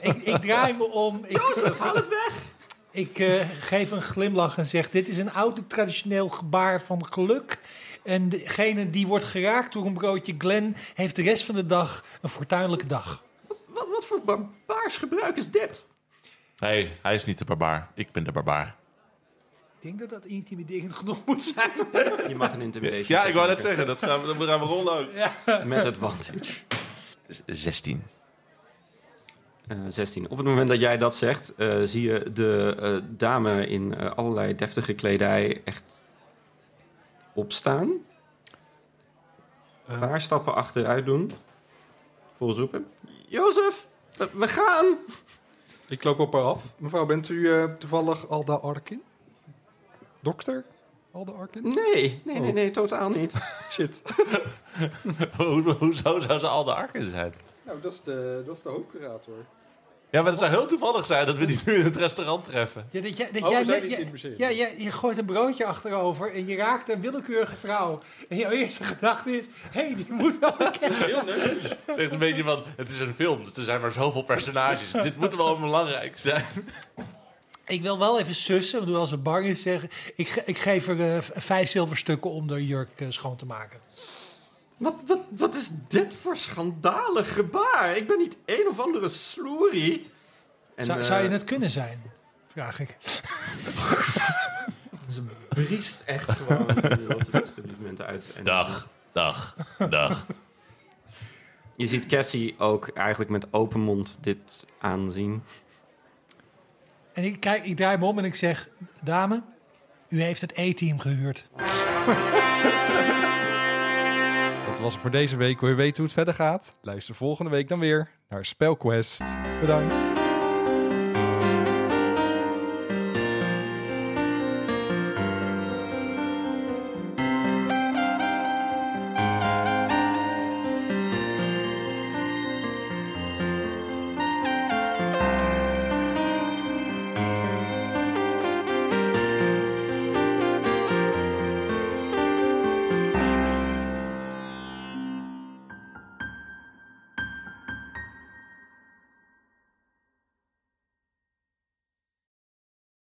[SPEAKER 3] Ik, ik draai me om. Ik,
[SPEAKER 4] Jozef, haal het weg.
[SPEAKER 3] ik eh, geef een glimlach en zeg: Dit is een oud traditioneel gebaar van geluk. En degene die wordt geraakt door een broodje Glen heeft de rest van de dag een fortuinlijke dag.
[SPEAKER 4] "Oh, Wat, wat voor barbaars gebruik is dit?
[SPEAKER 2] Hey, hij is niet de barbaar. Ik ben de barbaar.
[SPEAKER 3] Ik denk dat dat intimiderend genoeg moet zijn.
[SPEAKER 4] Je mag een intimidation.
[SPEAKER 2] Ja, ik wou net
[SPEAKER 4] check
[SPEAKER 2] zeggen. Dat gaan we, dat gaan we rollen ook.
[SPEAKER 4] maken. Met advantage.
[SPEAKER 2] Het is 16.
[SPEAKER 4] Eh 16. Op het moment dat jij dat zegt, eh, zie je de eh, dame in eh, allerlei deftige kledij echt opstaan. Een
[SPEAKER 1] Eh.
[SPEAKER 4] paar stappen achteruit doen. Volgens roepen. Jozef, we- we gaan.
[SPEAKER 1] Ik loop op haar af. Mevrouw, bent u eh, toevallig Alda Arkin? Dokter? Alda Arkin?
[SPEAKER 4] Nee, Oh. nee, nee, nee, totaal niet.
[SPEAKER 1] Shit.
[SPEAKER 2] Hoe- Hoezo zou ze al de arken zijn?
[SPEAKER 1] Nou, dat is de, dat is de hoofdcurator.
[SPEAKER 2] Ja, maar het zou heel toevallig zijn dat we die nu in het restaurant treffen.
[SPEAKER 3] Ja, dat jij, dat
[SPEAKER 1] Oh, we
[SPEAKER 3] jij,
[SPEAKER 1] zijn
[SPEAKER 3] net-
[SPEAKER 1] niet
[SPEAKER 3] jij-
[SPEAKER 1] in het museum.
[SPEAKER 3] ja, jij- je gooit een broodje achterover en je raakt een willekeurige vrouw. En jouw eerste gedachte is, hé, hey, die moet wel bekend zijn.
[SPEAKER 2] Het is echt een beetje van, het is een film, dus er zijn maar zoveel personages. Dit moet wel belangrijk zijn.
[SPEAKER 3] Ik wil wel even sussen, want als ze bang is, zeggen... Ik, ge- ik geef er eh, v- vijf zilverstukken om de jurk eh, schoon te maken.
[SPEAKER 4] Wat, wat, wat is dit voor schandalig gebaar? Ik ben niet een of andere sloerie. En,
[SPEAKER 3] zou,
[SPEAKER 4] eh,
[SPEAKER 3] zou je het kunnen zijn? Vraag ik.
[SPEAKER 4] Ze briest echt gewoon. Je loopt het establishment uit. En eh,
[SPEAKER 2] Dag, dag, dag.
[SPEAKER 4] Je ziet Cassie ook eigenlijk met open mond dit aanzien.
[SPEAKER 3] En ik, kijk, ik draai me om en ik zeg... Dame, u heeft het E-team gehuurd.
[SPEAKER 1] Dat was het voor deze week. Wil je weten hoe het verder gaat? Luister volgende week dan weer naar Spelquest. Bedankt.